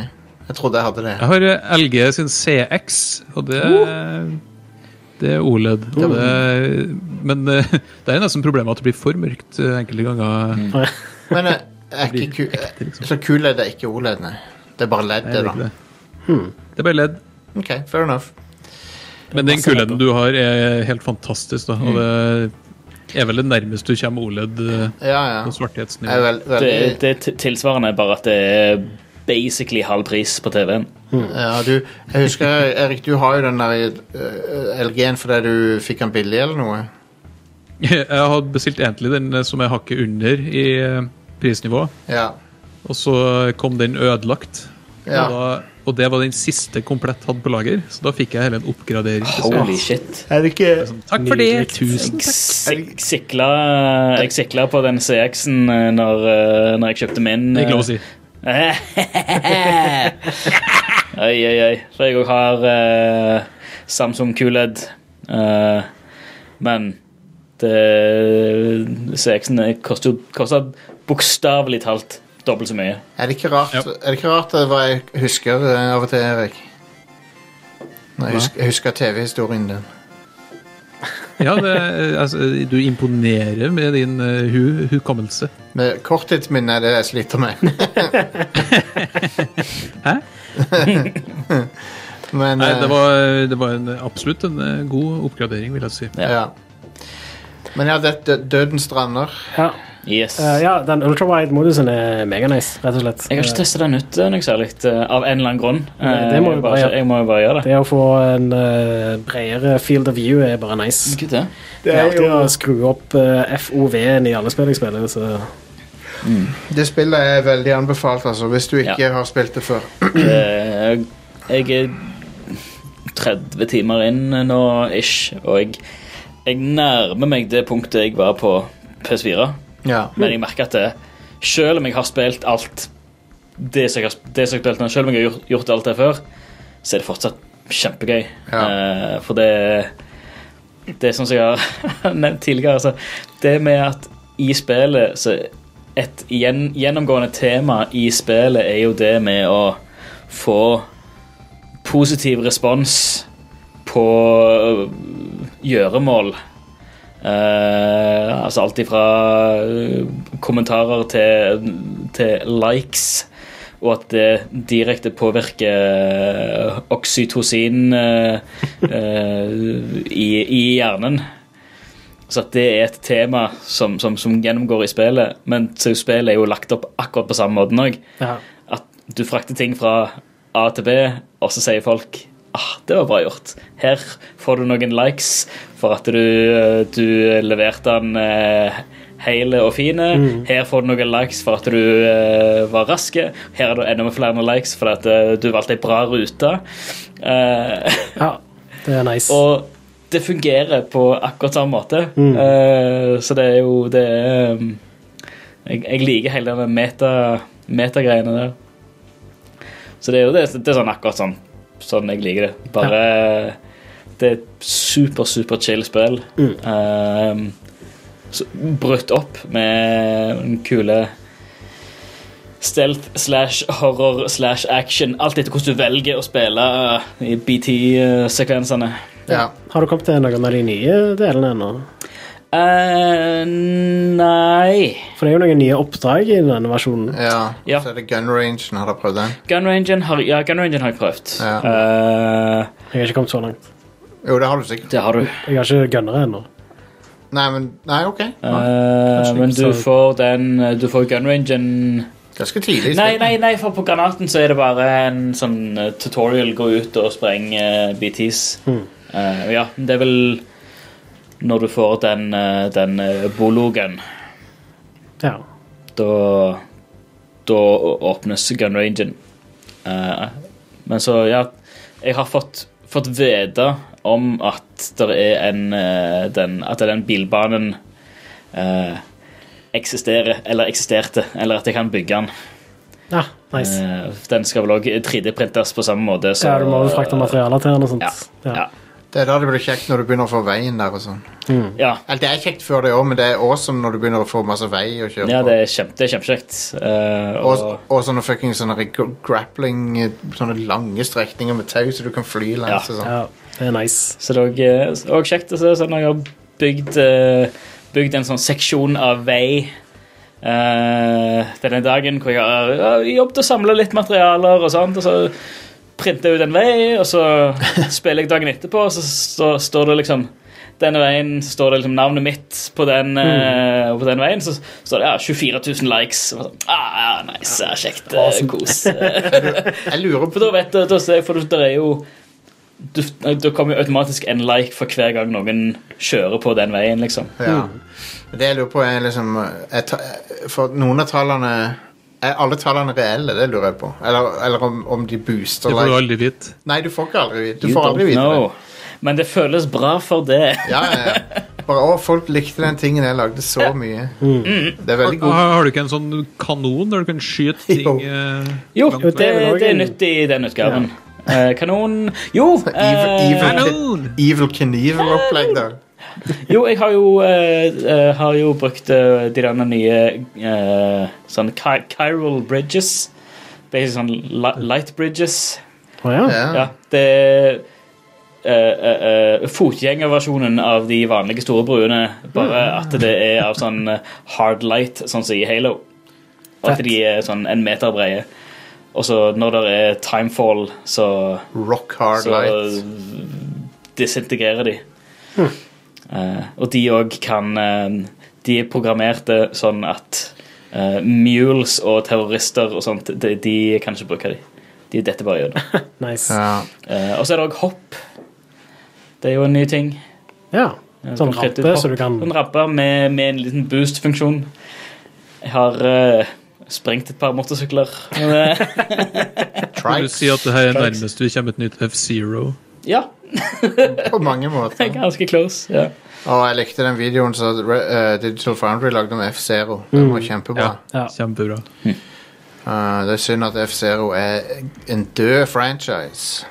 Speaker 1: Jeg trodde jeg hadde det.
Speaker 5: Jeg har eh, LG sin CX, og det Oh! Det er OLED. Og det, men eh, [LAUGHS] det er nesten problemet at det blir for mørkt eh, enkelte ganger.
Speaker 1: Men eh, er ikke Q,
Speaker 5: ekte, liksom.
Speaker 1: Så QLED er ikke OLED, nei. Det er bare LED,
Speaker 5: Nei,
Speaker 1: det,
Speaker 5: det er ikke
Speaker 1: da.
Speaker 5: det. Det er bare LED.
Speaker 1: Ok, fair enough.
Speaker 5: Men den kuleden du har, er helt fantastisk, da. Og det er vel det nærmeste du kommer OLED eh,
Speaker 1: Ja, ja.
Speaker 5: på
Speaker 1: Jeg er
Speaker 5: svarthetsnivå.
Speaker 1: vel, veldig,
Speaker 4: Det, det er t- tilsvarende, bare at det er basically halv pris på TV-en.
Speaker 1: ja, du, jeg husker, Erik, du har jo den der eh, LG-en fordi du fikk den billig eller noe.
Speaker 5: [LAUGHS] Jeg har bestilt egentlig den eh, som er hakket under i eh, prisnivå,
Speaker 1: Ja.
Speaker 5: og så kom den ødelagt.
Speaker 1: Ja.
Speaker 5: Og, da, og det var den siste komplett hadde på lager, så da fikk jeg hele en oppgradering. til seg.
Speaker 4: Holy shit.
Speaker 1: Er det ikke
Speaker 5: Takk for det! Tusen
Speaker 4: Jeg sik- sikla, jeg sikla på den CX-en eh, når, eh, når jeg kjøpte min.
Speaker 5: Det er ikke lov å
Speaker 4: eh,
Speaker 5: si.
Speaker 4: [LAUGHS] Oi, oi, oi. For jeg òg har eh, Samsung QLED. eh, men det- CX-en eh, koster jo- koster bokstavelig talt dobbelt så mye.
Speaker 1: Er det ikke rart, er det ikke rart eh, hva jeg husker eh, av og til, Erik? Når jeg husker, jeg husker TV-historien din.
Speaker 5: Ja, det, altså, du imponerer med din eh, hu, hukommelse.
Speaker 1: Men Korttidsminne er det jeg sliter
Speaker 5: [LAUGHS]
Speaker 1: med.
Speaker 5: Hæ?
Speaker 1: [LAUGHS] Men
Speaker 5: Nei, det
Speaker 1: eh,
Speaker 5: var, det var en, absolutt en eh, god oppgradering, vil jeg si.
Speaker 4: Ja.
Speaker 1: ja. Men ja, det, det, Døden strander.
Speaker 3: Ja,
Speaker 4: Yes.
Speaker 3: eh, ja den ultrawide-modusen er meganice, rett og slett.
Speaker 4: Jeg har ikke
Speaker 3: Eh,
Speaker 4: testa den ut eh, noe særlig, eh, av en eller annen grunn.
Speaker 3: Nei, det må vi
Speaker 4: Eh, jeg
Speaker 3: bare
Speaker 4: bare-
Speaker 3: gjøre.
Speaker 4: Jeg må jo bare gjøre det.
Speaker 3: det å få en eh, bredere field of view er bare nice.
Speaker 4: Gud, det.
Speaker 3: Det er alltid å skru opp eh, FOV-en i alle spill jeg spiller, så
Speaker 1: Det spillet er veldig anbefalt, altså, hvis du ikke har spilt det før.
Speaker 4: Eh, Jeg er 30 timer inn nå, ish, og jeg, jeg nærmer meg det punktet jeg var på PS4.
Speaker 1: Ja.
Speaker 4: Men jeg merker at det, selv om jeg har spilt alt det som jeg har, det som jeg har spilt nå, selv om jeg har gjort, gjort alt det før, så er det fortsatt kjempegøy.
Speaker 1: Ja.
Speaker 4: Eh, for det Det er sånn som jeg har [LAUGHS] nevnt tidligere, altså, det med at i spillet så Et gjen, gjennomgående tema i spillet er jo det med å få positiv respons på øh, gjøremål. Eh, altså alt ifra øh, kommentarer til, til likes, og at det direkte påvirker øh, oksytocin øh, øh, i, i hjernen. Så at det er et tema som, som, som gjennomgår i spillet, men så spillet er jo lagt opp akkurat på samme måten òg
Speaker 3: ja.
Speaker 4: at du frakter ting fra A til B, og så sier folk ah, det var bra gjort. Her får du noen likes for at du, eh, du leverte den eh, hele og fine. Her får du noen likes for at du eh, var raske. Her er det enda flere likes for at eh, du valgte ei bra rute. Eh, [LAUGHS]
Speaker 3: ja, det er nice.
Speaker 4: og det fungerer på akkurat samme måte. Eh, så det er jo det er, um, jeg, jeg liker hele den meta- metagreiene der. Så det er jo det, det er sånn akkurat sånn, sånn jeg liker det. Bare Det er et super, super chill spill. Eh, så brutt opp med den kule Stealth slash horror slash action. Alt etter hvordan du velger å spille eh, i BT-sekvensene.
Speaker 1: Ja.
Speaker 3: Har du kommet til noen av de nye delene ennå?
Speaker 4: eh nei
Speaker 3: For det er jo noen nye oppdrag i denne versjonen.
Speaker 1: ja.
Speaker 4: Ja.
Speaker 1: Så er det Gun Range. Har dere prøvd den?
Speaker 4: Gun Rangen har, ja, Gun Rangen har jeg prøvd.
Speaker 1: Ja.
Speaker 4: Eh,
Speaker 3: Jeg har ikke kommet så langt.
Speaker 1: Jo, det har du sikkert.
Speaker 4: det har du.
Speaker 3: Jeg har ikke gønnere ennå.
Speaker 1: Nei, men Nei, OK.
Speaker 4: Eh,
Speaker 3: ikke
Speaker 4: men
Speaker 3: så-
Speaker 4: du får den Du får Gun Rangen
Speaker 1: Ganske tidlig. i
Speaker 4: Nei,
Speaker 1: spillet.
Speaker 4: nei, nei, for på granaten så er det bare en sånn eh, tutorial. Gå ut og spreng eh, BTs.
Speaker 3: Hmm.
Speaker 4: Eh, ja, det er vel når du får den, eh, den eh, bologen.
Speaker 3: Ja.
Speaker 4: da, da åpnes gun rangen. Eh, men så, ja Jeg har fått, fått vite om at det er en eh, den, At den bilbanen eh, eksisterer, eller eksisterte, eller at jeg kan bygge den.
Speaker 3: ja, Ah, nice.
Speaker 4: Eh, den skal vel òg 3D-printes på samme måte. Så,
Speaker 3: Ja, du må vel frakte materialer til den og sånt.
Speaker 4: Ja, ja.
Speaker 1: Det er da det blir kjekt når du begynner å få veien der og sånn.
Speaker 4: ja.
Speaker 1: Eller det er kjekt før det òg, men det er awesome når du begynner å få masse vei å kjøre
Speaker 4: Ja,
Speaker 1: på.
Speaker 4: det er kjempe- det er kjempekjekt. Eh,
Speaker 1: Og,
Speaker 4: og-
Speaker 1: og sånne fucking sånne gra- grappling eh, Sånne lange strekninger med tau, så du kan fly langs
Speaker 4: Ja.
Speaker 1: og sånn.
Speaker 3: Ja, det er nice.
Speaker 4: Så det er også- også kjekt å se sånn når jeg har bygd, eh, bygd en sånn seksjon av vei eh, denne dagen hvor jeg har eh, jobbet og samlet litt materialer og sånt, og så printer jeg ut en vei, og så spiller jeg dagen etterpå, og så, så står det liksom denne veien så står det liksom navnet mitt på den, eh, på den veien. Så står det ja, 24 000 likes. Og så, ah, ja, nice, ja, kjekt. eh, Kos.
Speaker 1: Jeg lurer
Speaker 4: For
Speaker 1: på
Speaker 4: da vet du, da ser jeg, for det er jo du, Da kommer jo automatisk en like for hver gang noen kjører på den veien, liksom.
Speaker 1: ja. Det jeg lurer på, er liksom eh, er ta- For noen av tallene Er alle tallene reelle? Det lurer jeg på. Eller, eller om, om de booster
Speaker 5: Det får du
Speaker 1: like-
Speaker 5: aldri vite.
Speaker 1: Nei, du får ikke aldri vite Du
Speaker 4: You
Speaker 1: får aldri
Speaker 4: don't
Speaker 1: vite det.
Speaker 4: know. Men det føles bra for det.
Speaker 1: Ja, ja, ja. Bare å, folk likte den tingen jeg lagde så mye.
Speaker 4: Mm.
Speaker 1: Det er veldig
Speaker 5: Har,
Speaker 1: god
Speaker 5: har du ikke en sånn kanon der du kan skyte ting
Speaker 1: Jo.
Speaker 5: eh,
Speaker 4: Jo,
Speaker 5: langt
Speaker 4: det,
Speaker 5: vekk?
Speaker 4: det
Speaker 3: er vel også
Speaker 4: er
Speaker 3: en-
Speaker 4: nytt i den utgaven. Eh, kanon Jo!
Speaker 1: [LAUGHS] Evil,
Speaker 4: eh,
Speaker 1: evil,
Speaker 5: Kanon!
Speaker 1: evil Knievel-opplegg der.
Speaker 4: jo, jeg har jo, eh, eh, har jo brukt eh, de der nye eh, sånn chi- chiral bridges.
Speaker 1: Ah.
Speaker 4: Det er sånn li- light bridges.
Speaker 3: Å ja.
Speaker 1: Ja.
Speaker 4: Ja, det eh, eh, fotgjengerversjonen av de vanlige store bruene, bare
Speaker 1: Ah.
Speaker 4: at det er av sånn eh, hard light, sånn som i Halo. Og at
Speaker 3: Fett.
Speaker 4: de er sånn en meter brede. Og så når det er timefall, så,
Speaker 1: Rock hard
Speaker 4: så
Speaker 1: light. Hm.
Speaker 4: disintegrerer de. Eh, og de òg kan eh, De er programmerte sånn at eh, mules og terrorister og sånt, de, de kan ikke bruke de. De detter bare gjennom.
Speaker 3: Nice.
Speaker 1: Ja.
Speaker 4: Eh, og så er det òg hopp. Det er jo en ny ting.
Speaker 3: Ja.
Speaker 4: Eh,
Speaker 3: Sånn
Speaker 4: du kan flytte
Speaker 3: rampe,
Speaker 4: ut
Speaker 3: så du
Speaker 4: hopp.
Speaker 3: kan
Speaker 4: En rampe med, med en liten boost-funksjon. Jeg har eh, sprengt et par motorsykler. Men, eh,
Speaker 5: Vil du
Speaker 1: Trikes
Speaker 5: si at det her er nærmest vi kommer et nytt F-Zero?
Speaker 4: ja,
Speaker 1: på mange måter.
Speaker 4: ganske close. Ja.
Speaker 1: Og jeg likte den videoen som eh, Digital Foundry lagde om F-Zero. Den var kjempebra.
Speaker 3: Ja.
Speaker 5: Kjempebra.
Speaker 1: Eh, det er synd at F-Zero er en død franchise.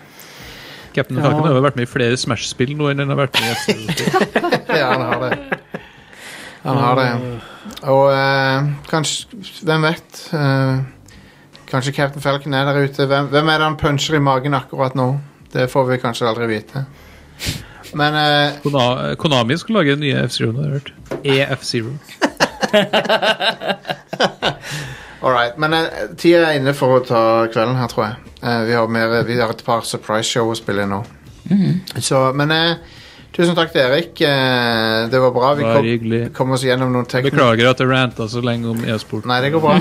Speaker 5: Captain Falcon har jo vært med i flere Smash-spill nå enn han har vært med i F-Zero.
Speaker 1: Ja, han har det. Han har det. Og eh, kanskje Hvem vet? Eh, kanskje Captain Falcon er der ute. Hvem, hvem er det han puncher i magen akkurat nå? Det får vi kanskje aldri vite. Men eh,
Speaker 5: Kona- Konami skal lage nye F-Zero, har jeg hørt. EF-Zero.
Speaker 1: Alright, men eh, tida er inne for å ta kvelden her, tror jeg. Eh, vi, har mer, vi har et par surprise-show å spille nå. Så, men eh, tusen takk til Erik. Eh, det var bra. Vi
Speaker 5: Bare
Speaker 1: kom,
Speaker 5: hyggelig.
Speaker 1: vi kom oss gjennom noen tekniske
Speaker 5: Beklager at jeg ranta så lenge om e-sport.
Speaker 1: Nei, det går bra.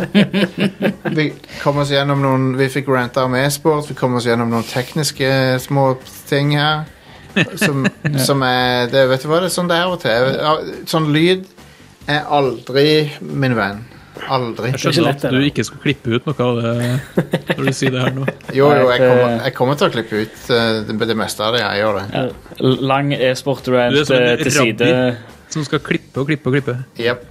Speaker 1: Vi kom oss gjennom noen Vi fikk ranta om e-sport. Vi kom oss gjennom noen tekniske små ting her.
Speaker 5: [LAUGHS]
Speaker 1: Som, som er det, Vet du hva, det er sånn det er av og til. Jeg- Sånn lyd er aldri min venn. Aldri.
Speaker 5: Jeg
Speaker 3: ikke
Speaker 5: skjønner
Speaker 3: lett,
Speaker 5: at du
Speaker 3: det.
Speaker 5: ikke skulle klippe ut noe av det når du sier det her nå.
Speaker 1: Jo, jo, jeg
Speaker 4: Nei, det-
Speaker 1: kommer, jeg kommer til å klippe ut eh, det, det meste av det. Jeg gjør det.
Speaker 4: L- Lang
Speaker 5: Du er
Speaker 4: e-sport-rant
Speaker 5: som en
Speaker 4: eh, til side.
Speaker 5: rabbi. Som skal klippe og klippe og klippe.
Speaker 1: Jep.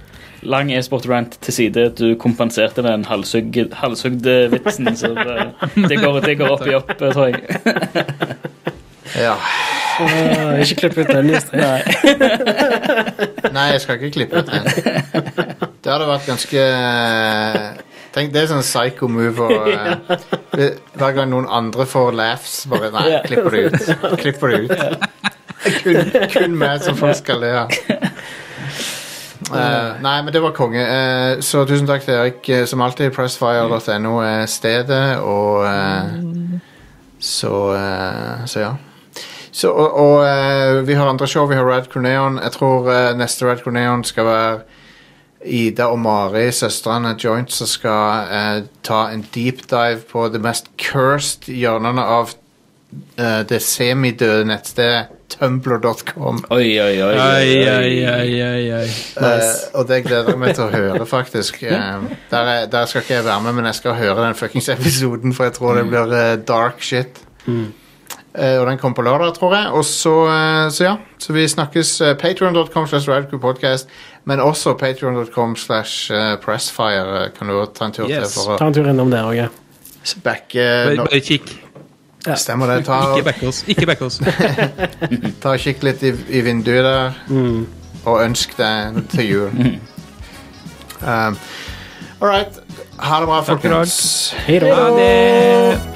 Speaker 4: Lang e-sport-rant til side. Du kompenserte den halshugg- halshugde vitsen, så det, det, går, det går opp i opp, eh, tror jeg.
Speaker 1: Ja.
Speaker 3: Åh, Ikke klipp ut den,
Speaker 4: [LAUGHS]
Speaker 3: Jostein.
Speaker 1: Nei, jeg skal ikke klippe ut den. Det hadde vært ganske Tenk, Det er sånn psycho move. Og, eh, det- hver gang noen andre får laughs, bare Nei, klipper det ut. Klipper det ut. Kun, kun meg som folk skal le av. Eh, nei, men det var konge. Eh, så tusen takk til Erik. Eh, Som alltid, pressfire.no er eh, stedet, og eh, Så eh, Så ja. Så, og og eh, vi har andre show. Vi har Rad Corneon. Jeg tror eh, neste Rad Corneon skal være Ida og Mari, søstrene Joint, som skal eh, ta en deep dive på det mest cursed hjørnene av eh, det semidøde nettstedet tumbler.com.
Speaker 4: Oi, oi, oi.
Speaker 5: Ai, ai, ai, ai, ai.
Speaker 1: Eh, og det gleder jeg meg til å høre, faktisk. Eh, der, er, der skal ikke jeg være med, men jeg skal høre den fuckings episoden, for jeg tror det blir eh, dark shit.
Speaker 5: Mm.
Speaker 1: Eh, og den kommer på lørdag, tror jeg. Og så, eh, så ja. Så vi snakkes uh, patrion.com slash radicalpodcast, men også patrion.com slash eh, pressfire. eh, Kan du også ta en tur
Speaker 5: Yes.
Speaker 1: til for
Speaker 3: Ta en tur innom der òg.
Speaker 1: å backe
Speaker 5: Bare,
Speaker 1: no,
Speaker 5: bare kikk.
Speaker 1: Stemmer det. Ta,
Speaker 5: Ikke back oss. Ikke back oss.
Speaker 1: ta og kikk litt i, i vinduet der,
Speaker 5: Mm.
Speaker 1: og ønsk deg til jul. Um, All right. Ha det bra,
Speaker 5: i dag.
Speaker 1: folkens.
Speaker 3: Hei da.
Speaker 5: Ha det.